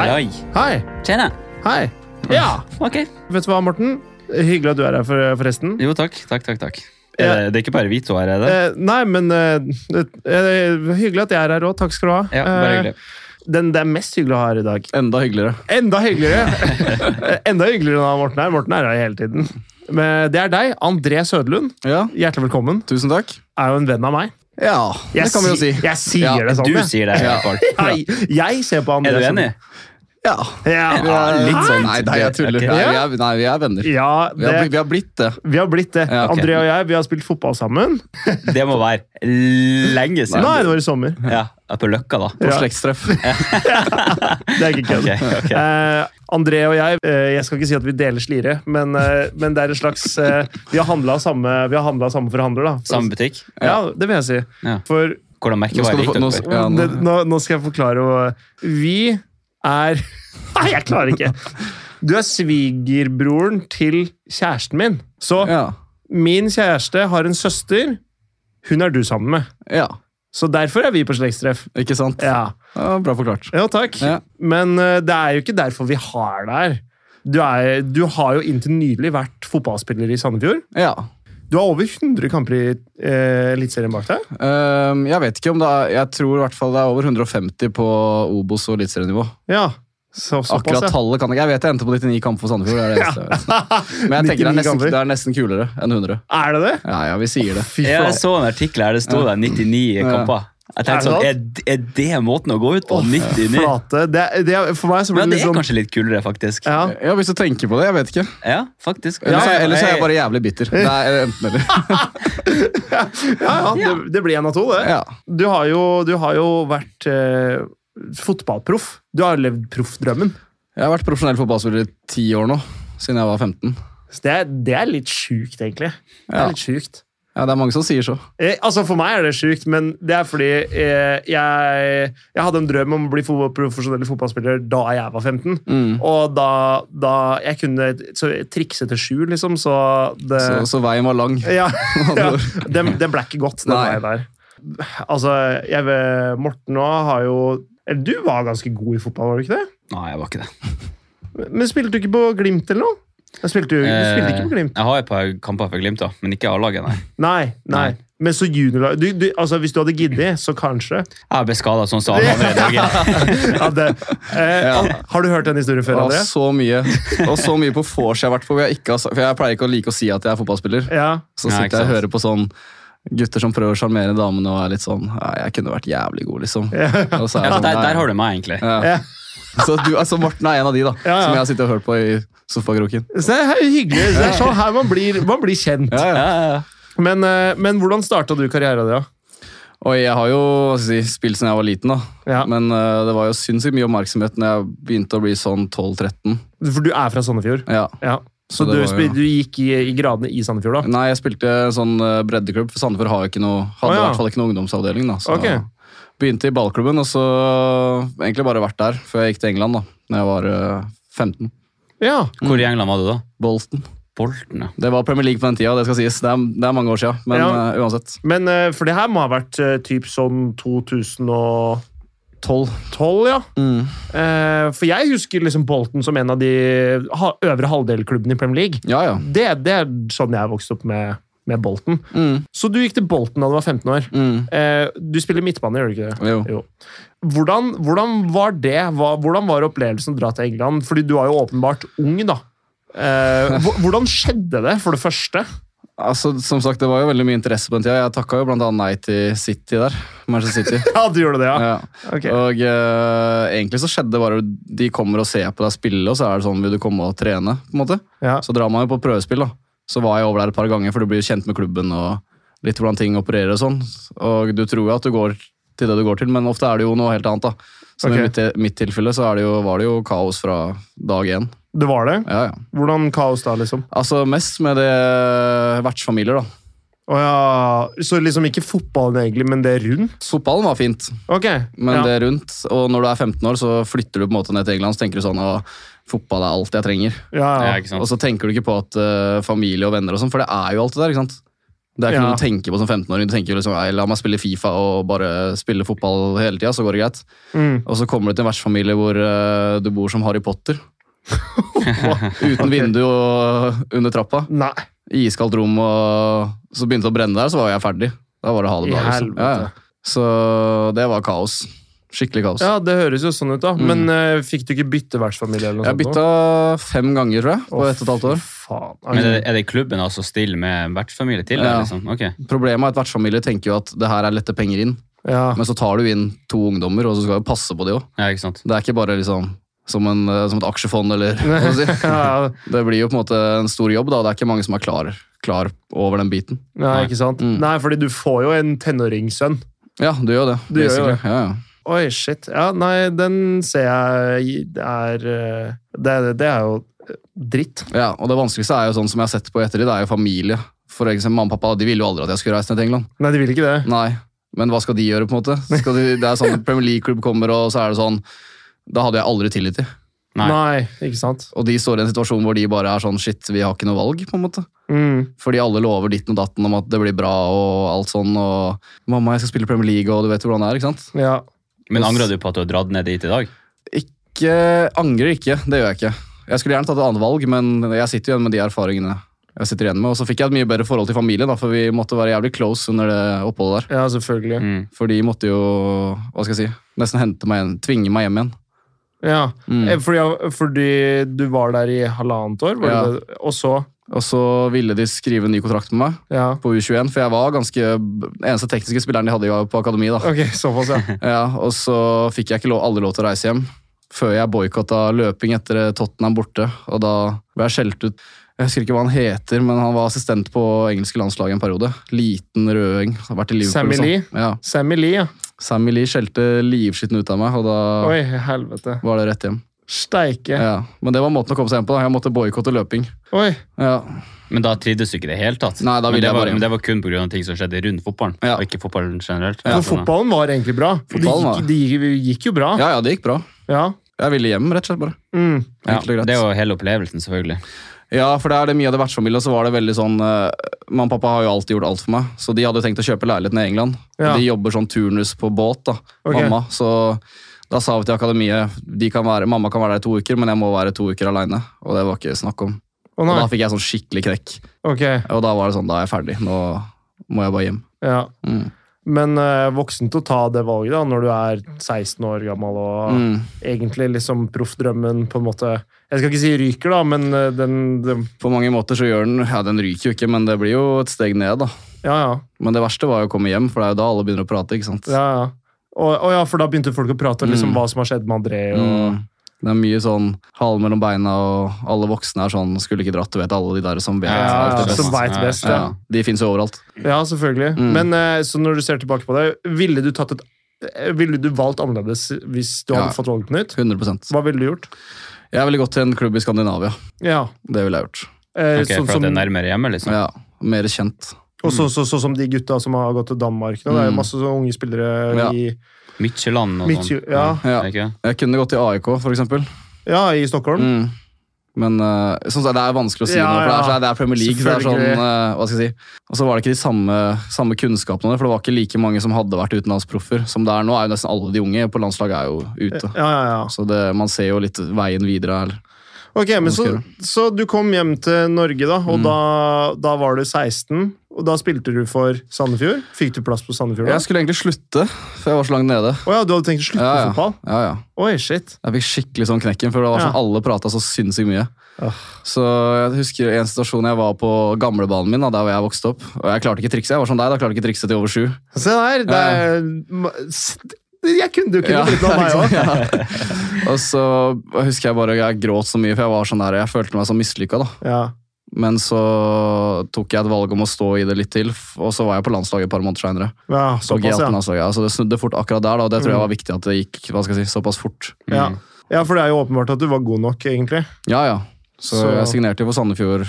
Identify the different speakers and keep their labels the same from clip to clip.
Speaker 1: Hei!
Speaker 2: Tjena.
Speaker 1: Hei! Ja!
Speaker 2: Ok.
Speaker 1: Vet du hva, Morten? Hyggelig at du er her, for- eh, forresten.
Speaker 2: Jo, takk. Takk, takk, takk.
Speaker 1: Ja.
Speaker 2: Eh, Det er ikke bare vi to her, er det?
Speaker 1: Eh, nei, men eh, det- eh, hyggelig at jeg er her òg. Takk skal du ha.
Speaker 2: Ja, bare hyggelig.
Speaker 1: Eh, den det er mest hyggelig å ha her i dag.
Speaker 3: Enda hyggeligere.
Speaker 1: Enda hyggeligere! Eh, Enda hyggeligere enn han Morten er. Morten er her hele tiden. Men det er deg, André Sødlund.
Speaker 3: Ja,
Speaker 1: Hjertelig velkommen.
Speaker 3: tusen takk.
Speaker 1: Er jo en venn av meg.
Speaker 3: Ja, det kan vi jo si.
Speaker 1: Jeg sier
Speaker 3: Ja,
Speaker 1: det sånn.
Speaker 2: Du
Speaker 1: jeg.
Speaker 2: sier det.
Speaker 3: Ja.
Speaker 2: Karl.
Speaker 1: Nei, jeg ser på André
Speaker 2: Er du
Speaker 1: som-
Speaker 2: enig?
Speaker 3: Ja.
Speaker 1: Ja,
Speaker 3: Vi er-
Speaker 2: litt sånn.
Speaker 3: Nei, nei, jeg tuller.
Speaker 2: Ok.
Speaker 3: Nei, vi er, nei, vi er venner.
Speaker 1: ja
Speaker 3: Vi har, bli-
Speaker 1: det,
Speaker 3: vi har blitt det.
Speaker 1: vi har blitt det.
Speaker 3: Ja,
Speaker 2: ok.
Speaker 1: André og jeg vi har spilt fotball sammen.
Speaker 2: Det må være lenge
Speaker 1: Nei,
Speaker 2: siden.
Speaker 1: det var i sommer.
Speaker 2: Ja, På Løkka, da.
Speaker 3: På
Speaker 1: Ja.
Speaker 3: slektstreff.
Speaker 1: Det er ikke kødd.
Speaker 2: Ok, ok.
Speaker 1: Eh, André og jeg eh, Jeg skal ikke si at vi deler slire, men, eh, men det er en slags eh, Vi har handla samme, vi har handlet samme forhandler, da.
Speaker 2: Samme butikk.
Speaker 1: Ja, det vil jeg si.
Speaker 2: Ja.
Speaker 1: For
Speaker 2: Hvordan
Speaker 3: Nå skal
Speaker 2: merkevarer
Speaker 3: du
Speaker 2: gikk
Speaker 3: få-
Speaker 2: dere
Speaker 3: nå
Speaker 2: for?
Speaker 3: skal- Ja, nå-
Speaker 1: det, nå, nå skal jeg forklare hva Vi er Nei, jeg klarer ikke! Du er svigerbroren til kjæresten min. Så
Speaker 3: Ja.
Speaker 1: min kjæreste har en søster. Hun er du sammen med.
Speaker 3: ja.
Speaker 1: Så derfor er vi på slektstreff.
Speaker 3: Ikke sant?
Speaker 1: Ja.
Speaker 3: Ja, bra forklart.
Speaker 1: Jo, takk.
Speaker 3: Ja.
Speaker 1: Men eh, det er jo ikke derfor vi har deg her. Du, er, du har jo inntil nylig vært fotballspiller i Sandefjord.
Speaker 3: Ja.
Speaker 1: Du har over 100 kamper i eh, Eliteserien bak deg.
Speaker 3: Ehm, jeg vet ikke om det er Jeg tror i hvert fall det er over 150 på Obos- og eliteserienivå.
Speaker 1: Ja, så, såpass,
Speaker 3: Akkurat
Speaker 1: ja.
Speaker 3: tallet kan jeg ikke. Jeg vet jeg endte på 99 kamper for Sandefjord. Det er det eneste jeg vet. Men jeg tenker det
Speaker 1: 99
Speaker 3: er, nesten,
Speaker 1: kamper.
Speaker 3: det er nesten kulere enn 100.
Speaker 1: Er det det?
Speaker 3: Ja, ja, vi sier det.
Speaker 1: Fy
Speaker 2: Jeg
Speaker 1: faen.
Speaker 2: så en artikkel her det sto der 99 kamper. Jeg tenkte sånn,
Speaker 1: Er
Speaker 2: Er, er det måten å gå ut på? 99?
Speaker 1: Flate. Det, er- det, er- for meg så
Speaker 2: Ja,
Speaker 1: blir det
Speaker 2: det
Speaker 1: litt
Speaker 2: er
Speaker 1: sånn
Speaker 2: kanskje litt kulere, faktisk.
Speaker 1: ja.
Speaker 3: Ja, Hvis du tenker på det. Jeg vet ikke.
Speaker 2: Ja, faktisk.
Speaker 3: Ellers,
Speaker 2: Ja,
Speaker 3: er-
Speaker 2: ja,
Speaker 3: ellers er jeg bare jævlig bitter. Det er enten eller.
Speaker 1: Ja, ja, det, det blir en av to, det.
Speaker 3: Ja.
Speaker 1: Du, har jo, du har jo vært eh, fotballproff. Du har levd proffdrømmen.
Speaker 3: Jeg har vært profesjonell fotballspiller i ti år nå, siden jeg var 15.
Speaker 1: Så det, er- det er litt sjukt, egentlig. Det
Speaker 3: Ja.
Speaker 1: er litt sjukt.
Speaker 3: Ja, det er mange som sier så.
Speaker 1: Eh, altså For meg er det sjukt, men det er fordi eh, jeg, jeg hadde en drøm om å bli fo- profesjonell fotballspiller da jeg var 15. Og da, da jeg kunne så, trikse til sju, liksom, så det
Speaker 3: Så, så veien var lang.
Speaker 1: Ja, ja. Den, den ble ikke godt, den
Speaker 3: Nei.
Speaker 1: veien der. Altså, jeg vet, Morten òg har jo eller Du var ganske god i fotball, var du ikke det?
Speaker 2: Nei, jeg var ikke det.
Speaker 1: Men spilte du ikke på Glimt eller noe? Jeg spilte, jo- du spilte ikke på
Speaker 2: Eh,
Speaker 1: Glimt.
Speaker 2: Jeg har et par kamper for Glimt, da, men ikke A-laget, nei.
Speaker 1: Nei, nei.
Speaker 2: Nei.
Speaker 1: Men så juniorlag du, du, altså, Hvis du hadde giddet, så kanskje.
Speaker 2: Jeg ble skada sånn som alle andre i Norge.
Speaker 1: Ja, det, eh, Har du hørt den historien før,
Speaker 3: Og
Speaker 1: André?
Speaker 3: så mye og så mye på vors jeg har vært på. hvor Jeg ikke har, sa- for jeg pleier ikke å like å si at jeg er fotballspiller.
Speaker 1: Ja.
Speaker 3: Så
Speaker 2: Nei, ikke
Speaker 3: sitter jeg og
Speaker 2: sant.
Speaker 3: hører på sånn gutter som prøver å sjarmere damene og er litt sånn ja, 'Jeg kunne vært jævlig god', liksom. Og så er jeg
Speaker 2: Ja, der,
Speaker 3: sånn, «Nei».
Speaker 2: der har du meg, egentlig.
Speaker 3: ja. Så du, altså Morten er en av de, da.
Speaker 1: Ja, ja.
Speaker 3: Som jeg har sittet og hørt på i sofakroken.
Speaker 1: Så det er hyggelig. Det er sånn her man blir, man blir kjent.
Speaker 3: Ja, ja.
Speaker 2: Ja, ja, ja.
Speaker 1: Men, eh, men hvordan starta du karrieren din? da?
Speaker 3: Og jeg har jo hva skal jeg si, spilt siden jeg var liten, da.
Speaker 1: Ja.
Speaker 3: Men eh, det var jo sinnssykt mye oppmerksomhet når jeg begynte å bli sånn 12-13.
Speaker 1: For du er fra Sandefjord.
Speaker 3: Ja.
Speaker 1: Ja. Så,
Speaker 3: Så det
Speaker 1: du,
Speaker 3: var Mm. jo-
Speaker 1: spi- du gikk i, i gradene i Sandefjord, da?
Speaker 3: Nei, jeg spilte en sånn eh, breddeklubb, for Sandefjord har jo ikke noe,
Speaker 1: Å,
Speaker 3: hadde
Speaker 1: ja.
Speaker 3: i hvert fall ikke noe ungdomsavdeling. da. Så
Speaker 1: Ok.
Speaker 3: Begynte i ballklubben, og så eh, egentlig bare vært der før jeg gikk til England da når jeg var eh, 15.
Speaker 1: Ja.
Speaker 2: Hvor i England var du da?
Speaker 3: Bolton.
Speaker 2: Bolten, ja.
Speaker 3: Det var Premier League på den tida, det skal sies. Det er, det er mange år siden, men
Speaker 1: Ja.
Speaker 3: eh, uansett.
Speaker 1: Men eh, for det her må ha vært eh, typ sånn 2012,
Speaker 3: 12.
Speaker 1: ja.
Speaker 3: Mm.
Speaker 1: Eh, for jeg husker liksom Bolton som en av de ha, øvre halvdelklubbene i Premier League.
Speaker 3: Ja, ja.
Speaker 1: Det, det er sånn jeg vokste opp med, med Bolton.
Speaker 3: Mm.
Speaker 1: Så du gikk til Bolton da du var 15 år.
Speaker 3: Mm.
Speaker 1: Eh, du spiller midtbane, gjør du ikke det?
Speaker 3: Jo.
Speaker 1: Jo. Hvordan, hvordan var det? Hva, hvordan var opplevelsen å dra til England? Fordi du var jo åpenbart ung, da. Eh, hvor- hvordan skjedde det, for det første?
Speaker 3: Altså, som sagt, Det var jo veldig mye interesse på den tida. Jeg takka jo blant annet nei til City der. Manchester City.
Speaker 1: Ja, du gjorde det, ja.
Speaker 3: Ja.
Speaker 1: Ok.
Speaker 3: Og eh, egentlig så skjedde det bare De kommer og ser på deg spille, og så er det sånn Vil du komme og trene? på en måte
Speaker 1: Ja.
Speaker 3: Så drar man jo på prøvespill, da. Så var jeg over der et par ganger, for du blir jo kjent med klubben og litt hvordan ting opererer og sånn. Og du tror jo at du går til det du går til, men ofte er det jo noe helt annet, da. Så
Speaker 1: Ok.
Speaker 3: i mitt, mitt tilfelle så er det jo, var det jo kaos fra dag én.
Speaker 1: Det var det?
Speaker 3: Ja, ja.
Speaker 1: Hvordan kaos da, liksom?
Speaker 3: Altså mest med det eh, vertsfamilier, da.
Speaker 1: Å ja. Så liksom ikke fotballen egentlig, men det rundt?
Speaker 3: Fotballen var fint,
Speaker 1: Ok.
Speaker 3: men
Speaker 1: ja.
Speaker 3: det rundt. Og når du er 15 år, så flytter du på en måte ned til England, så tenker du sånn Å, fotball er alt jeg trenger.
Speaker 1: ja,
Speaker 2: ja
Speaker 1: ja.
Speaker 2: ikke sant?
Speaker 3: Og så tenker du ikke på at eh, familie og venner og sånn, for det er jo alt det der, ikke sant? Det er ikke
Speaker 1: Ja.
Speaker 3: noe du tenker på som 15-åring. Du tenker jo liksom, «Nei, La meg spille Fifa og bare spille fotball hele tida, så går det greit.
Speaker 1: Mm.
Speaker 3: Og så kommer du til en vertsfamilie hvor eh, du bor som Harry Potter. Uten vindu og under trappa.
Speaker 1: Nei.
Speaker 3: I iskaldt rom, og så begynte det å brenne der, så var jeg ferdig. Da var det ha det
Speaker 1: I
Speaker 3: bra. Liksom.
Speaker 1: helvete.
Speaker 3: Ja, ja. Så det var kaos. Skikkelig kaos.
Speaker 1: Ja, det høres jo sånn ut, da. Men eh, fikk du ikke bytte vertsfamilie? eller noe
Speaker 3: Mm. Jeg
Speaker 1: sånt
Speaker 3: bytta
Speaker 1: nå?
Speaker 3: fem ganger, tror jeg, på
Speaker 1: Å,
Speaker 3: ett og et halvt
Speaker 1: fy
Speaker 3: år.
Speaker 1: Faen.
Speaker 2: Men er det, er det klubben altså stiller med vertsfamilie til?
Speaker 3: Ja.
Speaker 2: Ja. Liksom? Ok.
Speaker 3: Problemet er at vertsfamilie tenker jo at det her er lette penger inn,
Speaker 1: ja.
Speaker 3: men så tar du inn to ungdommer, og så skal du passe på de òg.
Speaker 2: Ja, ikke sant?
Speaker 3: Det er ikke bare liksom som, en, eh, som et aksjefond, eller hva man sier.
Speaker 1: ja,
Speaker 3: Det blir jo på en måte en stor jobb, da. Det er ikke mange som er klar, klar over den biten.
Speaker 1: nei, ikke sant?
Speaker 3: Mm.
Speaker 1: Nei, fordi du får jo en tenåringssønn.
Speaker 3: Ja, du gjør det.
Speaker 1: Du gjør jo
Speaker 3: basically. Ja, ja.
Speaker 1: Oi, shit. Ja, nei, den ser jeg er eh, Det, det er jo eh, dritt.
Speaker 3: Ja, og det vanskeligste er jo sånn som jeg har sett på i ettertid, det er jo familie. For eksempel mamma og pappa de ville jo aldri at jeg skulle reise ned til England.
Speaker 1: Nei, de vil ikke det.
Speaker 3: Nei, men hva skal de gjøre, på en måte? Skal de, det er sånn Premier League-klubb kommer, og så er det sånn Da hadde jeg aldri tillit til.
Speaker 2: Nei.
Speaker 1: Nei, ikke sant?
Speaker 3: Og de står i en situasjon hvor de bare er sånn shit, vi har ikke noe valg, på en måte.
Speaker 1: Mm.
Speaker 3: Fordi alle lover ditten og datten om at det blir bra og alt sånn, og mamma, jeg skal spille Premier League, og du vet hvordan det er, ikke sant?
Speaker 1: Ja.
Speaker 2: Men angrer du på at du har dratt ned dit i dag?
Speaker 3: Ikke, angrer ikke, det gjør jeg ikke. Jeg skulle gjerne tatt et annet valg, men jeg sitter igjen med de erfaringene jeg sitter igjen med. Og så fikk jeg et mye bedre forhold til familien, da, for vi måtte være jævlig close under det oppholdet der.
Speaker 1: ja, selvfølgelig.
Speaker 2: Mm.
Speaker 3: For de måtte jo, hva skal jeg si, nesten hente meg igjen, tvinge meg hjem igjen.
Speaker 1: Ja.
Speaker 3: Mm.
Speaker 1: Eh, Fordi, fordi du var der i halvannet år, var
Speaker 3: Ja.
Speaker 1: det det? og så
Speaker 3: Og så ville de skrive en ny kontrakt med meg
Speaker 1: Ja.
Speaker 3: på U21, for jeg var ganske den eneste tekniske spilleren de hadde jo på akademi, da.
Speaker 1: Ok, såpass, ja.
Speaker 3: Ja, og så fikk jeg ikke lov, alle lov til å reise hjem før jeg boikotta løping etter eh, Tottenham borte. Og da ble jeg skjelt ut. Jeg husker ikke hva han heter, men han var assistent på engelske landslag en periode. Liten røding. Har vært i Liverpool.
Speaker 1: Sammy
Speaker 3: og sånn.
Speaker 1: Lee?
Speaker 3: Ja.
Speaker 1: Sammy Lee, ja.
Speaker 3: Sammy Lee skjelte livskitten ut av meg, og da
Speaker 1: Oi, helvete.
Speaker 3: var det rett hjem.
Speaker 1: Steike.
Speaker 3: Ja. Men det var måten å komme seg hjem på. da. Jeg måtte boikotte løping.
Speaker 1: Oi.
Speaker 3: Ja.
Speaker 2: Men da trivdes du ikke i det hele tatt?
Speaker 3: Nei, da
Speaker 2: men,
Speaker 3: ville
Speaker 2: det
Speaker 3: jeg
Speaker 2: var,
Speaker 3: bare-
Speaker 2: men det var kun pga. ting som skjedde rundt fotballen,
Speaker 3: Ja.
Speaker 2: og ikke fotballen generelt? Altså,
Speaker 1: For fotballen var egentlig bra. For det
Speaker 3: Fotballen
Speaker 1: gikk,
Speaker 3: var-
Speaker 1: det gikk, det gikk jo bra.
Speaker 3: ja, ja, det gikk bra.
Speaker 1: Ja.
Speaker 3: Jeg ville hjem, rett og slett. bare.
Speaker 1: Mm.
Speaker 2: Ja,
Speaker 3: Enkelt og greit.
Speaker 2: det er jo hele opplevelsen, selvfølgelig.
Speaker 3: Ja, for det er det mye av det vertsfamilien, så var det veldig sånn eh, Mamma og pappa har jo alltid gjort alt for meg, så de hadde tenkt å kjøpe leilighet nede i England.
Speaker 1: Ja.
Speaker 3: De jobber sånn turnus på båt, da,
Speaker 1: Ok.
Speaker 3: mamma. Så da sa vi til akademiet de kan være, mamma kan være der i to uker, men jeg må være to uker aleine. Og det var ikke snakk om.
Speaker 1: Å
Speaker 3: Og
Speaker 1: nei.
Speaker 3: da fikk jeg sånn skikkelig knekk.
Speaker 1: Ok.
Speaker 3: Og da var det sånn, da er jeg ferdig. Nå må jeg bare hjem.
Speaker 1: Ja.
Speaker 3: Mm.
Speaker 1: Men eh, voksen til å ta det valget da, når du er 16 år gammel og
Speaker 3: Mm.
Speaker 1: egentlig liksom proffdrømmen på en måte Jeg skal ikke si ryker, da, men eh, den, den
Speaker 3: På mange måter så gjør den Ja, den ryker jo ikke, men det blir jo et steg ned, da.
Speaker 1: Ja, ja.
Speaker 3: Men det verste var jo å komme hjem, for det er jo da alle begynner å prate, ikke sant.
Speaker 1: ja, ja. Og, og ja, for da begynte folk å prate om liksom, hva som har skjedd med André. Og,
Speaker 3: Mm. Det er mye sånn hale mellom beina, og alle voksne er sånn Skulle ikke dratt, du vet alle de der som vet
Speaker 1: ja,
Speaker 3: alt det
Speaker 2: det er
Speaker 1: som
Speaker 3: beste.
Speaker 2: sant.
Speaker 1: veit best.
Speaker 3: Ja,
Speaker 1: Ja,
Speaker 3: de fins jo overalt.
Speaker 1: ja selvfølgelig.
Speaker 3: Mm.
Speaker 1: Men eh, så når du ser tilbake på det, ville du, tatt et, eh, ville du valgt annerledes hvis du hadde
Speaker 3: Ja.
Speaker 1: fått valget på nytt?
Speaker 3: 100
Speaker 1: Hva ville du gjort?
Speaker 3: Jeg ville gått til en klubb i Skandinavia.
Speaker 1: Ja.
Speaker 3: Det ville jeg gjort.
Speaker 1: eh,
Speaker 2: Ok,
Speaker 1: sånn
Speaker 2: for
Speaker 1: som,
Speaker 2: at det er nærmere hjemme, liksom.
Speaker 3: Ja, Mer kjent.
Speaker 1: og så, så, så som de gutta som har gått til Danmark nå. Det er
Speaker 3: Mm.
Speaker 1: jo masse sånne unge spillere
Speaker 3: Ja.
Speaker 1: i,
Speaker 2: Midtjylland og sånn.
Speaker 1: Midtjy- ja.
Speaker 3: Ja.
Speaker 2: Er det ikke det?
Speaker 3: Jeg kunne gått til AIK, for eksempel.
Speaker 1: ja, i Stockholm.
Speaker 3: Mm. Men eh, sånn sagt, det er vanskelig å si
Speaker 1: Ja,
Speaker 3: noe, for det er,
Speaker 1: ja.
Speaker 3: så- det er Premier League. så Det er sånn, eh, hva skal jeg si. Og så var det ikke de samme, samme kunnskapene, der, for det var ikke like mange som hadde vært utenlandsproffer som det er nå. er jo Nesten alle de unge på landslaget er jo ute.
Speaker 1: Ja, ja, ja.
Speaker 3: Så det, man ser jo litt veien videre. Eller.
Speaker 1: Ok, men så,
Speaker 3: Husker
Speaker 1: så du kom hjem til Norge, da,
Speaker 3: Mm.
Speaker 1: og da, da var du 16. Og da spilte du for Sandefjord. Fikk du plass på Sandefjord? da?
Speaker 3: Jeg skulle egentlig slutte, for jeg var så langt nede.
Speaker 1: Å ja, du hadde tenkt å slutte
Speaker 3: Ja,
Speaker 1: med
Speaker 3: ja.
Speaker 1: fotball?
Speaker 3: ja, ja.
Speaker 1: Oi, shit.
Speaker 3: Jeg fikk skikkelig sånn knekken, for det var
Speaker 1: Ja.
Speaker 3: sånn alle prata så sinnssykt mye.
Speaker 1: Åh.
Speaker 3: Så jeg husker en situasjon jeg var på gamlebanen min, da, der hvor jeg vokste opp. Og jeg klarte ikke trikset. Jeg var som deg, da klarte jeg ikke trikset til over sju.
Speaker 1: Se der! Det er, s- jeg kunne du kunne
Speaker 3: Ja,
Speaker 1: blitt noe av meg
Speaker 3: liksom,
Speaker 1: òg.
Speaker 3: ja. Og så husker jeg bare jeg gråt så mye, for jeg var sånn der, jeg følte meg så mislykka. da.
Speaker 1: Ja.
Speaker 3: Men så tok jeg et valg om å stå i det litt til, f- og så var jeg på landslaget et par måneder seinere.
Speaker 1: ja,
Speaker 3: Så
Speaker 1: såpass, ja. Mm.
Speaker 3: det snudde fort akkurat der, da, og det tror jeg var viktig at det gikk hva skal jeg si, såpass fort.
Speaker 1: ja. Ja, for det er jo åpenbart at du var god nok, egentlig.
Speaker 3: Ja, ja. Så,
Speaker 1: Så-
Speaker 3: jeg signerte jo for Sandefjord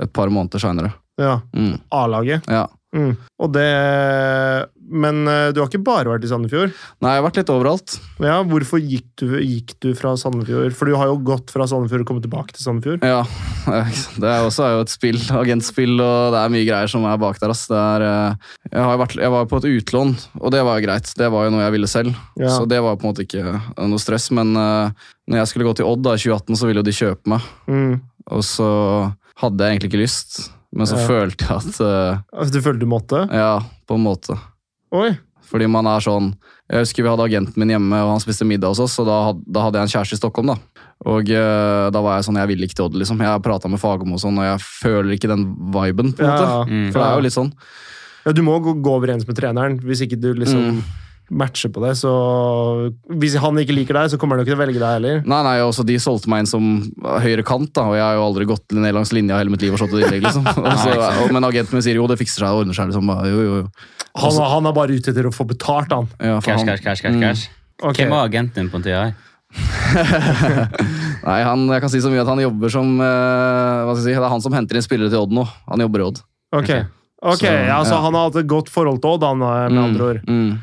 Speaker 3: et par måneder seinere.
Speaker 1: Ja,
Speaker 3: Mm.
Speaker 1: A-laget.
Speaker 3: Ja.
Speaker 1: Mm. Og det, men eh, du har ikke bare vært i Sandefjord.
Speaker 3: Nei, jeg har vært litt overalt.
Speaker 1: Ja, hvorfor gikk du, gikk du fra Sandefjord? For du har jo gått fra Sandefjord og kommet tilbake til Sandefjord.
Speaker 3: Ja, Det er også er jo et spill, agentspill, og det er mye greier som er bak der. Ass. Det er, eh, jeg, har vært, jeg var på et utlån, og det var jo greit. Det var jo noe jeg ville selv.
Speaker 1: Ja.
Speaker 3: Så det var på en måte ikke eh, noe stress. Men eh, når jeg skulle gå til Odd da, i 2018, så ville jo de kjøpe meg.
Speaker 1: Mm.
Speaker 3: Og så hadde jeg egentlig ikke lyst, men så
Speaker 1: Ja.
Speaker 3: følte jeg at eh,
Speaker 1: Altså, du følte du måtte?
Speaker 3: Ja, på en måte.
Speaker 1: Oi!
Speaker 3: Fordi man er sånn Jeg husker vi hadde agenten min hjemme, og han spiste middag hos oss, og da, had- da hadde jeg en kjæreste i Stockholm, da. Og eh, da var jeg sånn Jeg vil ikke til Odd, liksom. Jeg prata med Fagermo og sånn, og jeg føler ikke den viben, på en
Speaker 1: Ja,
Speaker 3: måte.
Speaker 1: ja.
Speaker 3: For det er jo litt sånn.
Speaker 1: ja, du må gå, gå overens med treneren hvis ikke du liksom
Speaker 3: Mm.
Speaker 1: matcher på det. Så hvis han ikke liker deg, så kommer han jo ikke til å velge deg heller.
Speaker 3: Nei, nei, også de solgte meg inn som høyre kant, da, og jeg har jo aldri gått ned langs linja hele mitt liv og slått et innlegg, liksom. Og så, og, men agenten min sier jo, det fikser seg og ordner seg, liksom. Bare, Jo, jo, jo.
Speaker 1: Han,
Speaker 3: Altså-
Speaker 1: han er bare ute etter å få betalt, han.
Speaker 3: Ja, for
Speaker 2: Cash,
Speaker 3: han- Mm.
Speaker 2: cash, cash, cash, cash.
Speaker 1: Ok.
Speaker 2: Hvem var agenten din på en tid? her?
Speaker 3: Nei, han, jeg kan si så mye at han jobber som eh, Hva skal jeg si, det er han som henter inn spillere til Odd nå. Han jobber i Odd.
Speaker 1: Ok, Ok,
Speaker 3: Så,
Speaker 1: ja, så
Speaker 3: ja.
Speaker 1: han har hatt et godt forhold til Odd, han, eh, med andre ord.
Speaker 3: Mm.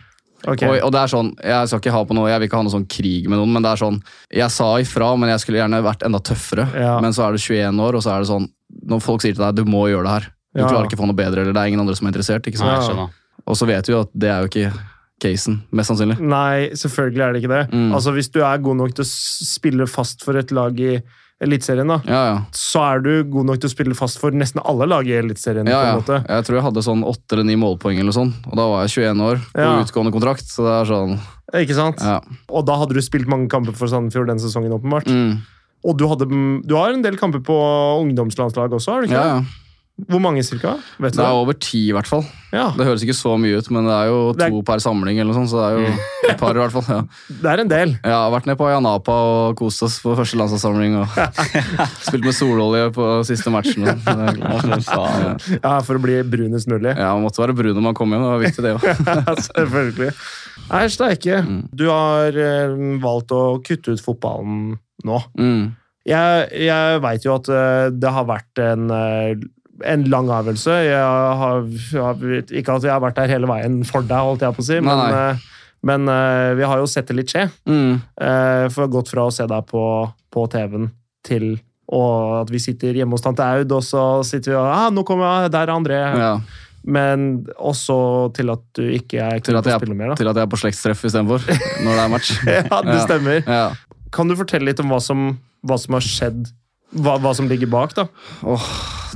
Speaker 1: Ok.
Speaker 3: Og, og det er sånn, Jeg skal ikke ha på noe, jeg vil ikke ha noe sånn krig med noen, men det er sånn Jeg sa ifra, men jeg skulle gjerne vært enda tøffere.
Speaker 1: Ja.
Speaker 3: Men så er du 21 år, og så er det sånn Når folk sier til deg du må gjøre det her, du
Speaker 1: Ja.
Speaker 3: klarer ikke å få noe bedre, eller det er ingen andre som er interessert, ikke
Speaker 2: Nei,
Speaker 3: sant?
Speaker 2: jeg skjønner.
Speaker 3: Og så vet vi jo at det er jo ikke casen, mest sannsynlig.
Speaker 1: Nei, selvfølgelig er det ikke det.
Speaker 3: Mm.
Speaker 1: Altså, Hvis du er god nok til å s- spille fast for et lag i Eliteserien, da,
Speaker 3: Ja, ja.
Speaker 1: så er du god nok til å spille fast for nesten alle lag i Eliteserien.
Speaker 3: Ja,
Speaker 1: på en
Speaker 3: ja.
Speaker 1: måte.
Speaker 3: Jeg tror jeg hadde sånn åtte eller ni målpoeng, eller sånn, og da var jeg 21 år på
Speaker 1: Ja.
Speaker 3: utgående kontrakt. Så det er sånn
Speaker 1: Ikke sant?
Speaker 3: ja.
Speaker 1: Og da hadde du spilt mange kamper for Sandefjord den sesongen, åpenbart.
Speaker 3: Mm.
Speaker 1: Og du, hadde, du har en del kamper på ungdomslandslag også, har du ikke?
Speaker 3: ja, ja.
Speaker 1: det? Hvor mange cirka? Vet du
Speaker 3: Det er over ti, i hvert fall.
Speaker 1: det? Ja,
Speaker 3: Det høres ikke så mye ut, men det er jo
Speaker 1: Det er-
Speaker 3: to per samling, eller noe sånt, så det er jo et par, i hvert fall. Ja.
Speaker 1: det er en del.
Speaker 3: Jeg har vært ned på Ayanapa og kost oss på første landslagssamling. Og spilt med sololje på siste matchen. og sånn. Det er klart.
Speaker 2: Å, fy faen.
Speaker 1: Ja, For å bli brunest mulig.
Speaker 3: Ja, Man måtte være brun når man kom hjem. Det var viktig, det òg.
Speaker 1: Ja, Selvfølgelig. Nei, steike.
Speaker 3: Mm.
Speaker 1: Du har eh, valgt å kutte ut fotballen nå.
Speaker 3: Mm.
Speaker 1: Jeg, jeg veit jo at eh, det har vært en, eh, en lang avgjørelse. Jeg har, jeg har, ikke at jeg har vært der hele veien for deg, holdt jeg på å si, men,
Speaker 3: Nei, nei.
Speaker 1: eh, men eh, vi har jo sett det litt skje.
Speaker 3: Mm.
Speaker 1: Eh, For jeg har gått fra å se deg på, på TV-en til og at vi sitter hjemme hos tante Aud, og så sitter vi og ah, 'Nå kommer jeg, der er André.'
Speaker 3: Ja.
Speaker 1: Men også til at du ikke er
Speaker 3: Til,
Speaker 1: klar
Speaker 3: at
Speaker 1: til å
Speaker 3: jeg,
Speaker 1: spille mer. da.
Speaker 3: til at jeg er på slektstreff istedenfor, når det er match.
Speaker 1: Ja, det
Speaker 3: Ja.
Speaker 1: stemmer.
Speaker 3: Ja.
Speaker 1: Kan du fortelle litt om hva som, hva som har skjedd? Hva, hva som ligger bak, da?
Speaker 3: Åh,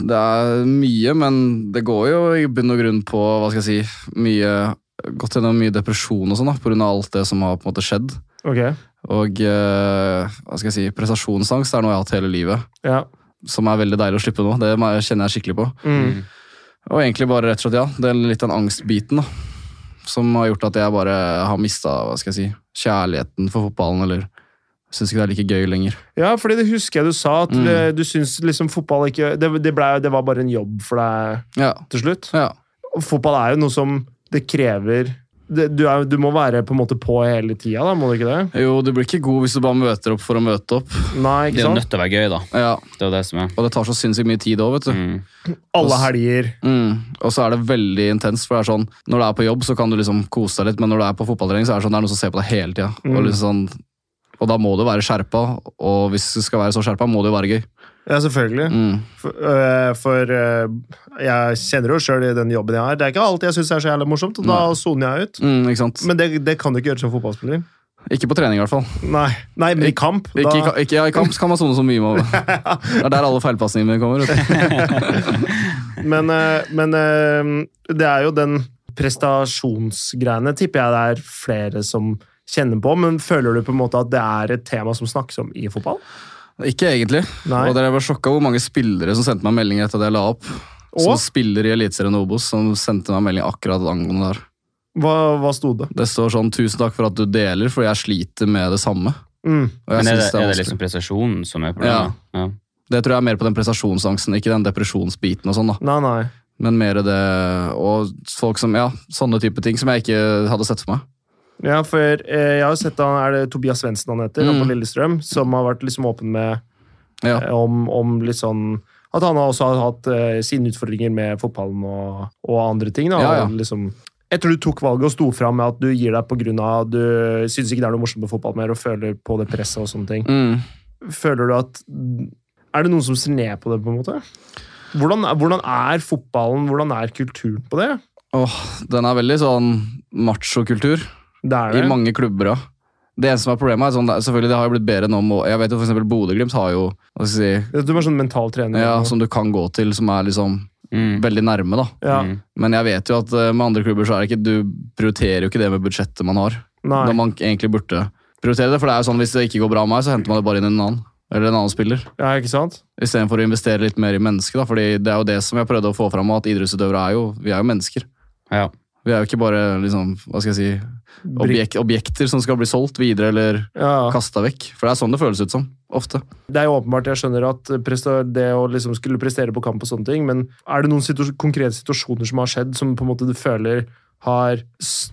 Speaker 3: det er mye, men det går jo i bunn og grunn på hva skal jeg si, mye, gått gjennom mye depresjon og sånn da, pga. alt det som har på en måte skjedd.
Speaker 1: Ok,
Speaker 3: Og eh, hva skal jeg si, prestasjonsangst er noe jeg har hatt hele livet,
Speaker 1: ja.
Speaker 3: som er veldig deilig å slippe nå. Det mer- kjenner jeg skikkelig på.
Speaker 1: Mm.
Speaker 3: Og egentlig bare rett og slett, ja. Det er litt den angstbiten da, som har gjort at jeg bare har mista hva skal jeg si, kjærligheten for fotballen, eller syns ikke det er like gøy lenger.
Speaker 1: ja, fordi det husker jeg du sa, at
Speaker 3: Mm.
Speaker 1: eh, du syns liksom fotball ikke det, det, ble, det var bare en jobb for deg
Speaker 3: Ja,
Speaker 1: til slutt.
Speaker 3: ja.
Speaker 1: Og fotball er jo noe som det krever det, du, er, du må være på en måte på hele tida, da, må du ikke det?
Speaker 3: Jo, du blir ikke god hvis du bare møter opp for å møte opp.
Speaker 1: Nei, ikke
Speaker 2: Det er jo
Speaker 1: sant?
Speaker 2: nødt til å være gøy, da.
Speaker 3: Ja,
Speaker 2: Det er jo det som er.
Speaker 3: Og det tar så sinnssykt mye tid òg, vet du.
Speaker 2: Mm.
Speaker 1: Alle helger.
Speaker 3: Mm. Og så er det veldig intenst, for det er sånn når du er på jobb, så kan du liksom kose deg litt, men når du er på fotballtrening, så er det sånn det er noen som ser på deg hele tida. Og,
Speaker 1: Mm.
Speaker 3: liksom sånn, og da må du være skjerpa, og hvis du skal være så skjerpa, må det jo være gøy.
Speaker 1: Ja, selvfølgelig.
Speaker 3: Mm.
Speaker 1: For, øh, for, øh, jeg kjenner jo sjøl i den jobben jeg har. Det er ikke alt jeg syns er så jævlig morsomt, og da soner jeg ut.
Speaker 3: Mm, ikke sant?
Speaker 1: Men det, det kan du ikke gjøre som fotballspiller.
Speaker 3: Ikke på trening, i hvert fall.
Speaker 1: Nei, Nei men i kamp. Da,
Speaker 3: Ikke, i ka- ikke, ja, I kamp så kan man sone så mye man Det er der alle feilpasningene mine kommer. vet du.
Speaker 1: Men, eh, men eh, det er jo den prestasjonsgreiene, tipper jeg det er flere som kjenner på. Men føler du på en måte at det er et tema som snakkes om i fotball?
Speaker 3: Ikke egentlig.
Speaker 1: Nei.
Speaker 3: Og dere var sjokka hvor mange spillere som sendte meg meldinger etter at jeg la opp. Som
Speaker 1: Og?
Speaker 3: spiller i Eliteserien og Obos, som sendte meg melding akkurat angående der.
Speaker 1: Hva, hva sto det?
Speaker 3: Det står sånn 'tusen takk for at du deler', fordi jeg sliter med det samme.
Speaker 1: Mm.
Speaker 3: Og jeg
Speaker 2: Men er det,
Speaker 3: synes
Speaker 2: er
Speaker 3: det, er
Speaker 2: det
Speaker 3: vanskelig.
Speaker 2: liksom prestasjonen som er problemet? Ja.
Speaker 3: det tror jeg er mer på den prestasjonsangsten, ikke den depresjonsbiten og sånn, da.
Speaker 1: Nei, nei.
Speaker 3: Men mer det Og folk som Ja, sånne type ting som jeg ikke hadde sett for meg.
Speaker 1: Ja, for Mm. eh, jeg har jo sett han, er det Tobias Svendsen han heter, han på Lillestrøm, som har vært liksom åpen med
Speaker 3: Ja.
Speaker 1: eh, om, om litt sånn At han også har hatt eh, sine utfordringer med fotballen og, og andre ting. Da.
Speaker 3: Ja, ja.
Speaker 1: Og Liksom, jeg tror du tok valget og sto fram med at du gir deg pga. at du syns ikke det er noe morsomt med fotball mer og føler på det presset og sånne ting.
Speaker 3: Mm.
Speaker 1: Føler du at Er det noen som ser ned på det, på en måte? Hvordan, hvordan er fotballen, hvordan er kulturen på det?
Speaker 3: Åh, den er veldig sånn machokultur
Speaker 1: Det er
Speaker 3: i
Speaker 1: det.
Speaker 3: mange klubber. da. Det eneste som er problemet, er sånn, det er- selvfølgelig det har jo blitt bedre nå. må- Jeg vet jo for eksempel Bodø-Glimt har jo hva skal jeg si,
Speaker 1: Du er sånn mental trener.
Speaker 3: ja,
Speaker 1: og-
Speaker 3: som du kan gå til, som er liksom
Speaker 2: Mm.
Speaker 3: veldig nærme. da.
Speaker 1: ja.
Speaker 2: Mm.
Speaker 3: Men jeg vet jo at eh, med andre klubber så er det ikke, du prioriterer jo ikke det med budsjettet man har.
Speaker 1: Nei.
Speaker 3: Når man egentlig burde prioritere det, for det er jo sånn hvis det ikke går bra med meg, så henter man det bare inn en annen. Eller en annen spiller.
Speaker 1: ja, ikke sant?
Speaker 3: Istedenfor å investere litt mer i mennesket. da, fordi det er jo det som jeg prøvde å få fram, at idrettsutøvere er jo, vi er jo mennesker.
Speaker 2: Ja.
Speaker 3: Vi er jo ikke bare liksom, hva skal jeg si, objek objekter som skal bli solgt videre eller
Speaker 1: Ja.
Speaker 3: kasta vekk. For det er sånn det føles ut som. Ofte.
Speaker 1: Det er jo åpenbart, jeg skjønner at presta- det å liksom skulle prestere på kamp og sånne ting, men er det noen situ- konkrete situasjoner som har skjedd, som på en måte du føler har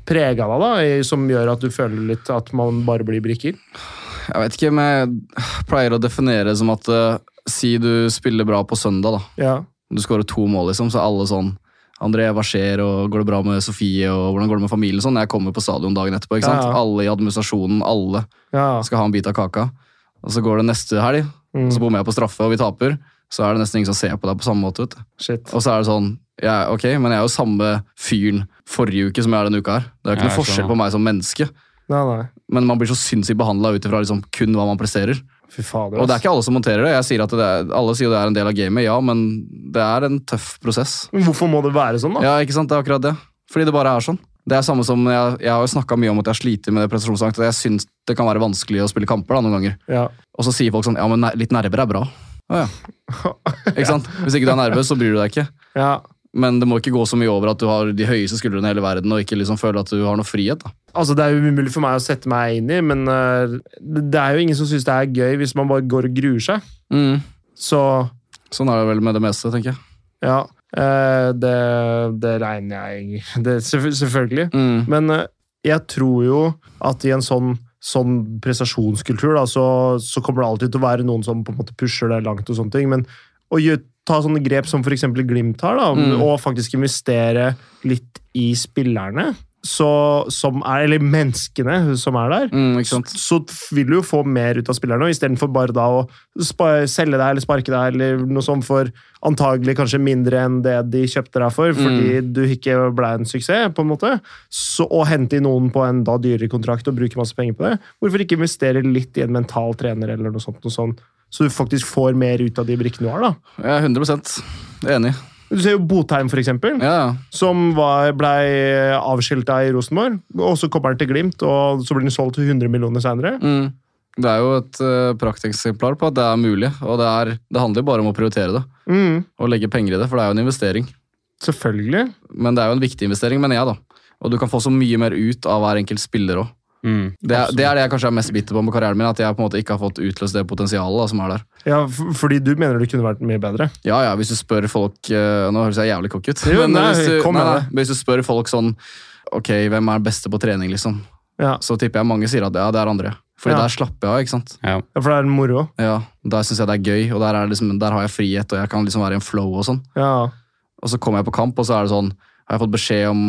Speaker 1: prega deg, da, i- som gjør at du føler litt at man bare blir brikker?
Speaker 3: Jeg vet ikke, men jeg pleier å definere det som at eh, si du spiller bra på søndag, da.
Speaker 1: Ja.
Speaker 3: Du skårer to mål, liksom, så er alle sånn André, hva skjer, og går det bra med Sofie, og hvordan går det med familien? Sånn, jeg kommer på stadion dagen etterpå. ikke sant?
Speaker 1: Ja, ja.
Speaker 3: Alle i administrasjonen, alle
Speaker 1: ja.
Speaker 3: skal ha en bit av kaka. Og så går det neste helg, og så
Speaker 1: Mm.
Speaker 3: bommer jeg på straffe, og vi taper. Så er det nesten ingen som ser på deg på samme måte. vet du.
Speaker 1: Shit.
Speaker 3: Og så er det sånn ja, Ok, men jeg er jo samme fyren forrige uke som jeg er denne uka her. Det er jo ikke
Speaker 2: Ja,
Speaker 3: noe
Speaker 2: jeg
Speaker 3: forskjell
Speaker 2: skjønner.
Speaker 3: på meg som menneske,
Speaker 1: Nei, nei.
Speaker 3: men man blir så sinnssykt behandla ut ifra liksom, kun hva man presterer.
Speaker 1: Fy fader.
Speaker 3: Og det er
Speaker 1: ass.
Speaker 3: ikke alle som monterer det. Jeg sier at det er, Alle sier det er en del av gamet, ja, men det er en tøff prosess.
Speaker 1: Men Hvorfor må det være sånn, da?
Speaker 3: Ja, ikke sant? Det er akkurat det. Fordi det bare er sånn. Det er samme som, Jeg, jeg har jo snakka mye om at jeg sliter med prestasjonsangst. og Jeg syns det kan være vanskelig å spille kamper da, noen ganger.
Speaker 1: Ja.
Speaker 3: Og så sier folk sånn Ja, men ne- litt nerver er bra. Å ja. Ikke sant? Hvis ikke du er nervøs, så bryr du deg ikke.
Speaker 1: ja.
Speaker 3: Men det må ikke gå så mye over at du har de høyeste skuldrene i hele verden og ikke liksom føle at du har noe frihet. da.
Speaker 1: Altså, Det er jo umulig for meg å sette meg inn i, men eh, det er jo ingen som syns det er gøy hvis man bare går og gruer seg.
Speaker 3: Mm.
Speaker 1: Så
Speaker 3: Sånn er det vel med det meste, tenker jeg.
Speaker 1: Ja, eh, det, det regner jeg det, selvfø- Selvfølgelig.
Speaker 3: Mm.
Speaker 1: Men eh, jeg tror jo at i en sånn, sånn prestasjonskultur, da, så, så kommer det alltid til å være noen som på en måte pusher deg langt og sånne ting. Men å gjø- ta sånne grep som f.eks. Glimt har, da,
Speaker 3: Mm.
Speaker 1: og faktisk investere litt i spillerne, så, som er, eller menneskene som er der,
Speaker 3: Mm, ikke sant?
Speaker 1: så vil du jo få mer ut av spillerne, og istedenfor bare da å spa selge deg eller sparke deg eller noe sånt for antagelig kanskje mindre enn det de kjøpte deg for, fordi
Speaker 3: Mm.
Speaker 1: du ikke ble en suksess, på en måte, så, og hente inn noen på en da dyrere kontrakt og bruke masse penger på det. Hvorfor ikke investere litt i en mental trener eller noe sånt, noe sånt så du faktisk får mer ut av de brikkene du har, da?
Speaker 3: Jeg er 100 enig.
Speaker 1: Du ser jo Botheim, for eksempel,
Speaker 3: Ja, ja.
Speaker 1: som var, blei avskilta i Rosenborg, og så kommer han til Glimt, og så blir han solgt til 100 millioner seinere.
Speaker 3: Mm. Det er jo et eh, prakteksemplar på at det er mulig, og det, er, det handler jo bare om å prioritere det.
Speaker 1: Mm,
Speaker 3: Og legge penger i det, for det er jo en investering.
Speaker 1: selvfølgelig.
Speaker 3: Men det er jo en viktig investering, mener jeg, da. Og du kan få så mye mer ut av hver enkelt spiller òg.
Speaker 2: Mm.
Speaker 3: Det, er- det er det jeg kanskje er mest bitter på med karrieren min, at jeg på en måte ikke har fått utløst det potensialet da, som er der.
Speaker 1: Ja, f- fordi du mener det kunne vært mye bedre.
Speaker 3: Ja, ja, hvis du spør folk eh, Nå høres jeg jævlig kokk ut.
Speaker 1: Jo, nei,
Speaker 3: hvis, du,
Speaker 1: kom med det.
Speaker 3: men hvis du spør folk sånn Ok, hvem er beste på trening, liksom?
Speaker 1: Ja,
Speaker 3: Så tipper jeg mange sier at ja, det er André. Fordi
Speaker 1: Ja.
Speaker 3: der slapper jeg av, ikke sant?
Speaker 2: Ja.
Speaker 1: Ja, for det er moro.
Speaker 3: Ja, Der syns jeg det er gøy, og der, er det liksom, der har jeg frihet, og jeg kan liksom være i en flow og sånn.
Speaker 1: Ja.
Speaker 3: Og så kommer jeg på kamp, og så er det sånn Har jeg fått beskjed om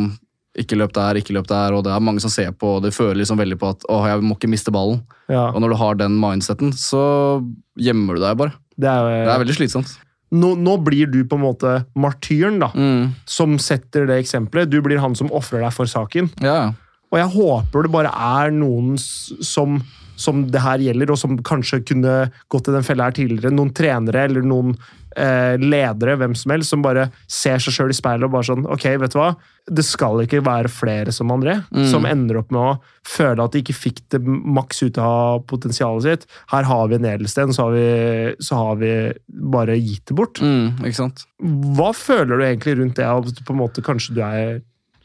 Speaker 3: ikke løp der, ikke løp der, og det er mange som ser på, og det føler liksom veldig på at åh, jeg må ikke miste ballen.
Speaker 1: ja.
Speaker 3: Og når du har den mindseten, så gjemmer du deg bare.
Speaker 1: Det
Speaker 3: Det
Speaker 1: er, eh,
Speaker 3: er veldig slitsomt.
Speaker 1: nå, nå blir du på en måte martyren, da,
Speaker 3: Mm.
Speaker 1: som setter det eksempelet. Du blir han som ofrer deg for saken.
Speaker 3: Ja, ja.
Speaker 1: Og jeg håper det bare er noen s- som, som det her gjelder, og som kanskje kunne gått i den fella her tidligere. Noen trenere eller noen eh, ledere, hvem som helst, som bare ser seg sjøl i speilet og bare sånn Ok, vet du hva? Det skal ikke være flere som André, som ender opp med å føle at de ikke fikk det maks ut av potensialet sitt. Her har vi en edelsten, så har vi, så har vi bare gitt det bort.
Speaker 3: Mm, ikke sant?
Speaker 1: Hva føler du egentlig rundt det? at På en måte, kanskje du er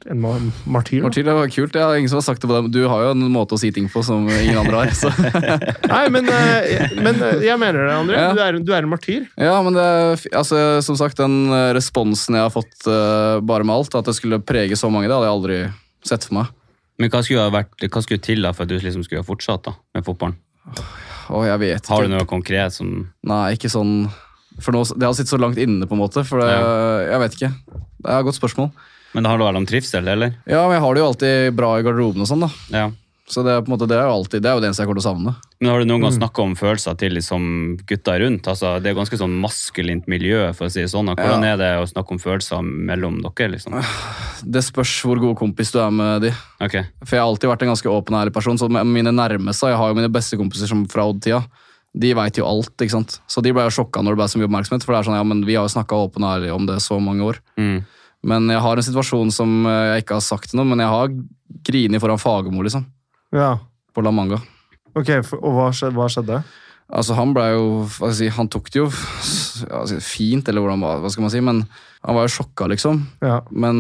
Speaker 1: en ma- martyr? da?
Speaker 3: Martin, det var kult. Ja, ingen som har sagt det på deg. Du har jo en måte å si ting på som ingen andre har. Så.
Speaker 1: Nei, men, eh, men eh, jeg mener det, André.
Speaker 3: Ja.
Speaker 1: Du, er, du er en martyr.
Speaker 3: Ja, men det, er fi- altså, som sagt, den eh, responsen jeg har fått eh, bare med alt, at det skulle prege så mange, det hadde jeg aldri sett for meg.
Speaker 2: Men hva skulle, ha vært, hva skulle til da for at du liksom skulle ha fortsatt da, med fotballen?
Speaker 3: Å, jeg vet ikke.
Speaker 2: Har du noe konkret som
Speaker 3: Nei, ikke sånn For nå, Det har sittet så langt inne, på en måte. For det, Jeg vet ikke. Det er et godt spørsmål.
Speaker 2: Men det handler vel om trivsel, eller?
Speaker 3: Ja, men jeg har det jo alltid bra i garderoben og sånn, da.
Speaker 2: Ja.
Speaker 3: Så det er, på en måte, det er jo alltid, det er jo det eneste jeg kommer til å savne.
Speaker 2: Men har du noen gang snakka om følelser til liksom gutta rundt? Altså, det er ganske sånn maskulint miljø, for å si det sånn. Og Hvordan
Speaker 3: Ja.
Speaker 2: er det å snakke om følelser mellom dere, liksom?
Speaker 3: Det spørs hvor god kompis du er med de.
Speaker 2: Ok,
Speaker 3: For jeg har alltid vært en ganske åpen og ærlig person. Så med mine nærmeste, jeg har jo mine beste kompiser som fra Odd-tida. De veit jo alt, ikke sant. Så de ble jo sjokka når det ble så mye oppmerksomhet. For det er sånn, ja, men vi har jo snakka åpen og ærlig om det så mange år.
Speaker 2: mm.
Speaker 3: Men jeg har en situasjon som eh, jeg ikke har sagt til noen, men jeg har grini foran Fagermo, liksom.
Speaker 1: Ja.
Speaker 3: På La Manga.
Speaker 1: Ok, for, Og hva skjedde? Hva skjedde?
Speaker 3: Altså, han ble jo hva skal jeg si, Han tok det jo ja, altså, fint, eller hvordan, hva skal man si, men han var jo sjokka, liksom.
Speaker 1: Ja.
Speaker 3: Men,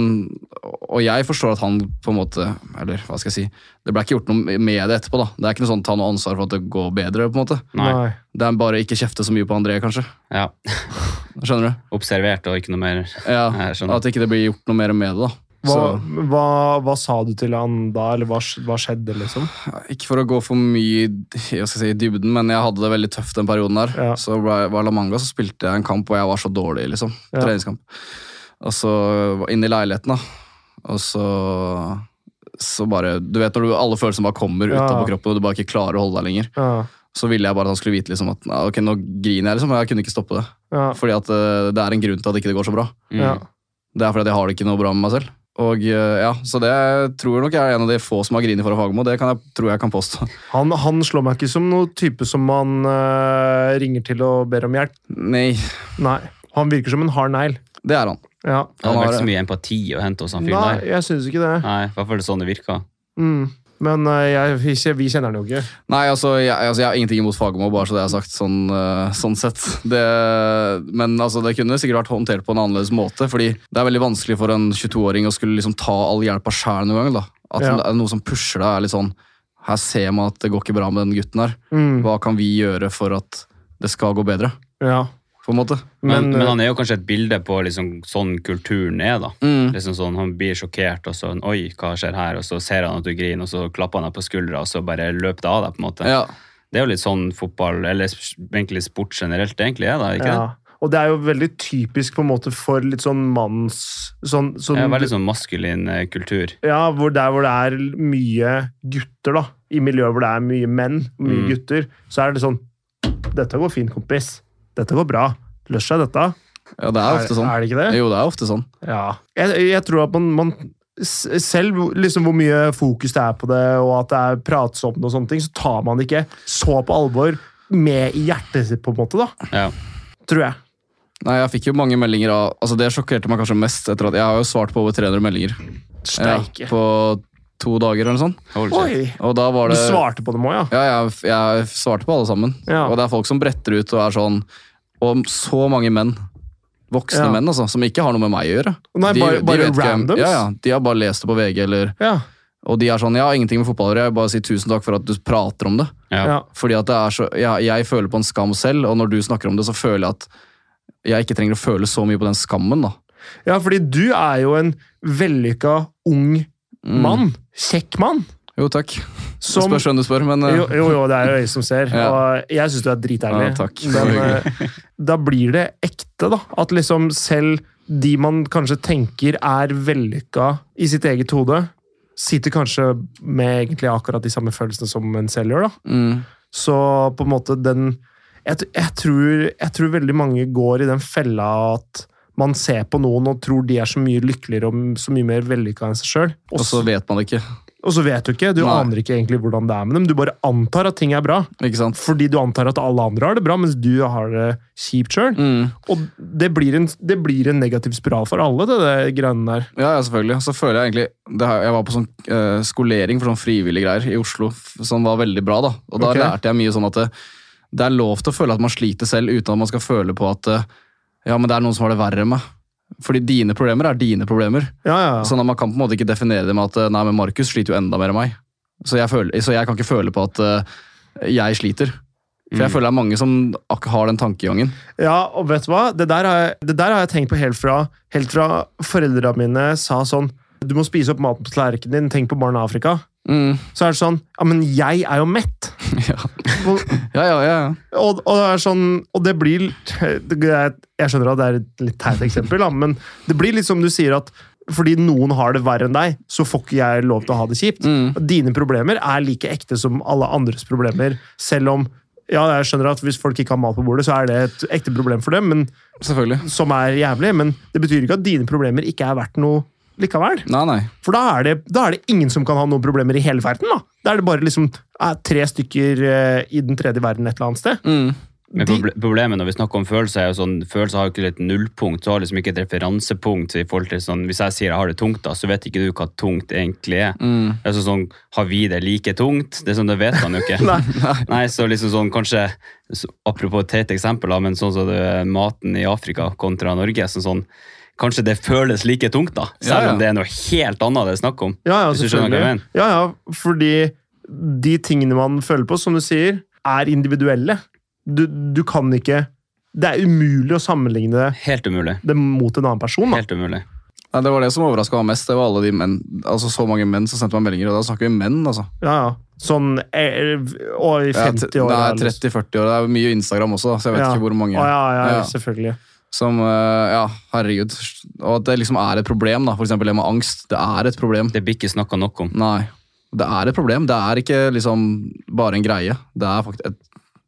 Speaker 3: og jeg forstår at han på en måte Eller hva skal jeg si Det ble ikke gjort noe med det etterpå. da Det er ikke noe sånn ta noe ansvar for at det går bedre. på en måte
Speaker 2: Nei.
Speaker 3: Det er bare ikke kjefte så mye på André, kanskje.
Speaker 2: Ja.
Speaker 3: Skjønner du?
Speaker 2: Observert og ikke noe mer.
Speaker 3: Ja,
Speaker 2: Jeg skjønner.
Speaker 3: At ikke det blir gjort noe mer med det. da
Speaker 1: Hva,
Speaker 3: så,
Speaker 1: hva, hva sa du til han da, eller hva, sk- hva skjedde, liksom?
Speaker 3: Ikke for å gå for mye i hva skal jeg si, i dybden, men jeg hadde det veldig tøft den perioden der.
Speaker 1: Ja.
Speaker 3: Så ble, var La Manga, så spilte jeg en kamp hvor jeg var så dårlig, liksom.
Speaker 1: Ja.
Speaker 3: Treningskamp. Og så var inne i leiligheten, da. Og så så bare, Du vet når du, alle følelsene bare kommer
Speaker 1: Ja.
Speaker 3: utapå kroppen, og du bare ikke klarer å holde deg lenger.
Speaker 1: Ja.
Speaker 3: Så ville jeg bare at han skulle vite liksom at "Nei, ok, nå griner jeg, liksom. og Jeg kunne ikke stoppe det.
Speaker 1: Ja.
Speaker 3: Fordi at eh, det er en grunn til at ikke det går så bra.
Speaker 2: Mm.
Speaker 1: ja.
Speaker 3: Det er fordi at jeg har det ikke noe bra med meg selv. Og eh, ja, Så det tror jeg nok jeg er en av de få som har grinet foran Fagermo. Det kan jeg, tror jeg kan påstå.
Speaker 1: Han, han slår meg ikke som noen type som man eh, ringer til og ber om hjelp.
Speaker 3: Nei,
Speaker 1: Nei. Han virker som en hard negl.
Speaker 3: det er han.
Speaker 1: Ja.
Speaker 2: Det hadde
Speaker 3: Han har-
Speaker 2: vært så mye empati å hente hos han
Speaker 1: Nei,
Speaker 2: fyren der.
Speaker 1: jeg syns ikke det.
Speaker 2: Nei, i hvert fall sånn det virka.
Speaker 1: Mm. Men eh, jeg, vi kje- vi kjenner han jo ikke.
Speaker 3: Nei, altså, jeg, altså, jeg har ingenting imot Fagermo, bare så det er sagt. Sånn, eh, sånn sett. Det, men altså, det kunne sikkert vært håndtert på en annerledes måte. fordi det er veldig vanskelig for en 22-åring å skulle liksom ta all hjelpa sjæl noen gang. da. At
Speaker 1: Ja.
Speaker 3: det er noe som pusher deg, er litt sånn Her ser man at det går ikke bra med den gutten her.
Speaker 1: Mm.
Speaker 3: Hva kan vi gjøre for at det skal gå bedre?
Speaker 1: Ja.
Speaker 3: På en måte.
Speaker 2: Men,
Speaker 1: Men,
Speaker 2: men
Speaker 1: eh,
Speaker 2: han er jo kanskje et bilde på liksom sånn kulturen er, da.
Speaker 3: Mm.
Speaker 2: Liksom sånn, Han blir sjokkert, og så Oi, hva skjer her? Og så ser han at du griner, og så klapper han deg på skuldra, og så bare løper det av deg, på en måte.
Speaker 3: Ja.
Speaker 2: Det er jo litt sånn fotball, eller sp- egentlig sport generelt, egentlig er da,
Speaker 1: ja.
Speaker 2: ikke det?
Speaker 1: Og det er jo veldig typisk på en måte for litt sånn manns sånn, sånn,
Speaker 2: Det er veldig sånn maskulin eh, kultur.
Speaker 1: Ja, hvor der hvor det er mye gutter, da. I miljøer hvor det er mye menn, mye
Speaker 2: Mm.
Speaker 1: gutter, så er det sånn Dette går fint, kompis. Dette går bra. Løs deg dette.
Speaker 3: ja, det er ofte sånn.
Speaker 1: er det ikke det?
Speaker 3: Jo, det er ofte sånn.
Speaker 1: Ja. Jeg, jeg tror at man, man s- selv liksom hvor mye fokus det er på det, og at det er pratsomt, og sånne ting, så tar man det ikke så på alvor med i hjertet sitt, på en måte. da,
Speaker 2: Ja.
Speaker 1: Tror jeg.
Speaker 3: Nei, jeg fikk jo mange meldinger av altså Det sjokkerte meg kanskje mest. etter at Jeg har jo svart på over 300 meldinger ja,
Speaker 1: Steike.
Speaker 3: på to dager eller noe sånt.
Speaker 2: Hold kjeft.
Speaker 1: Oi!
Speaker 3: Og da var
Speaker 1: Du
Speaker 3: det
Speaker 1: svarte på dem òg, ja?
Speaker 3: Ja, jeg, jeg svarte på alle sammen.
Speaker 1: Ja.
Speaker 3: Og det er folk som bretter ut og er sånn Og så mange menn. Voksne
Speaker 1: Ja.
Speaker 3: menn, altså. Som ikke har noe med meg å gjøre.
Speaker 1: Nei, bare- bare
Speaker 3: vet ikke-
Speaker 1: randoms?
Speaker 3: Ja, ja, De har bare lest det på VG, eller
Speaker 1: Ja.
Speaker 3: Og de er sånn Jeg har ingenting med fotball å gjøre, jeg vil bare si tusen takk for at du prater om det.
Speaker 2: Ja.
Speaker 1: ja.
Speaker 3: Fordi at det er så jeg, jeg føler på en skam selv, og når du snakker om det, så føler jeg at jeg ikke trenger å føle så mye på den skammen, da.
Speaker 1: Ja, fordi du er jo en vellykka ung mann. Kjekk mann.
Speaker 3: Mm. Jo, takk.
Speaker 1: Som,
Speaker 3: Spørs hvem du spør, men eh,
Speaker 1: jo, jo, jo, det er jo øyet som ser.
Speaker 3: Ja.
Speaker 1: Og jeg syns du er dritærlig.
Speaker 3: Ja, takk.
Speaker 1: Men eh, da blir det ekte, da. At liksom selv de man kanskje tenker er vellykka i sitt eget hode, sitter kanskje med egentlig akkurat de samme følelsene som en selv gjør, da.
Speaker 3: mm,
Speaker 1: Så på en måte den jeg, t- jeg, tror, jeg tror veldig mange går i den fella at man ser på noen og tror de er så mye lykkeligere og så mye mer vellykka enn seg sjøl. Og,
Speaker 3: Og så
Speaker 1: s-
Speaker 3: vet man det ikke.
Speaker 1: og så vet du ikke. Du
Speaker 3: Nei.
Speaker 1: aner ikke egentlig hvordan det er med dem. Du bare antar at ting er bra,
Speaker 3: Ikke sant?
Speaker 1: fordi du antar at alle andre har det bra, mens du har det kjipt sjøl.
Speaker 3: Mm.
Speaker 1: Og det blir, en, det blir en negativ spiral for alle, det, det greiene der.
Speaker 3: Ja, ja, selvfølgelig. Så føler jeg egentlig det her, Jeg var på sånn eh, skolering for sånn frivillige greier i Oslo, f- som var veldig bra. da. Og da
Speaker 1: Ok.
Speaker 3: lærte jeg mye sånn at det, det er lov til å føle at man sliter selv, uten at man skal føle på at eh, ja, men det er noen som har det verre enn meg. Fordi dine problemer er dine problemer.
Speaker 1: Ja, ja, ja.
Speaker 3: Sånn at Man kan på en måte ikke definere det med at eh, nei, men Markus sliter jo enda mer enn meg. Så jeg, føler, så jeg kan ikke føle på at eh, jeg sliter. For jeg føler det er mange som ak har den tankegangen.
Speaker 1: Ja, og vet du hva? Det der har jeg, det der har jeg tenkt på helt fra, helt fra foreldra mine sa sånn Du må spise opp maten på tallerkenen din, tenk på barna i Afrika.
Speaker 3: Mm.
Speaker 1: Så er det sånn Ja, men jeg er jo mett!
Speaker 3: Ja.
Speaker 1: Hvor-
Speaker 3: Ja, ja, ja. ja.
Speaker 1: Og, og, det er sånn, og det blir det er- Jeg skjønner at det er et litt teit eksempel, da, men det blir litt som du sier at fordi noen har det verre enn deg, så får ikke jeg lov til å ha det kjipt.
Speaker 3: Mm.
Speaker 1: Dine problemer er like ekte som alle andres problemer, selv om ja, jeg skjønner at Hvis folk ikke har mat på bordet, så er det et ekte problem for dem, men,
Speaker 3: Selvfølgelig.
Speaker 1: som er jævlig. Men det betyr ikke at dine problemer ikke er verdt noe likevel.
Speaker 3: Nei, nei.
Speaker 1: For da er, det, da er det ingen som kan ha noen problemer i hele verden. Da Da er det bare liksom, eh, tre stykker eh, i den tredje verden et eller annet sted.
Speaker 3: Mm.
Speaker 2: Men
Speaker 1: De-
Speaker 2: proble- problemet når vi snakker om følelser, er jo sånn, følelser har jo ikke et nullpunkt, så har liksom ikke et referansepunkt i forhold til sånn, hvis jeg sier jeg har det tungt da, så vet ikke du hva tungt egentlig er. Det er sånn, sånn, har vi det like tungt? Det er sånn, det vet man jo ikke.
Speaker 1: Nei.
Speaker 2: Nei, så liksom sånn, kanskje, så- apropos et teit eksempel da, men sånn som det, maten i Afrika kontra Norge, sånn sånn, kanskje det føles like tungt da,
Speaker 3: Ja,
Speaker 2: selv
Speaker 3: ja.
Speaker 2: om det er noe helt annet det er snakk om.
Speaker 1: Ja, ja,
Speaker 2: Hvis du
Speaker 1: selvfølgelig.
Speaker 2: skjønner hva jeg mener.
Speaker 1: Ja, ja, fordi de tingene man føler på, som du sier, er individuelle. Du, du kan ikke Det er umulig å sammenligne
Speaker 2: Helt umulig.
Speaker 1: det mot en annen person. Da.
Speaker 2: Helt umulig.
Speaker 3: Nei, Det var det som overraska meg mest. Det var alle de menn, altså Så mange menn som sendte meg meldinger, og da snakker vi menn, altså.
Speaker 1: Ja, ja. Sånn eh, og i
Speaker 3: Ja, t-
Speaker 1: 50 år.
Speaker 3: Nei,
Speaker 1: eller-
Speaker 3: 30-40 år. Det er mye Instagram også, da, så jeg vet
Speaker 1: Ja.
Speaker 3: ikke hvor mange
Speaker 1: Å, ja, ja,
Speaker 3: Ja.
Speaker 1: selvfølgelig.
Speaker 3: som eh, Ja, herregud. Og at det liksom er et problem, da. For eksempel det med angst. Det er et problem.
Speaker 2: Det blir ikke snakket nok om.
Speaker 3: Nei. Det er et problem. Det er ikke liksom bare en greie. Det er fakt et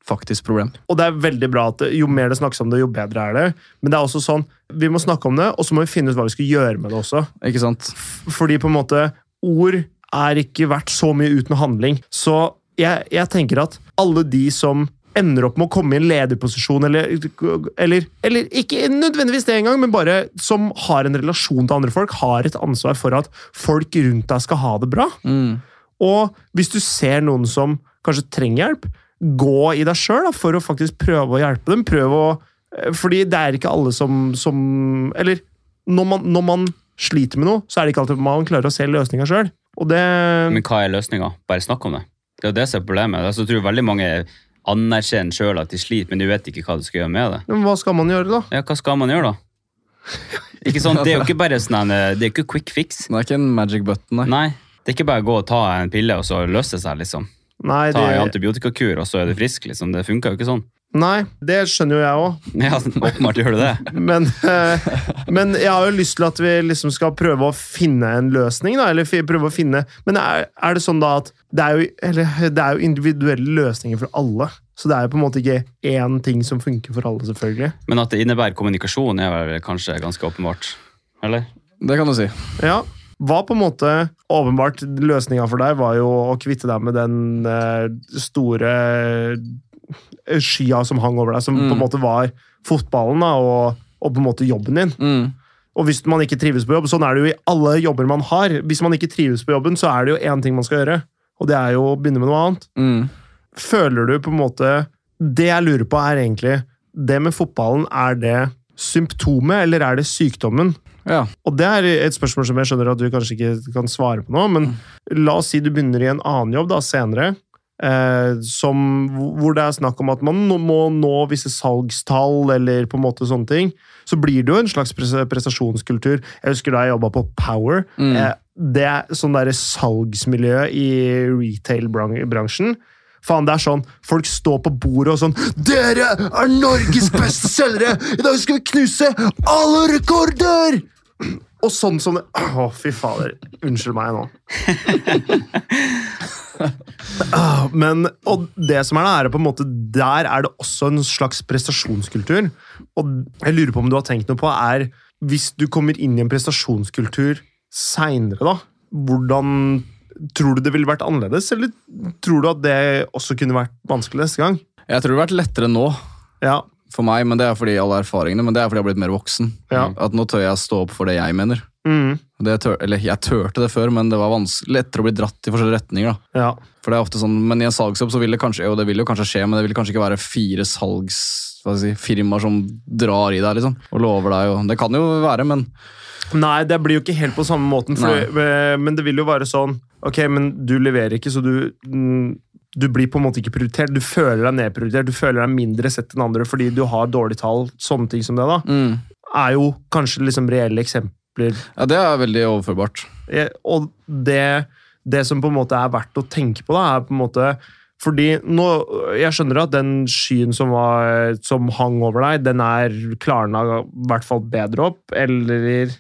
Speaker 3: faktisk problem.
Speaker 1: Og det er veldig bra at det- jo mer det snakkes om det, jo bedre er det. Men det er også sånn, vi må snakke om det, og så må vi finne ut hva vi skal gjøre med det også.
Speaker 3: Ikke sant?
Speaker 1: Fordi på en måte Ord er ikke verdt så mye uten handling. Så jeg, jeg tenker at alle de som ender opp med å komme i en lederposisjon, eller, eller, eller ikke nødvendigvis det engang, men bare som har en relasjon til andre folk, har et ansvar for at folk rundt deg skal ha det bra.
Speaker 3: Mm.
Speaker 1: Og hvis du ser noen som kanskje trenger hjelp, gå i deg sjøl for å faktisk prøve å hjelpe dem. Prøv å eh, Fordi det er ikke alle som, som Eller når man, når man sliter med noe, så er det ikke alltid man klarer å se løsninga sjøl. Og det
Speaker 2: Men hva er løsninga? Bare snakk om det. Det er jo det som er problemet. Altså, jeg tror veldig mange anerkjenner sjøl at de sliter, men de vet ikke hva de skal gjøre med det.
Speaker 1: Men hva skal man gjøre, da?
Speaker 2: Ja, hva skal man gjøre, da? Ikke sånn, Det er jo ikke bare sånn en, eh, Det er ikke quick fix.
Speaker 3: Det er ikke en magic button, nei.
Speaker 2: Nei. Det er ikke bare å gå og ta en pille, og så løse det seg, liksom.
Speaker 1: Nei,
Speaker 2: Ta en
Speaker 1: det,
Speaker 2: antibiotikakur, og så er du frisk, liksom. Det funker jo ikke sånn.
Speaker 1: nei, det skjønner jo jeg òg.
Speaker 2: Ja, åpenbart gjør du det.
Speaker 1: Men, eh, men jeg har jo lyst til at vi liksom skal prøve å finne en løsning, da. Eller fi- prøve å finne Men er, er det sånn da at det er, jo, eller, det er jo individuelle løsninger for alle. Så det er jo på en måte ikke én ting som funker for alle, selvfølgelig.
Speaker 2: Men at det innebærer kommunikasjon, er vel kanskje ganske åpenbart. Eller?
Speaker 3: Det kan du si.
Speaker 1: Ja. Hva på en måte åpenbart løsninga for deg var jo å kvitte deg med den eh, store eh, skya som hang over deg, som på en måte var fotballen da, og, og på en måte jobben din.
Speaker 3: Mm.
Speaker 1: Og hvis man ikke trives på jobb, sånn er det jo i alle jobber man har. Hvis man ikke trives på jobben, så er det jo én ting man skal gjøre, og det er jo å begynne med noe annet.
Speaker 3: Mm.
Speaker 1: Føler du på en måte Det jeg lurer på, er egentlig Det med fotballen, er det symptomet, eller er det sykdommen?
Speaker 3: Ja.
Speaker 1: Og det er et spørsmål som jeg skjønner at du kanskje ikke kan svare på nå, men la oss si du begynner i en annen jobb da, senere, eh, som, hvor det er snakk om at man nå- må nå visse salgstall, eller på en måte sånne ting, så blir det jo en slags pres- prestasjonskultur. Jeg husker da jeg jobba på Power.
Speaker 3: Mm.
Speaker 1: Eh, det er sånn derre salgsmiljø i retail-bransjen. Faen, det er sånn, Folk står på bordet og sånn 'Dere er Norges beste selgere! I dag skal vi knuse alle rekorder!' Og sånn som det Å, fy fader. Unnskyld meg nå. Ah, Men, og det som er det, er på en måte Der er det også en slags prestasjonskultur. Og jeg lurer på om du har tenkt noe på, er hvis du kommer inn i en prestasjonskultur seinere, da, hvordan Tror du det ville vært annerledes, eller tror du at det også kunne vært vanskelig neste gang?
Speaker 3: Jeg tror det har vært lettere nå
Speaker 1: Ja,
Speaker 3: for meg, men det er fordi alle erfaringene, men det er fordi jeg har blitt mer voksen.
Speaker 1: Ja.
Speaker 3: At nå tør jeg stå opp for det jeg mener.
Speaker 1: mm,
Speaker 3: Det tør, eller jeg tørte det før, men det var vans- lettere å bli dratt i forskjellige retninger. da.
Speaker 1: ja,
Speaker 3: For det er ofte sånn, Men i en salgsjobb så vil det kanskje jo, det vil jo kanskje skje, men det vil kanskje ikke være fire salgs... Hva skal jeg si, firmaer som drar i deg liksom, og lover deg. Og, det kan jo være, men
Speaker 1: Nei, det blir jo ikke helt på samme måten, for, eh, men det vil jo være sånn Ok, men du leverer ikke, så du mm, Du blir på en måte ikke prioritert. Du føler deg nedprioritert, du føler deg mindre sett enn andre fordi du har dårlige tall. Sånne ting som det, da.
Speaker 3: mm,
Speaker 1: Er jo kanskje liksom reelle eksempler.
Speaker 3: ja, det er veldig overførbart.
Speaker 1: Eh, Og det, det som på en måte er verdt å tenke på, da, er på en måte Fordi nå, jeg skjønner at den skyen som, var, som hang over deg, den er klarna i hvert fall bedre opp, eller